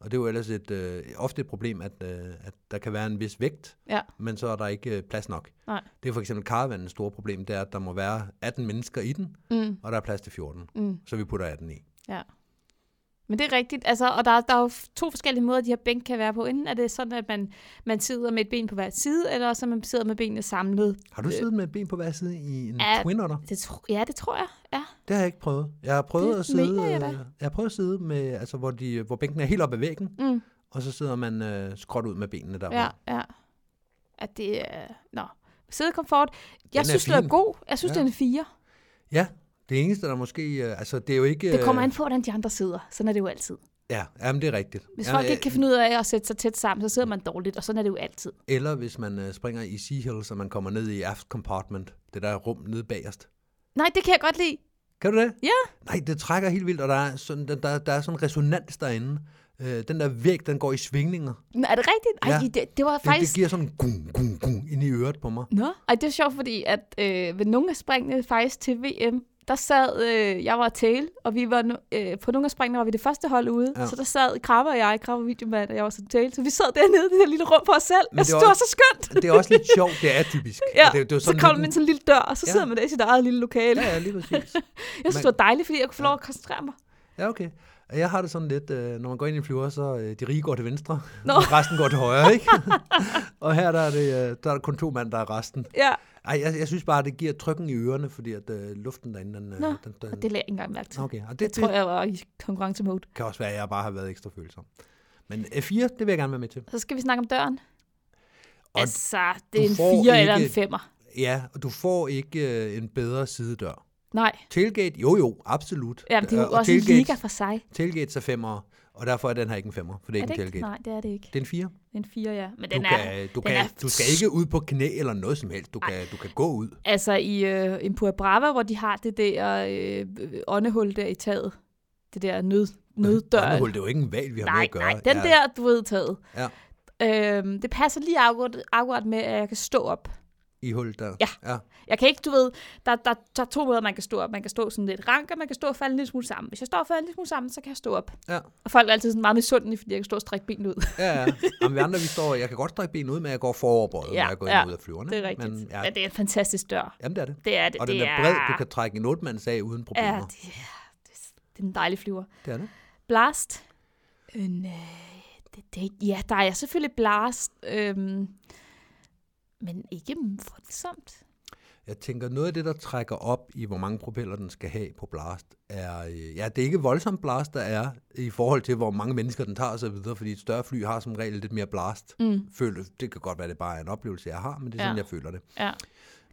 Speaker 3: Og det er jo ellers et, øh, ofte et problem, at, øh, at der kan være en vis vægt,
Speaker 2: Ja.
Speaker 3: men så er der ikke øh, plads nok.
Speaker 2: Nej.
Speaker 3: Det er for eksempel karavanens store problem, det er, at der må være 18 mennesker i den,
Speaker 2: Mm,
Speaker 3: og der er plads til 14,
Speaker 2: mm.
Speaker 3: så vi putter 18 i.
Speaker 2: Men det er rigtigt, altså, og der, er- der er jo f- to forskellige måder, de her bænk kan være på. Enten er det sådan, at man, man sidder med et ben på hver side, eller også at man sidder med benene samlet.
Speaker 3: Har du
Speaker 2: Øh.
Speaker 3: siddet med et ben på hver side i en
Speaker 2: Ja.
Speaker 3: ja. twin otter?
Speaker 2: Det tro, ja, det tror jeg. Ja.
Speaker 3: Det har jeg ikke prøvet. Jeg har prøvet
Speaker 2: Det
Speaker 3: at sidde, øh,
Speaker 2: mener jeg
Speaker 3: jeg,
Speaker 2: da.
Speaker 3: jeg har prøvet at sidde med, altså, hvor, de, hvor bænken er helt oppe ad væggen,
Speaker 2: Mm,
Speaker 3: og så sidder man øh, skråt ud med benene der.
Speaker 2: ja, ja. At det er... Nå. Sidekomfort.
Speaker 3: Den
Speaker 2: Jeg
Speaker 3: er
Speaker 2: synes, den er
Speaker 3: fin.
Speaker 2: god. Jeg synes, ja.
Speaker 3: Ja.
Speaker 2: den er fire.
Speaker 3: ja. Det eneste, der måske... Øh, altså, det er jo ikke...
Speaker 2: Det kommer
Speaker 3: øh,
Speaker 2: an på, hvordan de andre sidder. Sådan er det jo altid.
Speaker 3: Ja, jamen, det er rigtigt.
Speaker 2: Hvis
Speaker 3: ja,
Speaker 2: folk ikke
Speaker 3: øh,
Speaker 2: kan finde ud af at sætte sig tæt sammen, så sidder man dårligt, og sådan er det jo altid.
Speaker 3: Eller hvis man øh, springer i Sea Hill, så man kommer ned i aft compartment. Det der rum nede bagerst.
Speaker 2: Nej, det kan jeg godt lide.
Speaker 3: Kan du det?
Speaker 2: Ja.
Speaker 3: Nej, det trækker helt vildt, og der er sådan, der, der, der er sådan en resonans derinde. Øh, den der væg, den går i svingninger.
Speaker 2: Nå, er det rigtigt? Ej,
Speaker 3: Ja.
Speaker 2: ja. det, det var
Speaker 3: Det, Faktisk...
Speaker 2: faktisk...
Speaker 3: det giver sådan en gung, gung, gung ind i øret på mig.
Speaker 2: Nå, ej, det er sjovt, fordi at øh, ved nogle af springene faktisk til VM, der sad, øh, jeg var tail, og vi var, nu- øh, på nogle af springene var vi det første hold ude, ja.
Speaker 3: Ja.
Speaker 2: så der sad Krabber og jeg, Krabber og videomand, og jeg var så tail, så vi sad dernede i det her lille rum for os selv,
Speaker 3: Men
Speaker 2: og det
Speaker 3: det er
Speaker 2: var
Speaker 3: også-
Speaker 2: så skønt.
Speaker 3: Det er også lidt sjovt, det er typisk.
Speaker 2: Ja,
Speaker 3: det, det er
Speaker 2: så kommer man ind til en lille dør, og så ja.
Speaker 3: Ja.
Speaker 2: sidder man der i sit eget lille lokale.
Speaker 3: Ja,
Speaker 2: Ja,
Speaker 3: ja, lige præcis.
Speaker 2: jeg synes,
Speaker 3: man-
Speaker 2: det var dejligt, fordi jeg kunne få lov at koncentrere mig.
Speaker 3: Ja, okay. Jeg har det sådan lidt, øh, når man går ind i en flyver, så øh, de rige går til venstre,
Speaker 2: Nå.
Speaker 3: Nå. og resten går til højre, ikke? og her der er, det, øh, der er der kun to mand, der er resten.
Speaker 2: Ja,
Speaker 3: Ej, jeg, jeg synes bare, det giver trykken i ørerne, fordi at øh, luften derinde, den... øh,
Speaker 2: Nå,
Speaker 3: den, den
Speaker 2: og det lagde jeg ikke engang mærke til.
Speaker 3: Nå, Okay, og det,
Speaker 2: Jeg
Speaker 3: det
Speaker 2: tror, jeg var i konkurrencemode.
Speaker 3: kan også være, at jeg bare har været ekstra følsom. Men F4, det vil jeg gerne være med til.
Speaker 2: Så skal vi snakke om døren. Og
Speaker 3: Og
Speaker 2: altså, det er
Speaker 3: du
Speaker 2: en
Speaker 3: får
Speaker 2: 4 eller en
Speaker 3: ikke-
Speaker 2: 5'er.
Speaker 3: Ja, og du får ikke øh, en bedre sidedør.
Speaker 2: Nej,
Speaker 3: Tailgate, jo jo, absolut. Øh,
Speaker 2: jamen, det er jo
Speaker 3: Og
Speaker 2: også en
Speaker 3: tailgates-
Speaker 2: liga for sig.
Speaker 3: Tailgates er femmer, og derfor er den her ikke en femmer, for det er,
Speaker 2: Er
Speaker 3: ikke
Speaker 2: det
Speaker 3: en tailgate.
Speaker 2: ikke? Nej, det er det ikke.
Speaker 3: Det er en fire.
Speaker 2: Det er en 4, ja. Men
Speaker 3: Du,
Speaker 2: den er...
Speaker 3: kan, du,
Speaker 2: den
Speaker 3: kan,
Speaker 2: er-
Speaker 3: du skal ikke ud på knæ eller noget som helst. Du kan, du kan gå ud.
Speaker 2: Altså i øh, Impura Brava, hvor de har det der øh, øh, åndehul der i taget. Det der nød, nøddør.
Speaker 3: Åndehul, det er jo ikke en valg, vi har med
Speaker 2: Nej,
Speaker 3: at gøre.
Speaker 2: nej, den
Speaker 3: ja,
Speaker 2: der, du ved, taget.
Speaker 3: Ja.
Speaker 2: Øhm, det passer lige akkurat, akkurat med, at jeg kan stå op.
Speaker 3: I hul der.
Speaker 2: Ja.
Speaker 3: ja.
Speaker 2: Jeg kan ikke, du ved, der, der, der er to måder, man kan stå op. Man kan stå sådan lidt rank, og man kan stå og falde en lille smule sammen. Hvis jeg står og falder en lille smule sammen, så kan jeg stå op.
Speaker 3: Ja.
Speaker 2: Og folk er altid sådan meget misundelige, fordi jeg kan stå og strække benet ud.
Speaker 3: Ja, ja. Jamen, vi andre, vi står, jeg kan godt strække benet ud, men jeg går foroverbøjet,
Speaker 2: Ja,
Speaker 3: når jeg går
Speaker 2: ja.
Speaker 3: ind og ud af flyverne.
Speaker 2: det er rigtigt.
Speaker 3: Men, ja,
Speaker 2: Men det er en fantastisk dør.
Speaker 3: jamen, det er det.
Speaker 2: Det er det.
Speaker 3: Og den
Speaker 2: det
Speaker 3: er bred, du kan trække en 8 af uden
Speaker 2: Ja,
Speaker 3: problemer.
Speaker 2: det er, det er en dejlig flyver.
Speaker 3: Det er det.
Speaker 2: Blast. En, øh, det, det, ja, der er selvfølgelig blast, øhm, men ikke voldsomt.
Speaker 3: Jeg tænker, noget af det, der trækker op i, hvor mange propeller den skal have på blast, er... øh, Ja, det er ikke voldsomt blast, der er, i forhold til, hvor mange mennesker den tager osv., fordi et større fly har som regel lidt mere blast.
Speaker 2: Mm.
Speaker 3: Føler, det kan godt være, det bare er en oplevelse, jeg har, men det er
Speaker 2: Ja.
Speaker 3: sådan, jeg føler det.
Speaker 2: Ja,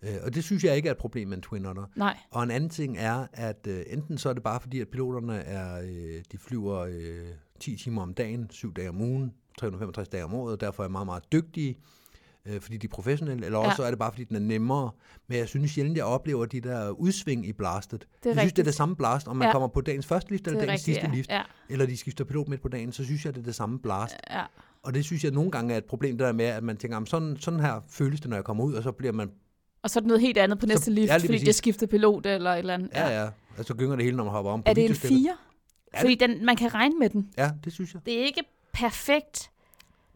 Speaker 3: Øh, Og det synes jeg ikke er et problem med en Twin Otter.
Speaker 2: nej.
Speaker 3: Og en anden ting er, at øh, enten så er det bare fordi, at piloterne er, øh, de flyver øh, 10 timer om dagen, 7 dage om ugen, 365 dage om året, og derfor er meget, meget dygtige, øh, fordi de er professionelle, eller
Speaker 2: Ja.
Speaker 3: også så er det bare fordi, den er nemmere. Men jeg synes sjældent, jeg oplever de der udsving i blastet. jeg synes,
Speaker 2: rigtigt.
Speaker 3: det er det samme blast, om man
Speaker 2: Ja.
Speaker 3: ja. kommer på dagens første lift eller
Speaker 2: det er
Speaker 3: dagens
Speaker 2: rigtigt,
Speaker 3: sidste
Speaker 2: ja.
Speaker 3: lift,
Speaker 2: Ja,
Speaker 3: eller de skifter pilot midt på dagen, så synes jeg, det er det samme blast.
Speaker 2: ja.
Speaker 3: Og det synes jeg nogle gange er et problem, det der med, at man tænker, "Jamen, sådan, sådan her føles det, når jeg kommer ud, og så bliver man
Speaker 2: Og så er det noget helt andet på næste
Speaker 3: Så-
Speaker 2: lift,
Speaker 3: ja, lige
Speaker 2: fordi
Speaker 3: præcis.
Speaker 2: jeg skiftede pilot eller et eller andet.
Speaker 3: Ja, ja. Og så gynger det hele, når man hopper om på
Speaker 2: Er det en
Speaker 3: videostillet.
Speaker 2: 4?
Speaker 3: det-
Speaker 2: Fordi den, man kan regne med den.
Speaker 3: Ja, det synes jeg.
Speaker 2: Det er ikke perfekt.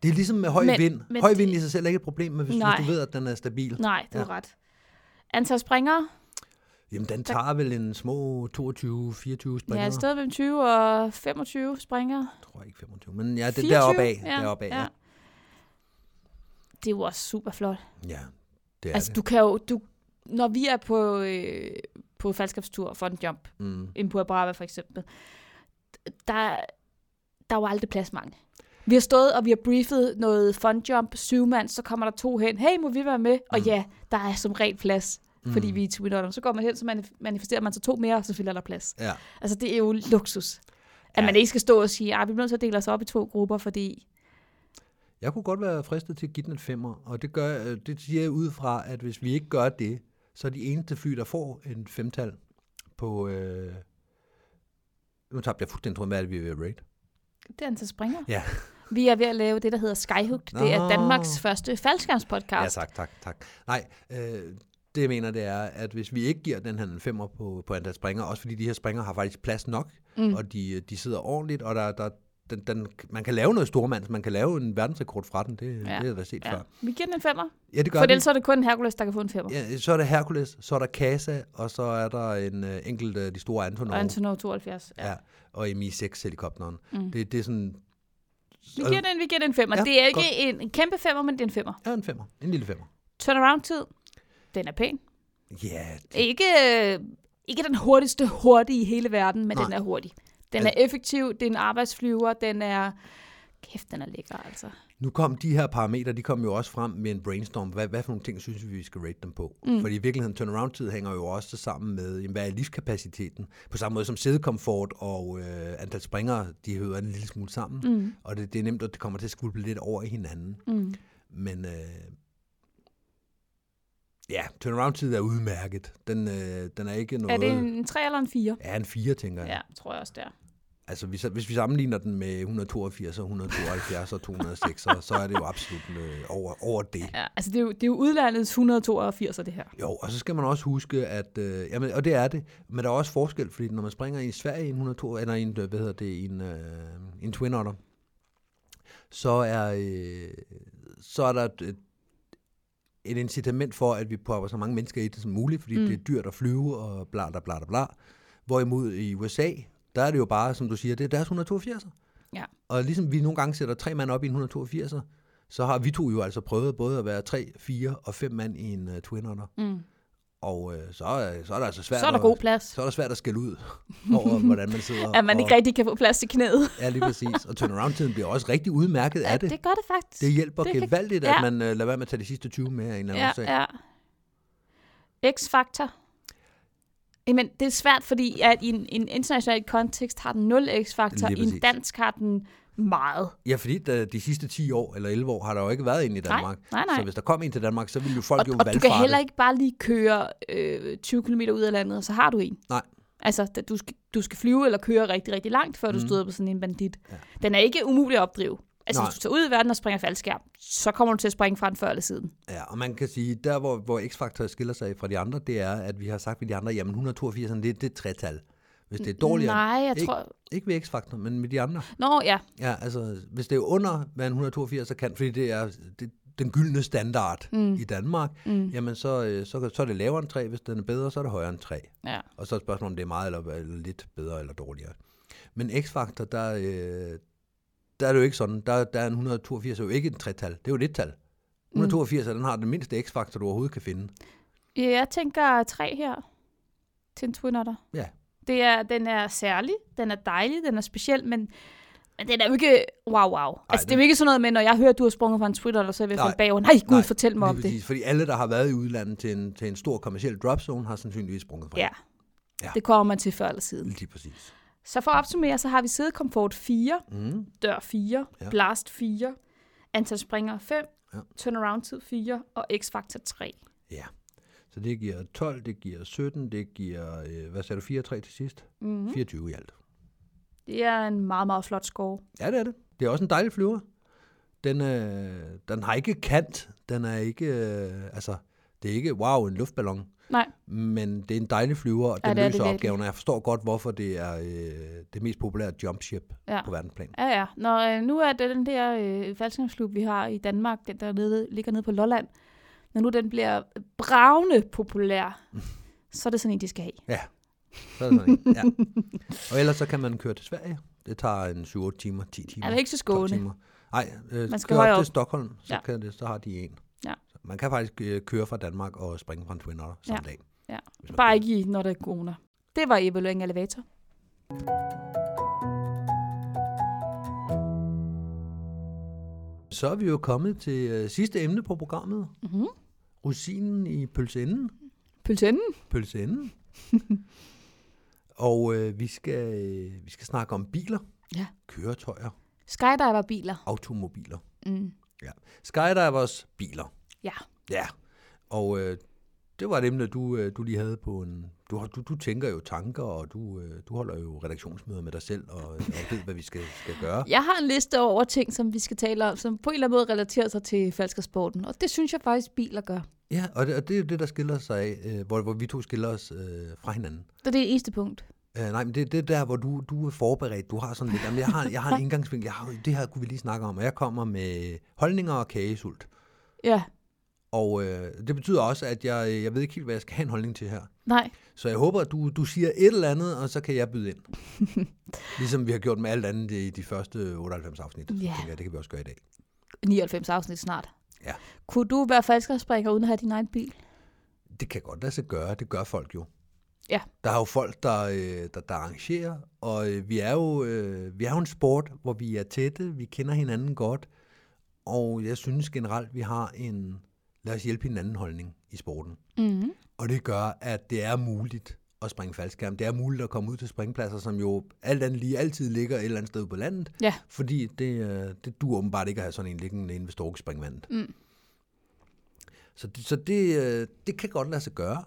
Speaker 3: Det er ligesom med høj
Speaker 2: Men-
Speaker 3: men, vind.
Speaker 2: men
Speaker 3: Men høj
Speaker 2: det-
Speaker 3: vind i sig selv er ikke et problem, men hvis, hvis
Speaker 2: Nej.
Speaker 3: du ved, at den er stabil.
Speaker 2: Nej, du ja.
Speaker 3: Ja.
Speaker 2: har ret. Antal springere?
Speaker 3: Jamen, den tager vel en små 22-24 springer.
Speaker 2: Ja, stadig mellem 20 og 25 springer.
Speaker 3: Jeg tror ikke 25, men ja, det er
Speaker 2: 24,
Speaker 3: deroppe af. Ja, deroppe af, ja.
Speaker 2: Det er jo også super flot.
Speaker 3: ja. det er
Speaker 2: altså,
Speaker 3: det.
Speaker 2: du kan jo... Du, når vi er på, øh, på faldskabstur for en jump,
Speaker 3: Mm.
Speaker 2: en Pura Brava for eksempel, der, der er jo aldrig plads mange. Vi har stået, og vi har briefet noget fun jump, syv mand, så kommer der to hen. Hey, må vi være med? Og
Speaker 3: Mm.
Speaker 2: ja, der er som regel plads, fordi
Speaker 3: Mm.
Speaker 2: vi er to minutter. Så går man hen, så manif- manifesterer man så to mere, og så fylder der plads.
Speaker 3: Ja.
Speaker 2: Altså, det er jo luksus. At
Speaker 3: Ja.
Speaker 2: ja. man ikke skal stå og sige, at vi bliver nødt til at dele os op i to grupper, fordi...
Speaker 3: Jeg kunne godt være fristet til at give den en femmer, og det, gør, øh, det siger jeg ud fra, at hvis vi ikke gør det, så er de eneste fly, der får en femtal på... Øh... Nu tabte jeg fuldstændig tråden, hvad er det, vi er ved at rate?
Speaker 2: Det er antal springer.
Speaker 3: Ja.
Speaker 2: Vi er ved at lave det, der hedder Skyhooked. Det er
Speaker 3: Nå.
Speaker 2: Danmarks første faldskærmspodcast.
Speaker 3: Ja, tak, tak, tak. Nej, øh, det jeg mener, det er, at hvis vi ikke giver den her en femmer på, på antal springer, også fordi de her springer har faktisk plads nok, mm. og de, de sidder ordentligt, og der, der, den, den, man kan lave noget stormands, man kan lave en verdensrekord fra den, det, ja. det har jeg da set ja.
Speaker 2: Ja.
Speaker 3: før.
Speaker 2: Vi giver den en femmer,
Speaker 3: Ja, det gør
Speaker 2: for
Speaker 3: vi.
Speaker 2: ellers så er det kun Hercules, der kan få en femmer.
Speaker 3: Ja, så er der Hercules, så er der Casa, og så er der en øh, enkelt af de store Antonov.
Speaker 2: Og Antonov 72. Ja.
Speaker 3: ja. og Mi-6-helikopteren. Mm. Det, det er sådan...
Speaker 2: Vi,
Speaker 3: og-
Speaker 2: giver den, vi giver den en femmer.
Speaker 3: Ja,
Speaker 2: Ja, det er ikke en, en kæmpe femmer, men det er en femmer.
Speaker 3: Ja, en femmer. En lille femmer.
Speaker 2: Turnaround-tid, den er pæn.
Speaker 3: Ja, det,
Speaker 2: Ikke, øh, ikke den hurtigste hurtige i hele verden, men
Speaker 3: Nej.
Speaker 2: Nej. den er hurtig. Den
Speaker 3: Altså-
Speaker 2: er effektiv, det er en arbejdsflyver, den er... Kæft, den er lækker, altså.
Speaker 3: nu kom de her parametre, de kom jo også frem med en brainstorm. Hvad, hvad for nogle ting synes vi, vi skal rate dem på? Mm. Fordi i virkeligheden, turnaround-tid hænger jo også sammen med, jamen, hvad er livskapaciteten? På samme måde som sædekomfort og øh, antal springere, de hører en lille smule sammen. Mm. Og det, det er nemt, at det kommer til at skvulpe lidt over i hinanden.
Speaker 2: Mm.
Speaker 3: Men øh, ja, turnaround-tid er udmærket. Den, øh, den er ikke noget...
Speaker 2: Er det en 3 eller en 4?
Speaker 3: Ja, en 4, tænker
Speaker 2: Ja.
Speaker 3: jeg.
Speaker 2: ja, tror jeg også, der.
Speaker 3: Altså, hvis, hvis vi sammenligner den med 182, og 172 og 206, så så er det jo absolut øh, over, over det.
Speaker 2: Ja, altså det er jo, det er jo udlandets 182, det her.
Speaker 3: Jo, og så skal man også huske, at... Øh, jamen, og det er det, men der er også forskel, fordi når man springer i Sverige i en 102, eller i en, øh, hvad hedder det, i en, øh, en Twin Otter, så er, øh, så er der et, et- et incitament for, at vi popper så mange mennesker i det som muligt, fordi mm. det er dyrt at flyve, og bla bla bla bla bla. Hvorimod i USA, der er det jo bare, som du siger, det er deres 182.
Speaker 2: Ja.
Speaker 3: Og ligesom vi nogle gange sætter tre mand op i en 182, så har vi to jo altså prøvet både at være tre, fire og fem mand i en uh, Twin Otter.
Speaker 2: Mm.
Speaker 3: Og øh, så, er, så er det altså svært,
Speaker 2: Så er der
Speaker 3: at,
Speaker 2: god plads.
Speaker 3: så er det svært at skælde ud over, hvordan man sidder.
Speaker 2: At man ikke rigtig kan få plads til knæet.
Speaker 3: og, Ja, lige præcis. Og turnaround-tiden bliver også rigtig udmærket af det.
Speaker 2: det gør det faktisk.
Speaker 3: Det hjælper
Speaker 2: det
Speaker 3: det
Speaker 2: kan-
Speaker 3: gevaldigt, at
Speaker 2: ja.
Speaker 3: man øh, lader være med at tage de sidste 20 med af en eller anden
Speaker 2: ja,
Speaker 3: årsag.
Speaker 2: ja. X-faktor. Jamen, det er svært, fordi at i en, en international kontekst har den 0 x-faktor,
Speaker 3: Lige
Speaker 2: i en
Speaker 3: præcis.
Speaker 2: dansk har den meget.
Speaker 3: Ja, fordi da, de sidste 10 år eller 11 år har der jo ikke været en i Danmark.
Speaker 2: nej, nej.
Speaker 3: Så hvis der kom en til Danmark, så ville jo folk
Speaker 2: Og,
Speaker 3: jo
Speaker 2: og du kan
Speaker 3: valgfarte.
Speaker 2: heller ikke bare lige køre øh, 20 km ud af landet, og så har du en.
Speaker 3: Nej.
Speaker 2: Altså, da- du skal, du skal flyve eller køre rigtig, rigtig langt, før du støder på sådan en bandit.
Speaker 3: Mhm. Ja.
Speaker 2: Den er ikke umulig at opdrive. Altså,
Speaker 3: Nej.
Speaker 2: hvis du tager ud i verden og springer faldskærm, så kommer du til at springe fra den før eller siden.
Speaker 3: Ja, og man kan sige, der hvor, hvor X-Factor skiller sig fra de andre, det er, at vi har sagt ved de andre, jamen 182, det, det er et tretal. Hvis det er dårligere,
Speaker 2: Nej, jeg
Speaker 3: ikke,
Speaker 2: tror...
Speaker 3: ikke ved X-Factor, men med de andre.
Speaker 2: Nå, ja.
Speaker 3: Ja, altså, hvis det er under, hvad en 182 så kan, fordi det er det, den gyldne standard mm. i Danmark, mm. jamen så, øh, så, kan- så er det lavere end 3, hvis den er bedre, så er det højere end 3.
Speaker 2: ja.
Speaker 3: Og så er spørgsmålet, om det er meget eller, eller lidt bedre eller dårligere. Men X-Factor, der, øh, der er det jo ikke sådan. Der, der er en 182 er jo ikke et tretal, det er jo et tal. 182, mm. den har den mindste X-Factor, du overhovedet kan finde.
Speaker 2: Ja, jeg tænker tre her til en Twin Otter.
Speaker 3: Ja,
Speaker 2: Det er, den er særlig, den er dejlig, den er speciel, men, men den er jo ikke wow wow. Ej, altså, det er
Speaker 3: den-
Speaker 2: jo ikke sådan noget med, når jeg hører, du har sprunget fra en Twin Otter, så er jeg ved at
Speaker 3: Nej.
Speaker 2: falde bagover. Nej, gud,
Speaker 3: Nej,
Speaker 2: Nej, fortæl mig om
Speaker 3: lige
Speaker 2: det.
Speaker 3: præcis, Fordi alle, der har været i udlandet til en, til en stor kommersiel dropzone, har sandsynligvis sprunget fra.
Speaker 2: Ja.
Speaker 3: Ja.
Speaker 2: ja. Det kommer man til før eller siden.
Speaker 3: Lige præcis.
Speaker 2: Så for at opsummere, så har vi sædekomfort 4,
Speaker 3: Mm.
Speaker 2: dør 4,
Speaker 3: Ja.
Speaker 2: ja. blast 4, antal springere 5,
Speaker 3: Ja.
Speaker 2: ja. turnaround-tid 4 og x-faktor 3.
Speaker 3: Ja. Så det giver 12, det giver 17, det giver, øh, hvad sagde du, 4 3 til sidst?
Speaker 2: Mhm.
Speaker 3: Mm. 24 i alt.
Speaker 2: Det er en meget, meget flot score.
Speaker 3: Ja, det er det. Det er også en dejlig flyver. Den, øh, den har ikke kant. Den er ikke, øh, altså, det er ikke, wow, en luftballon.
Speaker 2: Nej,
Speaker 3: Men det er en dejlig flyver, og
Speaker 2: Ja,
Speaker 3: den
Speaker 2: det
Speaker 3: ja,
Speaker 2: er det
Speaker 3: løser
Speaker 2: virkelig.
Speaker 3: opgaven. Og jeg forstår godt, hvorfor det er øh, det mest populære jumpship
Speaker 2: ja.
Speaker 3: på verdensplan.
Speaker 2: Ja, ja. Når øh, nu er det den der øh, faldskærmsklub, vi har i Danmark, den der nede, ligger nede på Lolland, når nu den bliver bravende populær, så er det sådan en, de skal have.
Speaker 3: Så er det sådan en. Ja. Og ellers så kan man køre til Sverige. Det tager en 7-8 timer, 10 timer.
Speaker 2: Er det ikke så
Speaker 3: 12
Speaker 2: skåne?
Speaker 3: timer. Nej,
Speaker 2: Man
Speaker 3: øh, man
Speaker 2: skal
Speaker 3: skal køre
Speaker 2: højere
Speaker 3: op
Speaker 2: op.
Speaker 3: til Stockholm, så,
Speaker 2: Ja.
Speaker 3: ja. kan det, så har de en.
Speaker 2: Ja.
Speaker 3: Så Man kan faktisk øh, køre fra Danmark og springe fra en Twin Otter samme
Speaker 2: Ja.
Speaker 3: dag.
Speaker 2: Ja.
Speaker 3: Hvis man
Speaker 2: Bare
Speaker 3: vil.
Speaker 2: ikke i, når der er corona. Det var evaluering af elevator.
Speaker 3: Så er vi jo kommet til øh, sidste emne på programmet.
Speaker 2: Mm-hmm.
Speaker 3: Rosinen i pølseenden.
Speaker 2: Pølseenden.
Speaker 3: Pølseenden. og øh, vi, skal, øh, vi skal snakke om biler,
Speaker 2: Ja.
Speaker 3: køretøjer,
Speaker 2: Skydiver-biler.
Speaker 3: automobiler.
Speaker 2: Mm.
Speaker 3: Skydivers biler.
Speaker 2: Ja.
Speaker 3: Ja. Og øh, det var et emne, du, øh, du lige havde på en... Du, har- du, du tænker jo tanker, og du, øh, du holder jo redaktionsmøder med dig selv, og, og ved, hvad vi skal, skal gøre.
Speaker 2: Jeg har en liste over ting, som vi skal tale om, som på en eller anden måde relaterer sig til falskersporten. Og det synes jeg faktisk, biler gør.
Speaker 3: Ja, og det, og det er jo det, der skiller sig af, øh, hvor, hvor vi to skiller os øh, fra hinanden.
Speaker 2: Så det er det eneste punkt.
Speaker 3: Øh, nej, men det, det er der, hvor du, du er forberedt. Du har sådan lidt, jamen, jeg, har, jeg har en indgangsvinkel, jeg har, jo- det her kunne vi lige snakke om, og jeg kommer med holdninger og kagesult.
Speaker 2: Ja.
Speaker 3: Og øh, det betyder også, at jeg, jeg ved ikke helt, hvad jeg skal have en holdning til her.
Speaker 2: Nej.
Speaker 3: Så jeg håber, at du, du siger et eller andet, og så kan jeg byde ind. ligesom vi har gjort med alt andet i de første 98 afsnit.
Speaker 2: Ja.
Speaker 3: Yeah. Jeg, det kan vi også gøre i dag.
Speaker 2: 99 afsnit snart.
Speaker 3: Ja.
Speaker 2: Kunne du være falskerspringer uden at have din egen bil?
Speaker 3: Det kan godt lade sig gøre. Det gør folk jo.
Speaker 2: Ja.
Speaker 3: Der er jo folk, der, øh, der, der arrangerer, og øh, vi er, jo, øh, vi er jo en sport, hvor vi er tætte, vi kender hinanden godt, og jeg synes generelt, vi har en, lad os hjælpe hinanden holdning i sporten.
Speaker 2: Mm-hmm.
Speaker 3: Og det gør, at det er muligt at springe faldskærm. Det er muligt at komme ud til springpladser, som jo alt andet lige altid ligger et eller andet sted på landet.
Speaker 2: Ja.
Speaker 3: Fordi det, øh, det dur åbenbart ikke at have sådan en liggende inde ved Storkespringvandet.
Speaker 2: Mm.
Speaker 3: Så, det, så det, øh, det kan godt lade sig gøre.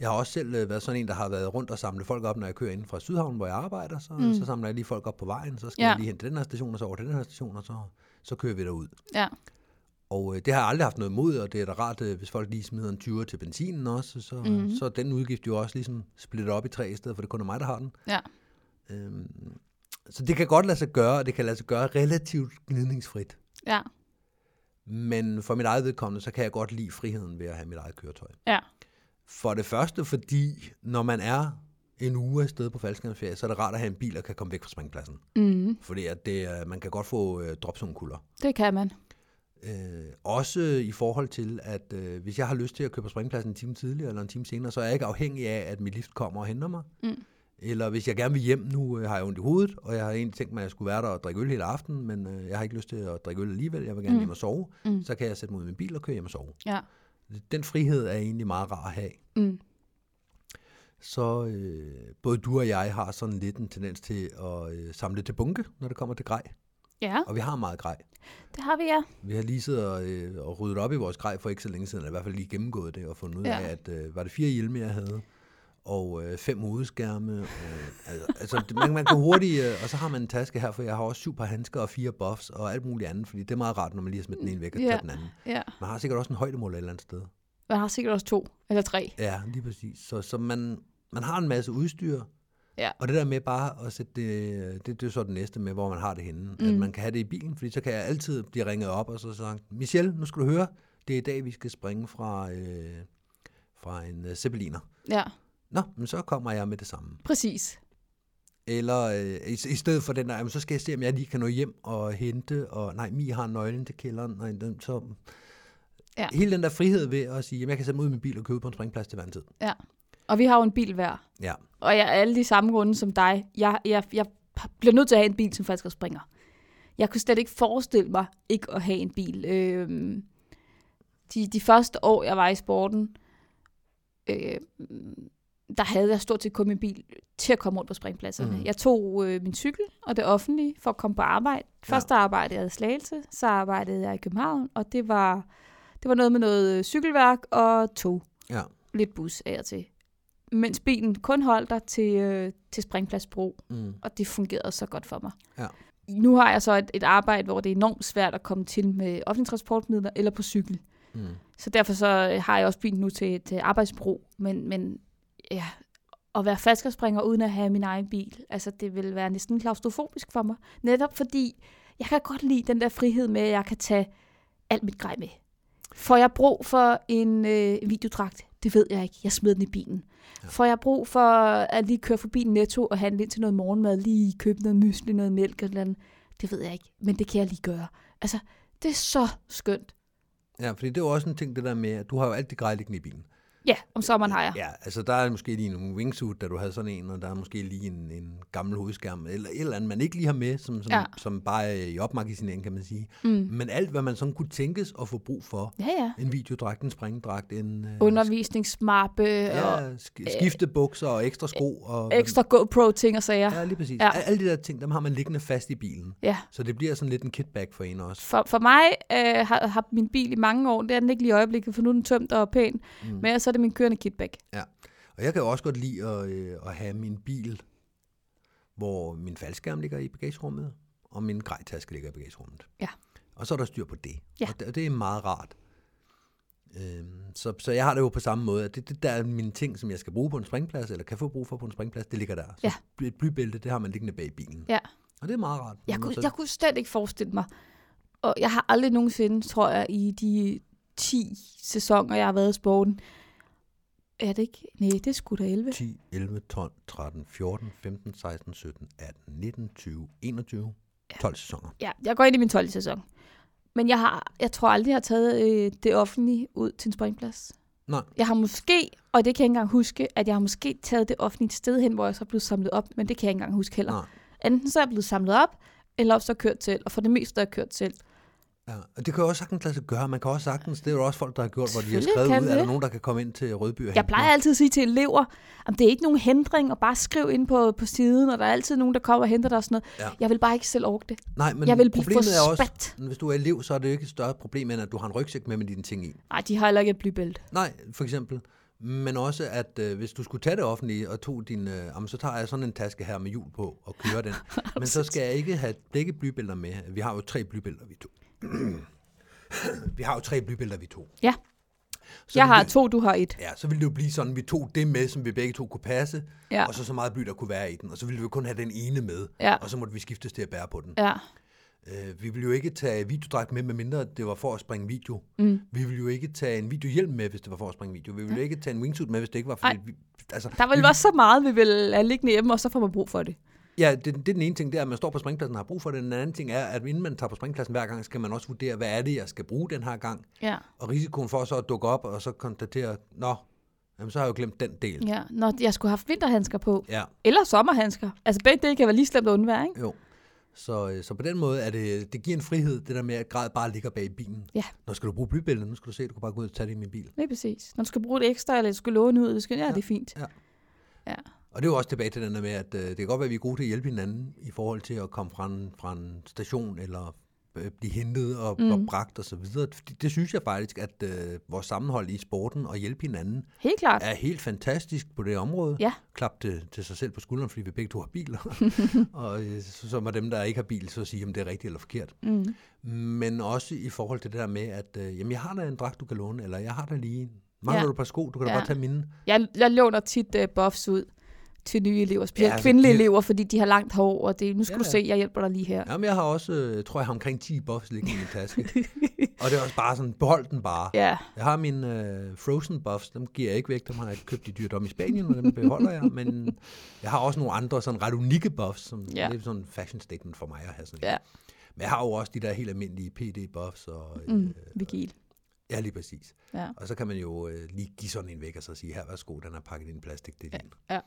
Speaker 3: Jeg har også selv øh, været sådan en, der har været rundt og samlet folk op, når jeg kører ind fra Sydhavn, hvor jeg arbejder. Så, mm. så samler jeg lige folk op på vejen, så skal
Speaker 2: Ja.
Speaker 3: ja. jeg lige hen til den her station, og så over til den her station, og så, så kører vi derud.
Speaker 2: Ja.
Speaker 3: Og øh, det har jeg aldrig haft noget imod, og det er da rart, øh, hvis folk lige smider en 20 til benzinen også, så,
Speaker 2: Mhm.
Speaker 3: mm-hmm. så er den udgift jo også ligesom splittet op i tre steder, for det kun er mig, der har den.
Speaker 2: Ja.
Speaker 3: Øhm, så det kan godt lade sig gøre, og det kan lade sig gøre relativt gnidningsfrit.
Speaker 2: Ja.
Speaker 3: Men for mit eget vedkommende, så kan jeg godt lide friheden ved at have mit eget køretøj.
Speaker 2: Ja.
Speaker 3: For det første, fordi når man er en uge afsted på faldskærmsferie, så er det rart at have en bil, der kan komme væk fra springpladsen.
Speaker 2: Mm-hmm.
Speaker 3: Fordi at det, øh, man kan godt få øh, dropzone-kulder.
Speaker 2: Det kan man.
Speaker 3: Øh, også i forhold til, at øh, hvis jeg har lyst til at køre på springpladsen en time tidligere eller en time senere, så er jeg ikke afhængig af, at mit lift kommer og henter mig.
Speaker 2: Mm.
Speaker 3: Eller hvis jeg gerne vil hjem, nu øh, har jeg ondt i hovedet, og jeg har egentlig tænkt mig, at jeg skulle være der og drikke øl hele aftenen, men øh, jeg har ikke lyst til at drikke øl alligevel, jeg vil
Speaker 2: Mm.
Speaker 3: gerne mm. hjem og sove,
Speaker 2: Mm.
Speaker 3: mm. så kan jeg sætte mig ud i min bil og køre hjem og sove.
Speaker 2: Ja.
Speaker 3: Den frihed er egentlig meget rar at have.
Speaker 2: Mm.
Speaker 3: Så øh, både du og jeg har sådan lidt en tendens til at øh, samle til bunke, når det kommer til grej.
Speaker 2: Ja,
Speaker 3: Og vi har meget grej.
Speaker 2: det har vi, ja.
Speaker 3: Vi har lige siddet og, øh, og ryddet op i vores grej for ikke så længe siden, eller i hvert fald lige gennemgået det og fundet ud
Speaker 2: Ja.
Speaker 3: ja. af, at øh, var det fire hjelme, jeg havde, og øh, fem hovedskærme. Øh, altså, altså, det- man, man kan hurtigt, øh, og så har man en taske her, for jeg har også syv par handsker og fire buffs og alt muligt andet, fordi det er meget rart, når man lige har smidt den ene væk og
Speaker 2: Ja.
Speaker 3: taget den anden.
Speaker 2: ja.
Speaker 3: Man har sikkert også en højdemål et eller andet sted.
Speaker 2: Man har sikkert også to eller tre.
Speaker 3: Ja, lige præcis. Så, så man, man har en masse udstyr,
Speaker 2: Ja.
Speaker 3: og det der med bare at sætte det, det, det er så det næste med, hvor man har det henne. Mm. At
Speaker 2: Mm.
Speaker 3: man kan have det i bilen, fordi så kan jeg altid blive ringet op og så sige, Michelle, nu skal du høre, det er i dag, vi skal springe fra, øh, fra en øh, zeppeliner.
Speaker 2: Ja,
Speaker 3: Nå, men så kommer jeg med det samme.
Speaker 2: præcis.
Speaker 3: Eller øh, i, i stedet for den der, jamen, så skal jeg se, om jeg lige kan nå hjem og hente, og nej, Mi har nøglen til kælderen, og den- så...
Speaker 2: Ja.
Speaker 3: Hele den der frihed ved at sige, jamen, jeg kan sætte mig ud i min bil og købe på en springplads til hver en tid.
Speaker 2: Ja. Og vi har jo en bil hver.
Speaker 3: Ja.
Speaker 2: Og jeg er alle de samme grunde som dig. Jeg, jeg, jeg bliver nødt til at have en bil som faktisk springer. Jeg kunne slet ikke forestille mig ikke at have en bil. Øhm, de, de første år, jeg var i sporten, øh, der havde jeg stort set kun min bil til at komme rundt på springpladserne. Mm.
Speaker 3: Mhm.
Speaker 2: Jeg tog øh, min cykel og det offentlige for at komme på arbejde. Første arbejdede jeg i Slagelse, så arbejdede jeg i København, og det var, det var noget med noget øh, cykelværk og tog
Speaker 3: Ja.
Speaker 2: lidt bus af og til. Mens bilen kun holdt der til, øh, til Springpladsbro,
Speaker 3: Mm.
Speaker 2: og det fungerede så godt for mig.
Speaker 3: Ja.
Speaker 2: Nu har jeg så et, et arbejde, hvor det er enormt svært at komme til med offentlige transportmidler eller på cykel.
Speaker 3: Mm.
Speaker 2: Så derfor så øh, har jeg også bilen nu til et arbejdsbrug, men, men ja, at være falskerspringer uden at have min egen bil, altså det vil være næsten klaustrofobisk for mig. Netop fordi, jeg kan godt lide den der frihed med, at jeg kan tage alt mit grej med. Får jeg brug for en øh, videodragt? Det ved jeg ikke. Jeg smider den i bilen. Ja. For jeg har brug for at lige køre forbi Netto og handle ind til noget morgenmad, lige købe noget mysli, noget mælk eller noget. Det ved jeg ikke, men det kan jeg lige gøre. Altså, det er så skønt.
Speaker 3: Ja, fordi det er jo også en ting, det der med, at du har jo alt det grej liggende i bilen.
Speaker 2: Ja, om sommeren har jeg.
Speaker 3: Ja, altså der er måske lige en wingsuit, da du havde sådan en, og der er måske lige en, en gammel hovedskærm, eller et eller andet, man ikke lige har med, som, som,
Speaker 2: Ja.
Speaker 3: ja. som bare er i opmagasinering, kan man sige.
Speaker 2: Mm.
Speaker 3: Men alt, hvad man sådan kunne tænkes at få brug for,
Speaker 2: Ja, ja.
Speaker 3: en videodragt, en springdragt, en øh,
Speaker 2: Undervisningsmappe og
Speaker 3: ja, sk- skiftebukser og ekstra sko. Og,
Speaker 2: ekstra GoPro-ting og sager.
Speaker 3: Ja, lige præcis.
Speaker 2: Ja.
Speaker 3: Ja. Alle de der ting, dem har man liggende fast i bilen.
Speaker 2: Ja.
Speaker 3: Så det bliver sådan lidt en kitback for en også.
Speaker 2: For, for mig øh, har, har min bil i mange år, det er den ikke lige i øjeblikket, for nu er den tømt og pæn, mm. men så er det min kørende kitback.
Speaker 3: Ja. Og jeg kan jo også godt lide at, øh, at have min bil, hvor min faldskærm ligger i bagagerummet, og min grejtaske ligger i bagagerummet.
Speaker 2: Ja.
Speaker 3: Og så er der styr på det.
Speaker 2: Ja.
Speaker 3: Og det, og det er meget rart. Øhm, så, så jeg har det jo på samme måde, at det, det der er mine ting, som jeg skal bruge på en springplads, eller kan få brug for på en springplads, det ligger der.
Speaker 2: Ja.
Speaker 3: Så bl- et blybælte, det har man liggende bag bilen.
Speaker 2: Ja.
Speaker 3: Og det er meget rart.
Speaker 2: Jeg,
Speaker 3: Men
Speaker 2: kunne,
Speaker 3: så-
Speaker 2: jeg kunne slet ikke forestille mig, og jeg har aldrig nogensinde, tror jeg, i de 10 sæsoner, jeg har været i sporten, er det ikke? Nej, det er sgu da 11.
Speaker 3: 10, 11, 12, 13, 14, 15, 16, 17, 18, 19, 20, 21, 12 sæsoner.
Speaker 2: Ja, jeg går ind i min 12. sæson. Men jeg, har, jeg tror aldrig, jeg har taget øh, det offentlige ud til en springplads.
Speaker 3: Nej,
Speaker 2: Jeg har måske, og det kan jeg ikke engang huske, at jeg har måske taget det offentlige et sted hen, hvor jeg så er blevet samlet op, men det kan jeg ikke engang huske heller.
Speaker 3: nej.
Speaker 2: Enten så er jeg blevet samlet op, eller også så er jeg kørt til, og for det meste er jeg kørt til.
Speaker 3: Ja, og det kan jo også sagtens lade sig gøre. Man kan også sagtens, det er jo også folk, der har gjort, hvor de har
Speaker 2: Selvfølgelig
Speaker 3: skrevet
Speaker 2: kan
Speaker 3: ud, er
Speaker 2: det.
Speaker 3: der nogen, der kan komme ind til Rødby og
Speaker 2: Jeg
Speaker 3: hente
Speaker 2: plejer
Speaker 3: mig?
Speaker 2: altid at sige til elever, at det er ikke nogen hindring, og bare skriv ind på, på siden, og der er altid nogen, der kommer og henter dig og sådan noget.
Speaker 3: Ja.
Speaker 2: Jeg vil bare ikke selv orke det.
Speaker 3: Nej, men
Speaker 2: jeg vil blive
Speaker 3: problemet er også,
Speaker 2: forspat.
Speaker 3: hvis du er elev, så er det jo ikke et større problem, end at du har en rygsæk med med dine ting i.
Speaker 2: Nej, de har heller ikke et blybælte.
Speaker 3: Nej, for eksempel. Men også, at øh, hvis du skulle tage det offentlige og tog din... Øh, jamen, så tager jeg sådan en taske her med hjul på og kører den. Men så skal jeg ikke have begge blybælter med. Vi har jo tre blybælter, vi to. vi har jo tre blybælter, vi to.
Speaker 2: Ja,
Speaker 3: Så
Speaker 2: jeg
Speaker 3: ville
Speaker 2: har
Speaker 3: det-
Speaker 2: to, du har et.
Speaker 3: Ja, så ville det jo blive sådan, at vi tog det med, som vi begge to kunne passe,
Speaker 2: Ja.
Speaker 3: ja. og så så meget bly, der kunne være i den, og så ville vi jo kun have den ene med,
Speaker 2: Ja.
Speaker 3: og så måtte vi skiftes til at bære på den.
Speaker 2: Ja,
Speaker 3: Øh, vi ville jo ikke tage videodragt med, medmindre det var for at springe video. Mm. Vi ville jo ikke tage en videohjelm med, hvis det var for at springe video. Vi ville jo ikke tage en wingsuit med, hvis det ikke var for...
Speaker 2: Ej.
Speaker 3: Vi, altså,
Speaker 2: der er vel
Speaker 3: vi-
Speaker 2: også så meget, vi vil have liggende hjemme, og så får man brug for det.
Speaker 3: Ja, det, det er den ene ting, det er, at man står på springpladsen og har brug for det. Den anden ting er, at inden man tager på springpladsen hver gang, skal man også vurdere, hvad er det, jeg skal bruge den her gang.
Speaker 2: Ja.
Speaker 3: Og risikoen for så at dukke op og så konstatere, nå, jamen, så har jeg jo glemt den del.
Speaker 2: ja. Når jeg skulle have haft vinterhandsker på,
Speaker 3: Ja.
Speaker 2: eller sommerhandsker. Altså begge dele kan være lige slemt at undvære, ikke?
Speaker 3: Jo. Så, øh, så på den måde er det, det giver en frihed, det der med, at grad bare ligger bag i bilen.
Speaker 2: Ja.
Speaker 3: Når skal du bruge blybælter, nu skal du se, at du kan bare gå ud og tage det i min bil.
Speaker 2: Lige præcis. Når du skal bruge det ekstra, eller du skal låne ud, skal, ja, ja, det er fint.
Speaker 3: ja.
Speaker 2: ja.
Speaker 3: Og det er jo også tilbage til den der med, at øh, det kan godt være, at vi er gode til at hjælpe hinanden i forhold til at komme fra en, fra en station eller øh, blive hentet og, mm. og bragt osv. Det, det synes jeg faktisk, at øh, vores sammenhold i sporten og hjælpe hinanden
Speaker 2: Helt klart.
Speaker 3: er helt fantastisk på det område.
Speaker 2: Ja.
Speaker 3: Klap til, til sig selv på skulderen, fordi vi begge to har biler. og øh, så, så må dem, der ikke har bil, så sige, om det er rigtigt eller forkert.
Speaker 2: Mm.
Speaker 3: Men også i forhold til det der med, at øh, jamen, jeg har da en dragt, du kan låne, eller jeg har da lige... Mangler
Speaker 2: Ja.
Speaker 3: ja. du et par sko, du kan da
Speaker 2: Ja.
Speaker 3: bare tage mine.
Speaker 2: Jeg, jeg låner tit uh, buffs ud til nye elever, specielt ja,
Speaker 3: altså,
Speaker 2: kvindelige
Speaker 3: de-
Speaker 2: elever, fordi de har langt hår, og det, nu skal ja,
Speaker 3: Ja,
Speaker 2: du
Speaker 3: ja.
Speaker 2: se, jeg hjælper dig lige her.
Speaker 3: Jamen, jeg har også, øh, tror jeg har omkring 10 buffs liggende i min taske. og det er også bare sådan, behold den bare.
Speaker 2: Ja,
Speaker 3: Jeg har mine øh, frozen buffs, dem giver jeg ikke væk, dem har jeg købt i dyrt om i Spanien, og dem beholder jeg. Men jeg har også nogle andre sådan ret unikke buffs, som
Speaker 2: Ja.
Speaker 3: ja. det er sådan en fashion statement for mig at have sådan en.
Speaker 2: ja,
Speaker 3: Men jeg har jo også de der helt almindelige PD buffs, og øh,
Speaker 2: mm,
Speaker 3: mm.
Speaker 2: Vigil.
Speaker 3: ja, lige præcis.
Speaker 2: Ja.
Speaker 3: Og så kan man jo øh, lige give sådan en væk, og så sige, her, værsgo, den er pakket i en plastik, det er din.
Speaker 2: ja.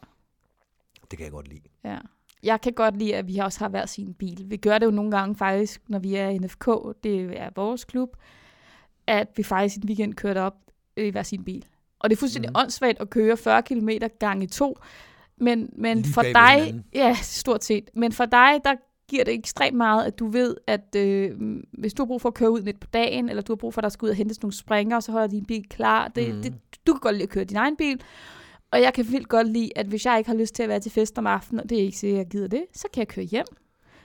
Speaker 3: Det kan jeg godt lide.
Speaker 2: Ja. Jeg kan godt lide, at vi også har hver sin bil. Vi gør det jo nogle gange faktisk, når vi er i NFK, det er vores klub, at vi faktisk en weekend kørte op øh, i hver sin bil. Og det er fuldstændig mm. åndssvagt at køre 40 km gange to, men, men
Speaker 3: Lige
Speaker 2: for
Speaker 3: bag ved
Speaker 2: dig,
Speaker 3: hinanden.
Speaker 2: ja, stort set, men for dig, der giver det ekstremt meget, at du ved, at øh, hvis du har brug for at køre ud midt på dagen, eller du har brug for, at der skal ud og hentes nogle springer, så holder din bil klar. Det, mm.
Speaker 3: Mhm.
Speaker 2: det, du kan godt lide at køre din egen bil, og jeg kan vildt godt lide, at hvis jeg ikke har lyst til at være til fest om aftenen, og det er ikke sikkert, jeg gider det, så kan jeg køre hjem.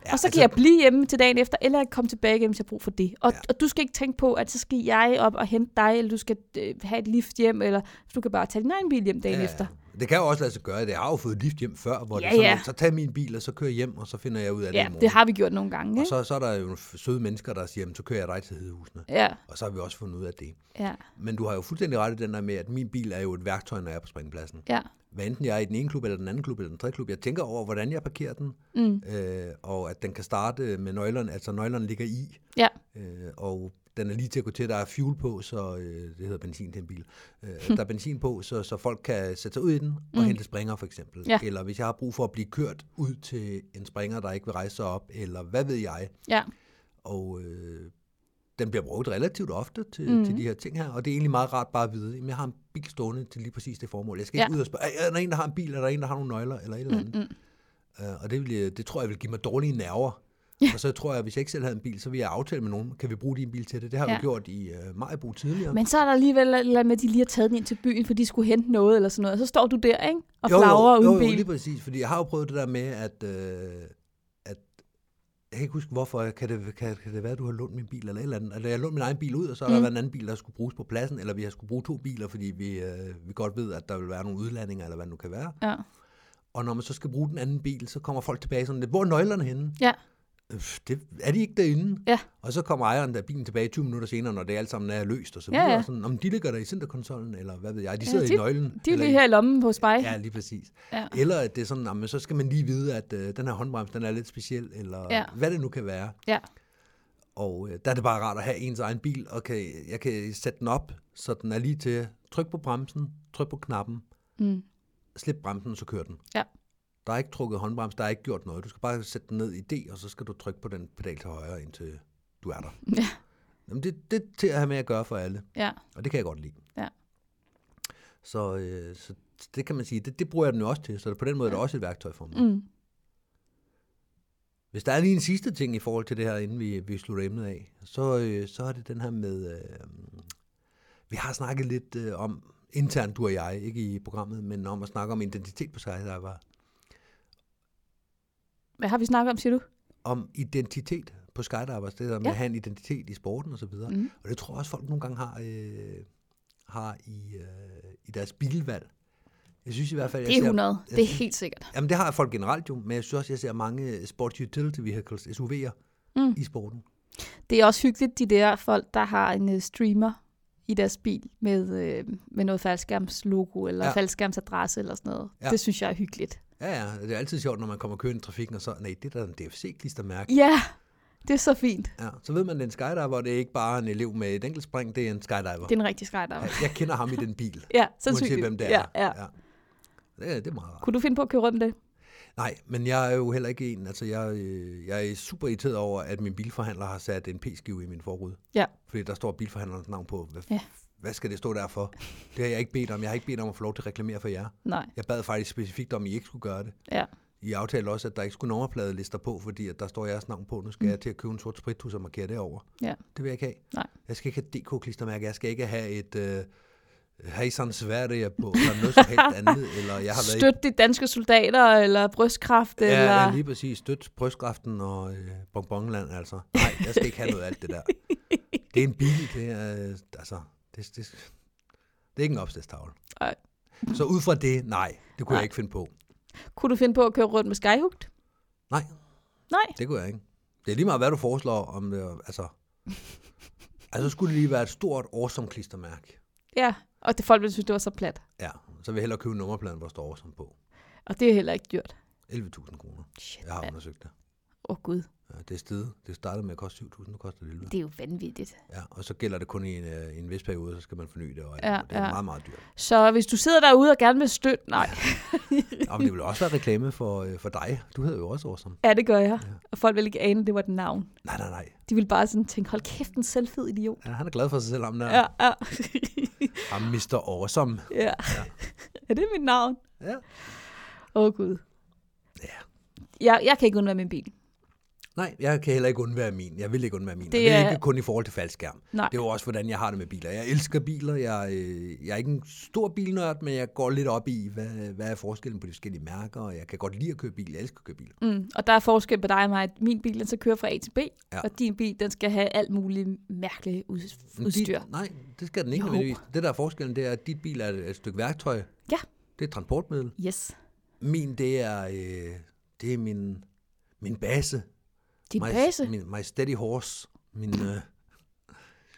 Speaker 2: Ja, og så kan altså, jeg blive hjemme til dagen efter, eller jeg kan komme tilbage hjem, hvis jeg har brug for det. Og, ja.
Speaker 3: Ja.
Speaker 2: og du skal ikke tænke på, at så skal jeg op og hente dig, eller du skal øh, have et lift hjem, eller du kan bare tage din egen bil hjem dagen ja, efter.
Speaker 3: Det kan jo også lade sig gøre. Det har jo fået lift hjem før, hvor
Speaker 2: Ja,
Speaker 3: det er sådan,
Speaker 2: ja.
Speaker 3: lidt, så tag min bil, og så kører jeg hjem, og så finder jeg ud af det i
Speaker 2: Ja,
Speaker 3: morgen.
Speaker 2: det har vi gjort nogle gange,
Speaker 3: Og
Speaker 2: ikke?
Speaker 3: så, så er der jo søde mennesker, der siger, "Jamen, så kører jeg dig til Hedehusene.
Speaker 2: Ja,
Speaker 3: Og så har vi også fundet ud af det.
Speaker 2: ja,
Speaker 3: Men du har jo fuldstændig ret i den der med, at min bil er jo et værktøj, når jeg er på springpladsen.
Speaker 2: ja.
Speaker 3: Hvad enten jeg er i den ene klub, eller den anden klub, eller den tredje klub, jeg tænker over, hvordan jeg parkerer den,
Speaker 2: Mm.
Speaker 3: øh, og at den kan starte med nøglerne, altså nøglerne ligger i,
Speaker 2: Ja,
Speaker 3: øh, og den er lige til at gå til, der er fuel på, så øh, det hedder benzin til en bil. Øh, der er benzin på, så, så folk kan sætte sig ud i den og mm. hente springer for eksempel.
Speaker 2: Ja.
Speaker 3: Eller hvis jeg har brug for at blive kørt ud til en springer, der ikke vil rejse sig op, eller hvad ved jeg.
Speaker 2: ja,
Speaker 3: Og øh, den bliver brugt relativt ofte til,
Speaker 2: Mhm.
Speaker 3: mm. til de her ting her, og det er egentlig meget rart bare at vide, at jeg har en bil stående til lige præcis det formål. Jeg skal ikke
Speaker 2: Ja.
Speaker 3: ud og spørge, "Ej, er der en, der har en bil, er der en, der har nogle nøgler, eller et eller andet. Mm. Uh, og det, vil, jeg- det tror jeg vil give mig dårlige nerver. Ja. Og så tror jeg, at hvis jeg ikke selv havde en bil, så ville jeg aftale med nogen, kan vi bruge din bil til det? Det har ja.
Speaker 2: Ja.
Speaker 3: vi gjort i uh, Majbo tidligere.
Speaker 2: Men så er der alligevel et eller andet med, at de lige har taget den ind til byen, for de skulle hente noget eller sådan noget. Og så står du der, ikke? Og flagrer
Speaker 3: jo,
Speaker 2: uden
Speaker 3: jo,
Speaker 2: bil.
Speaker 3: lige præcis, fordi jeg har jo prøvet det der med, at, øh, at jeg kan ikke huske, hvorfor, kan det, kan, kan det være, at du har lånt min bil eller et eller andet, eller jeg lånte min egen bil ud, og så har mm. der været en anden bil, der skulle bruges på pladsen, eller vi har skulle bruge to biler, fordi vi, øh, vi godt ved, at der vil være nogle udlandinger, eller hvad det nu kan være.
Speaker 2: Ja.
Speaker 3: Og når man så skal bruge den anden bil, så kommer folk tilbage sådan lidt, hvor er nøglerne henne?
Speaker 2: ja,
Speaker 3: Øh, Det, er de ikke derinde?
Speaker 2: ja,
Speaker 3: Og så kommer ejeren der bilen tilbage 20 minutter senere, når det alt sammen er løst og så
Speaker 2: Ja,
Speaker 3: videre.
Speaker 2: ja.
Speaker 3: Og sådan, om de ligger der i centerkonsollen, eller hvad ved jeg, de sidder
Speaker 2: de-
Speaker 3: i nøglen.
Speaker 2: de er jo
Speaker 3: eller
Speaker 2: lige
Speaker 3: i-
Speaker 2: her i lommen hos mig.
Speaker 3: Ja, lige præcis.
Speaker 2: Ja.
Speaker 3: Ja. Eller at det er sådan, jamen, så skal man lige vide, at øh, den her håndbremse, den er lidt speciel, eller
Speaker 2: Ja.
Speaker 3: ja. hvad det nu kan være.
Speaker 2: ja.
Speaker 3: Og øh, der er det bare rart at have ens egen bil, og kan, jeg kan sætte den op, så den er lige til tryk på bremsen, tryk på knappen,
Speaker 2: Mm.
Speaker 3: slip bremsen, og så kører den.
Speaker 2: Ja.
Speaker 3: Der er ikke trukket håndbrems, der er ikke gjort noget. Du skal bare sætte den ned i D, og så skal du trykke på den pedal til højre, indtil du er der.
Speaker 2: Ja.
Speaker 3: Jamen, det, det er til at have med at gøre for alle.
Speaker 2: Ja,
Speaker 3: Og det kan jeg godt lide.
Speaker 2: Ja.
Speaker 3: Så, øh, så det kan man sige, det, det bruger jeg den jo også til, så på den måde er det også et værktøj for mig.
Speaker 2: mm.
Speaker 3: Hvis der er lige en sidste ting i forhold til det her, inden vi, vi slutter emnet af, så, øh, så er det den her med, øh, vi har snakket lidt øh, om, internt du og jeg, ikke i programmet, men om at snakke om identitet på sejlsejlere,
Speaker 2: Hvad har vi snakket om, siger du?
Speaker 3: om identitet på skydivers, det der med
Speaker 2: Ja.
Speaker 3: ja. at have en identitet i sporten osv. Og, mm.
Speaker 2: Mm.
Speaker 3: og det tror jeg også, folk nogle gange har, øh, har i, øh, i deres bilvalg. Jeg synes i hvert fald,
Speaker 2: Det
Speaker 3: jeg
Speaker 2: er
Speaker 3: ser,
Speaker 2: 100.
Speaker 3: jeg
Speaker 2: Det er
Speaker 3: synes-
Speaker 2: helt sikkert.
Speaker 3: Jamen, det har folk generelt jo, men jeg synes også, jeg ser mange sports utility vehicles, SUV'er,
Speaker 2: Mm.
Speaker 3: mm. i sporten.
Speaker 2: Det er også hyggeligt, de der folk, der har en øh, streamer i deres bil med, øh, med noget faldskærmslogo eller ja.
Speaker 3: Ja.
Speaker 2: faldskærmsadresse eller sådan noget. Ja.
Speaker 3: Ja.
Speaker 2: Det synes jeg er hyggeligt.
Speaker 3: Ja, ja, det er altid sjovt, når man kommer kørende i trafikken, og så, nej, det er da en DFC-klistermærke.
Speaker 2: Ja, det er så fint.
Speaker 3: Ja, så ved man, det er en skydiver, og det er ikke bare en elev med et enkelt spring, det er en skydiver.
Speaker 2: Det er en rigtig skydiver.
Speaker 3: Ja, Jeg kender ham i den bil,
Speaker 2: Ja,
Speaker 3: uanset
Speaker 2: sandsynligt.
Speaker 3: hvem det er.
Speaker 2: Ja, ja.
Speaker 3: Ja. Det, er- det er meget rart.
Speaker 2: Kunne du finde på at køre rundt med det?
Speaker 3: Nej, men jeg er jo heller ikke en, altså jeg, øh, jeg er super irriteret over, at min bilforhandler har sat en p-skive i min forrude.
Speaker 2: Ja.
Speaker 3: Fordi der står bilforhandlerens navn på. Hvad,
Speaker 2: Ja.
Speaker 3: ja. hvad skal det stå der for? Det har jeg ikke bedt om. Jeg har ikke bedt om at få lov til at reklamere for jer.
Speaker 2: Nej.
Speaker 3: Jeg bad faktisk specifikt om, at I ikke skulle gøre det.
Speaker 2: Ja.
Speaker 3: I aftalte også, at der ikke skulle nummerpladelister på, fordi at der står jeres navn på. Nu skal mm. jeg til at købe en sort sprittus og markere det over.
Speaker 2: Ja.
Speaker 3: Det vil jeg ikke have.
Speaker 2: Nej.
Speaker 3: Jeg skal ikke have DK-klistermærke. Jeg skal ikke have et øh, Heisan Sverige på, eller noget som helst andet. Eller jeg har været i-
Speaker 2: Støt de danske soldater, eller brystkræft,
Speaker 3: Ja,
Speaker 2: eller...
Speaker 3: ja, lige præcis. Støt brystkræften og øh, bonbonland, altså. Nej, jeg skal ikke have noget af alt det der. Det er en bil, det er, øh, altså, det, det, det er ikke en opslagstavle.
Speaker 2: Ej.
Speaker 3: Så ud fra det, nej, det kunne
Speaker 2: Nej.
Speaker 3: jeg ikke finde på.
Speaker 2: Kunne du finde på at køre rundt med Skyhugt?
Speaker 3: Nej,
Speaker 2: Nej.
Speaker 3: det kunne jeg ikke. Det er lige meget, hvad du foreslår, om det, er- altså, altså skulle det lige være et stort, awesome klistermærke.
Speaker 2: Ja, og det folk ville synes, det var så plat.
Speaker 3: Ja, så vil jeg hellere købe nummerpladen, hvor der står awesome på.
Speaker 2: Og det er heller ikke dyrt.
Speaker 3: 11.000 kroner.
Speaker 2: Shit,
Speaker 3: Jeg har
Speaker 2: mand.
Speaker 3: undersøgt det.
Speaker 2: Åh oh, gud,
Speaker 3: Ja, det er stedet. Det startede med at koste 7.000, nu koster det 11.
Speaker 2: det er jo vanvittigt.
Speaker 3: Ja, og så gælder det kun i en, øh, i en vis periode, så skal man forny det, og
Speaker 2: Ja,
Speaker 3: ja, det er
Speaker 2: ja.
Speaker 3: ja. meget, meget dyrt.
Speaker 2: Så hvis du sidder derude og gerne vil støtte, nej.
Speaker 3: Og det vil også være reklame for, øh, for dig. Du hedder jo også Awesome.
Speaker 2: Ja, det gør jeg. Og folk ville ikke ane, at det var et navn.
Speaker 3: Nej, nej, nej.
Speaker 2: De ville bare sådan tænke, hold kæft, en selvfed idiot.
Speaker 3: Han, han er glad for sig selv, ham der.
Speaker 2: Ja,
Speaker 3: Ja.
Speaker 2: ja.
Speaker 3: Ham Mr. Awesome.
Speaker 2: ja. Er det mit navn?
Speaker 3: Ja.
Speaker 2: Åh oh, gud.
Speaker 3: Ja.
Speaker 2: Jeg, jeg kan ikke undvære min bil.
Speaker 3: Nej, jeg kan heller ikke undvære min. Jeg vil ikke undvære min. Det,
Speaker 2: Det
Speaker 3: det er
Speaker 2: er-
Speaker 3: ikke kun i forhold til faldskærm.
Speaker 2: Nej.
Speaker 3: Det er jo også, hvordan jeg har det med biler. Jeg elsker biler. Jeg, øh, jeg er ikke en stor bilnørd, men jeg går lidt op i, hvad, hvad er forskellen på de forskellige mærker, og jeg kan godt lide at køre bil. Jeg elsker at køre bil.
Speaker 2: Mm. Og der er forskel på dig og mig. at Min bil, den skal køre fra A til B, ja.
Speaker 3: Ja.
Speaker 2: og din bil, den skal have alt muligt mærkeligt ud-
Speaker 3: Men
Speaker 2: udstyr.
Speaker 3: Dit, nej, det skal den ikke
Speaker 2: Jo.
Speaker 3: nødvendigvis. Det, der er forskellen, det er, at dit bil er et, et stykke værktøj,
Speaker 2: Ja,
Speaker 3: Det er et transportmiddel.
Speaker 2: Yes.
Speaker 3: Min, det er, øh, det er min, min base.
Speaker 2: Din
Speaker 3: my,
Speaker 2: base?
Speaker 3: Min, my steady horse. Min øh,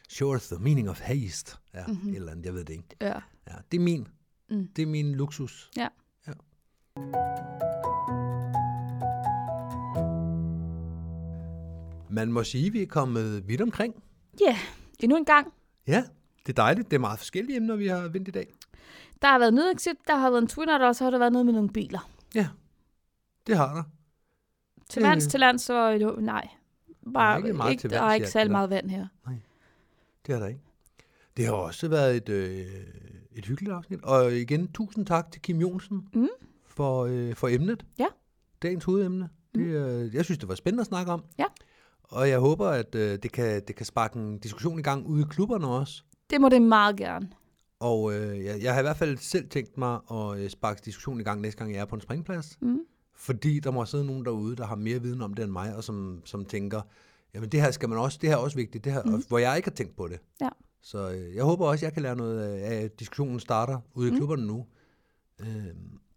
Speaker 3: sure the meaning of haste. Ja, mm-hmm. et eller andet, jeg ved det ikke.
Speaker 2: Ja.
Speaker 3: Ja, det er min.
Speaker 2: Mhm. Mm.
Speaker 3: Det er min luksus.
Speaker 2: ja.
Speaker 3: Ja. Man må sige, at vi er kommet vidt omkring.
Speaker 2: Ja, endnu en gang.
Speaker 3: Ja, det er dejligt. Det er meget forskellige emner, vi har vendt i dag.
Speaker 2: Der har været nødexit, der har været en twinner, og så har der været noget med nogle biler.
Speaker 3: Ja, det har der.
Speaker 2: Til
Speaker 3: Øh.
Speaker 2: vands, til lands, så er det- nej.
Speaker 3: Der er
Speaker 2: Bare,
Speaker 3: ikke meget
Speaker 2: ikke,
Speaker 3: til
Speaker 2: der
Speaker 3: vands,
Speaker 2: er
Speaker 3: ja,
Speaker 2: ikke særlig
Speaker 3: eller-
Speaker 2: meget vand her.
Speaker 3: Det har der ikke. Det har også været et, øh, et hyggeligt afsnit. Og igen, tusind tak til Kim Jonsen
Speaker 2: Mm.
Speaker 3: for, øh, for emnet.
Speaker 2: Ja. Mm.
Speaker 3: Dagens hovedemne. Det, øh, jeg synes, det var spændende at snakke om.
Speaker 2: Ja.
Speaker 3: Og jeg håber, at øh, det, kan, det kan sparke en diskussion i gang ude i klubberne også.
Speaker 2: Det må det meget gerne.
Speaker 3: Og øh, jeg, jeg har i hvert fald selv tænkt mig at øh, sparke diskussion i gang næste gang, jeg er på en springplads.
Speaker 2: Mm.
Speaker 3: Fordi der må sidde nogen derude, der har mere viden om det end mig, og som, som tænker, jamen det her skal man også, det her er også vigtigt, det her, mm. og, hvor jeg ikke har tænkt på det.
Speaker 2: Mhm. Ja.
Speaker 3: Så øh, jeg håber også, jeg kan lære noget af, at diskussionen starter ude i
Speaker 2: Mhm.
Speaker 3: klubberne nu. Øh,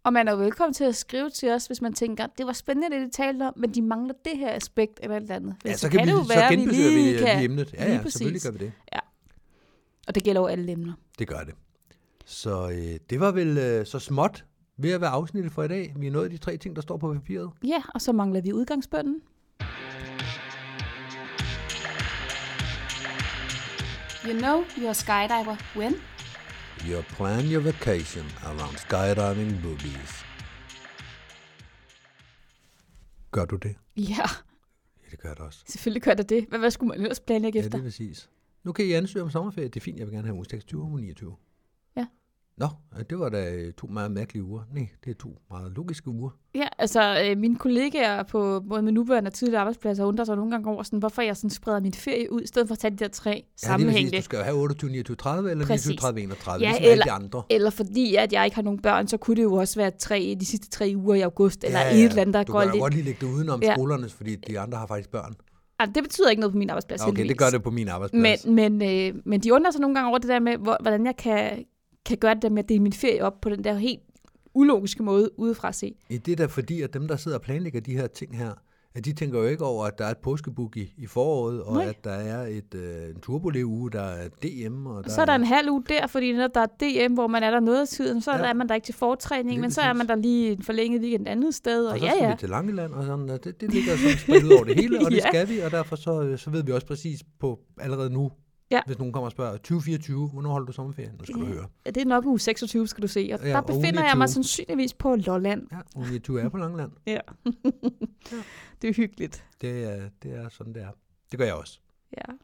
Speaker 2: Og man er jo velkommen til at skrive til os, hvis man tænker, det var spændende, det de talte om, men de mangler det her aspekt eller et eller andet.
Speaker 3: ja,
Speaker 2: Men
Speaker 3: så, kan vi,
Speaker 2: det jo
Speaker 3: så genbesøger vi, øh,
Speaker 2: kan-
Speaker 3: vi emnet. Ja,
Speaker 2: lige
Speaker 3: ja, selvfølgelig
Speaker 2: præcis.
Speaker 3: gør vi det.
Speaker 2: Og det gælder jo alle emner.
Speaker 3: Det gør det. Så øh, det var vel øh, så småt ved at være afsnittet for i dag. Vi er nået de tre ting, der står på papiret.
Speaker 2: Ja, og så mangler vi udgangsbønden. You know you're a skydiver when?
Speaker 3: You plan your vacation around skydiving boogies. Gør du det?
Speaker 2: Ja,
Speaker 3: Ja, det gør jeg da også.
Speaker 2: selvfølgelig gør der det. Hvad, hvad skulle man ellers planlægge
Speaker 3: Ja, det
Speaker 2: efter?
Speaker 3: er præcis. Nu kan I ansøge om sommerferie. Det er fint, jeg vil gerne have uge 26 og uge 29.
Speaker 2: Ja.
Speaker 3: Nå, øh, det var da øh, to meget mærkelige uger. Nej, det er to meget logiske uger.
Speaker 2: Ja, altså øh, mine kollegaer på både min nuværende og tidligere arbejdspladser undrer sig nogle gange over, sådan, hvorfor jeg sådan spreder min ferie ud, i stedet for at tage de der tre
Speaker 3: Ja, det er
Speaker 2: sammenhængende.
Speaker 3: præcis. Du skal jo have 28, 29, 30 eller
Speaker 2: Præcis.
Speaker 3: 29, 30, 31.
Speaker 2: Ja,
Speaker 3: ligesom alle
Speaker 2: eller-
Speaker 3: de andre.
Speaker 2: Eller fordi, at jeg ikke har nogen børn, så kunne det jo også være tre, de sidste tre uger i august, eller
Speaker 3: Ja,
Speaker 2: et
Speaker 3: ja,
Speaker 2: eller andet, der
Speaker 3: du
Speaker 2: går
Speaker 3: kan jo
Speaker 2: lidt.
Speaker 3: godt lige lægge det udenom
Speaker 2: Ja.
Speaker 3: ja. skolerne, fordi de andre har faktisk børn.
Speaker 2: Altså, det betyder ikke noget på min arbejdsplads,
Speaker 3: Okay, det
Speaker 2: heldigvis.
Speaker 3: gør det på min arbejdsplads.
Speaker 2: Men, men, øh, men de undrer sig nogle gange over det der med, hvor, hvordan jeg kan, kan gøre det der med at dele min ferie op på den der helt ulogiske måde udefra set. Nej.
Speaker 3: Nej. at der er et, øh, en turboleuge, der er DM. Og der
Speaker 2: Og så er der en halv uge der, fordi når der er DM, hvor man er der noget af tiden, så
Speaker 3: Ja.
Speaker 2: ja. er man der ikke til fortræning,
Speaker 3: Lige
Speaker 2: men så er
Speaker 3: præcis.
Speaker 2: man der lige en forlænget weekend andet sted, og,
Speaker 3: og så
Speaker 2: ja
Speaker 3: skal
Speaker 2: ja.
Speaker 3: vi til Langeland, og sådan, og det, det ligger sådan spredt ud over det hele, og det
Speaker 2: Ja.
Speaker 3: skal vi, og derfor så, øh, så ved vi også præcis på allerede nu,
Speaker 2: Ja.
Speaker 3: hvis nogen kommer og spørger, 2024, hvornår holder du sommerferie? Nu skal du høre.
Speaker 2: Ja, Det er nok uge 26, skal du se, og
Speaker 3: Ja,
Speaker 2: ja, der
Speaker 3: og uge
Speaker 2: befinder jeg mig
Speaker 3: 29.
Speaker 2: sandsynligvis på Lolland.
Speaker 3: Ja, uge 29 er på Langeland.
Speaker 2: Ja. det er hyggeligt.
Speaker 3: Det er, det er sådan, det er. Det gør jeg også.
Speaker 2: Ja.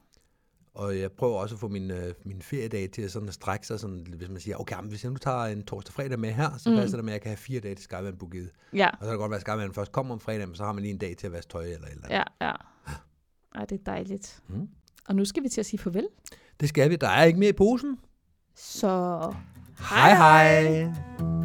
Speaker 3: Og jeg prøver også at få min, øh, min feriedag til at, sådan at strække sig, sådan, hvis man siger, okay, men hvis jeg nu tager en torsdag og fredag med her, så
Speaker 2: Mm.
Speaker 3: mm. passer det med, at jeg kan have fire dage til Skyvand Bugiet.
Speaker 2: Ja,
Speaker 3: Og så kan det godt være, at Skyvand først kommer om fredagen, men så har man lige en dag til at vaske tøj eller et eller andet.
Speaker 2: ja, ja. Ej, det er dejligt.
Speaker 3: Mm.
Speaker 2: Og nu skal vi til at sige farvel.
Speaker 3: Det skal vi. Der er ikke mere i posen.
Speaker 2: Så
Speaker 3: Hej hej! hej.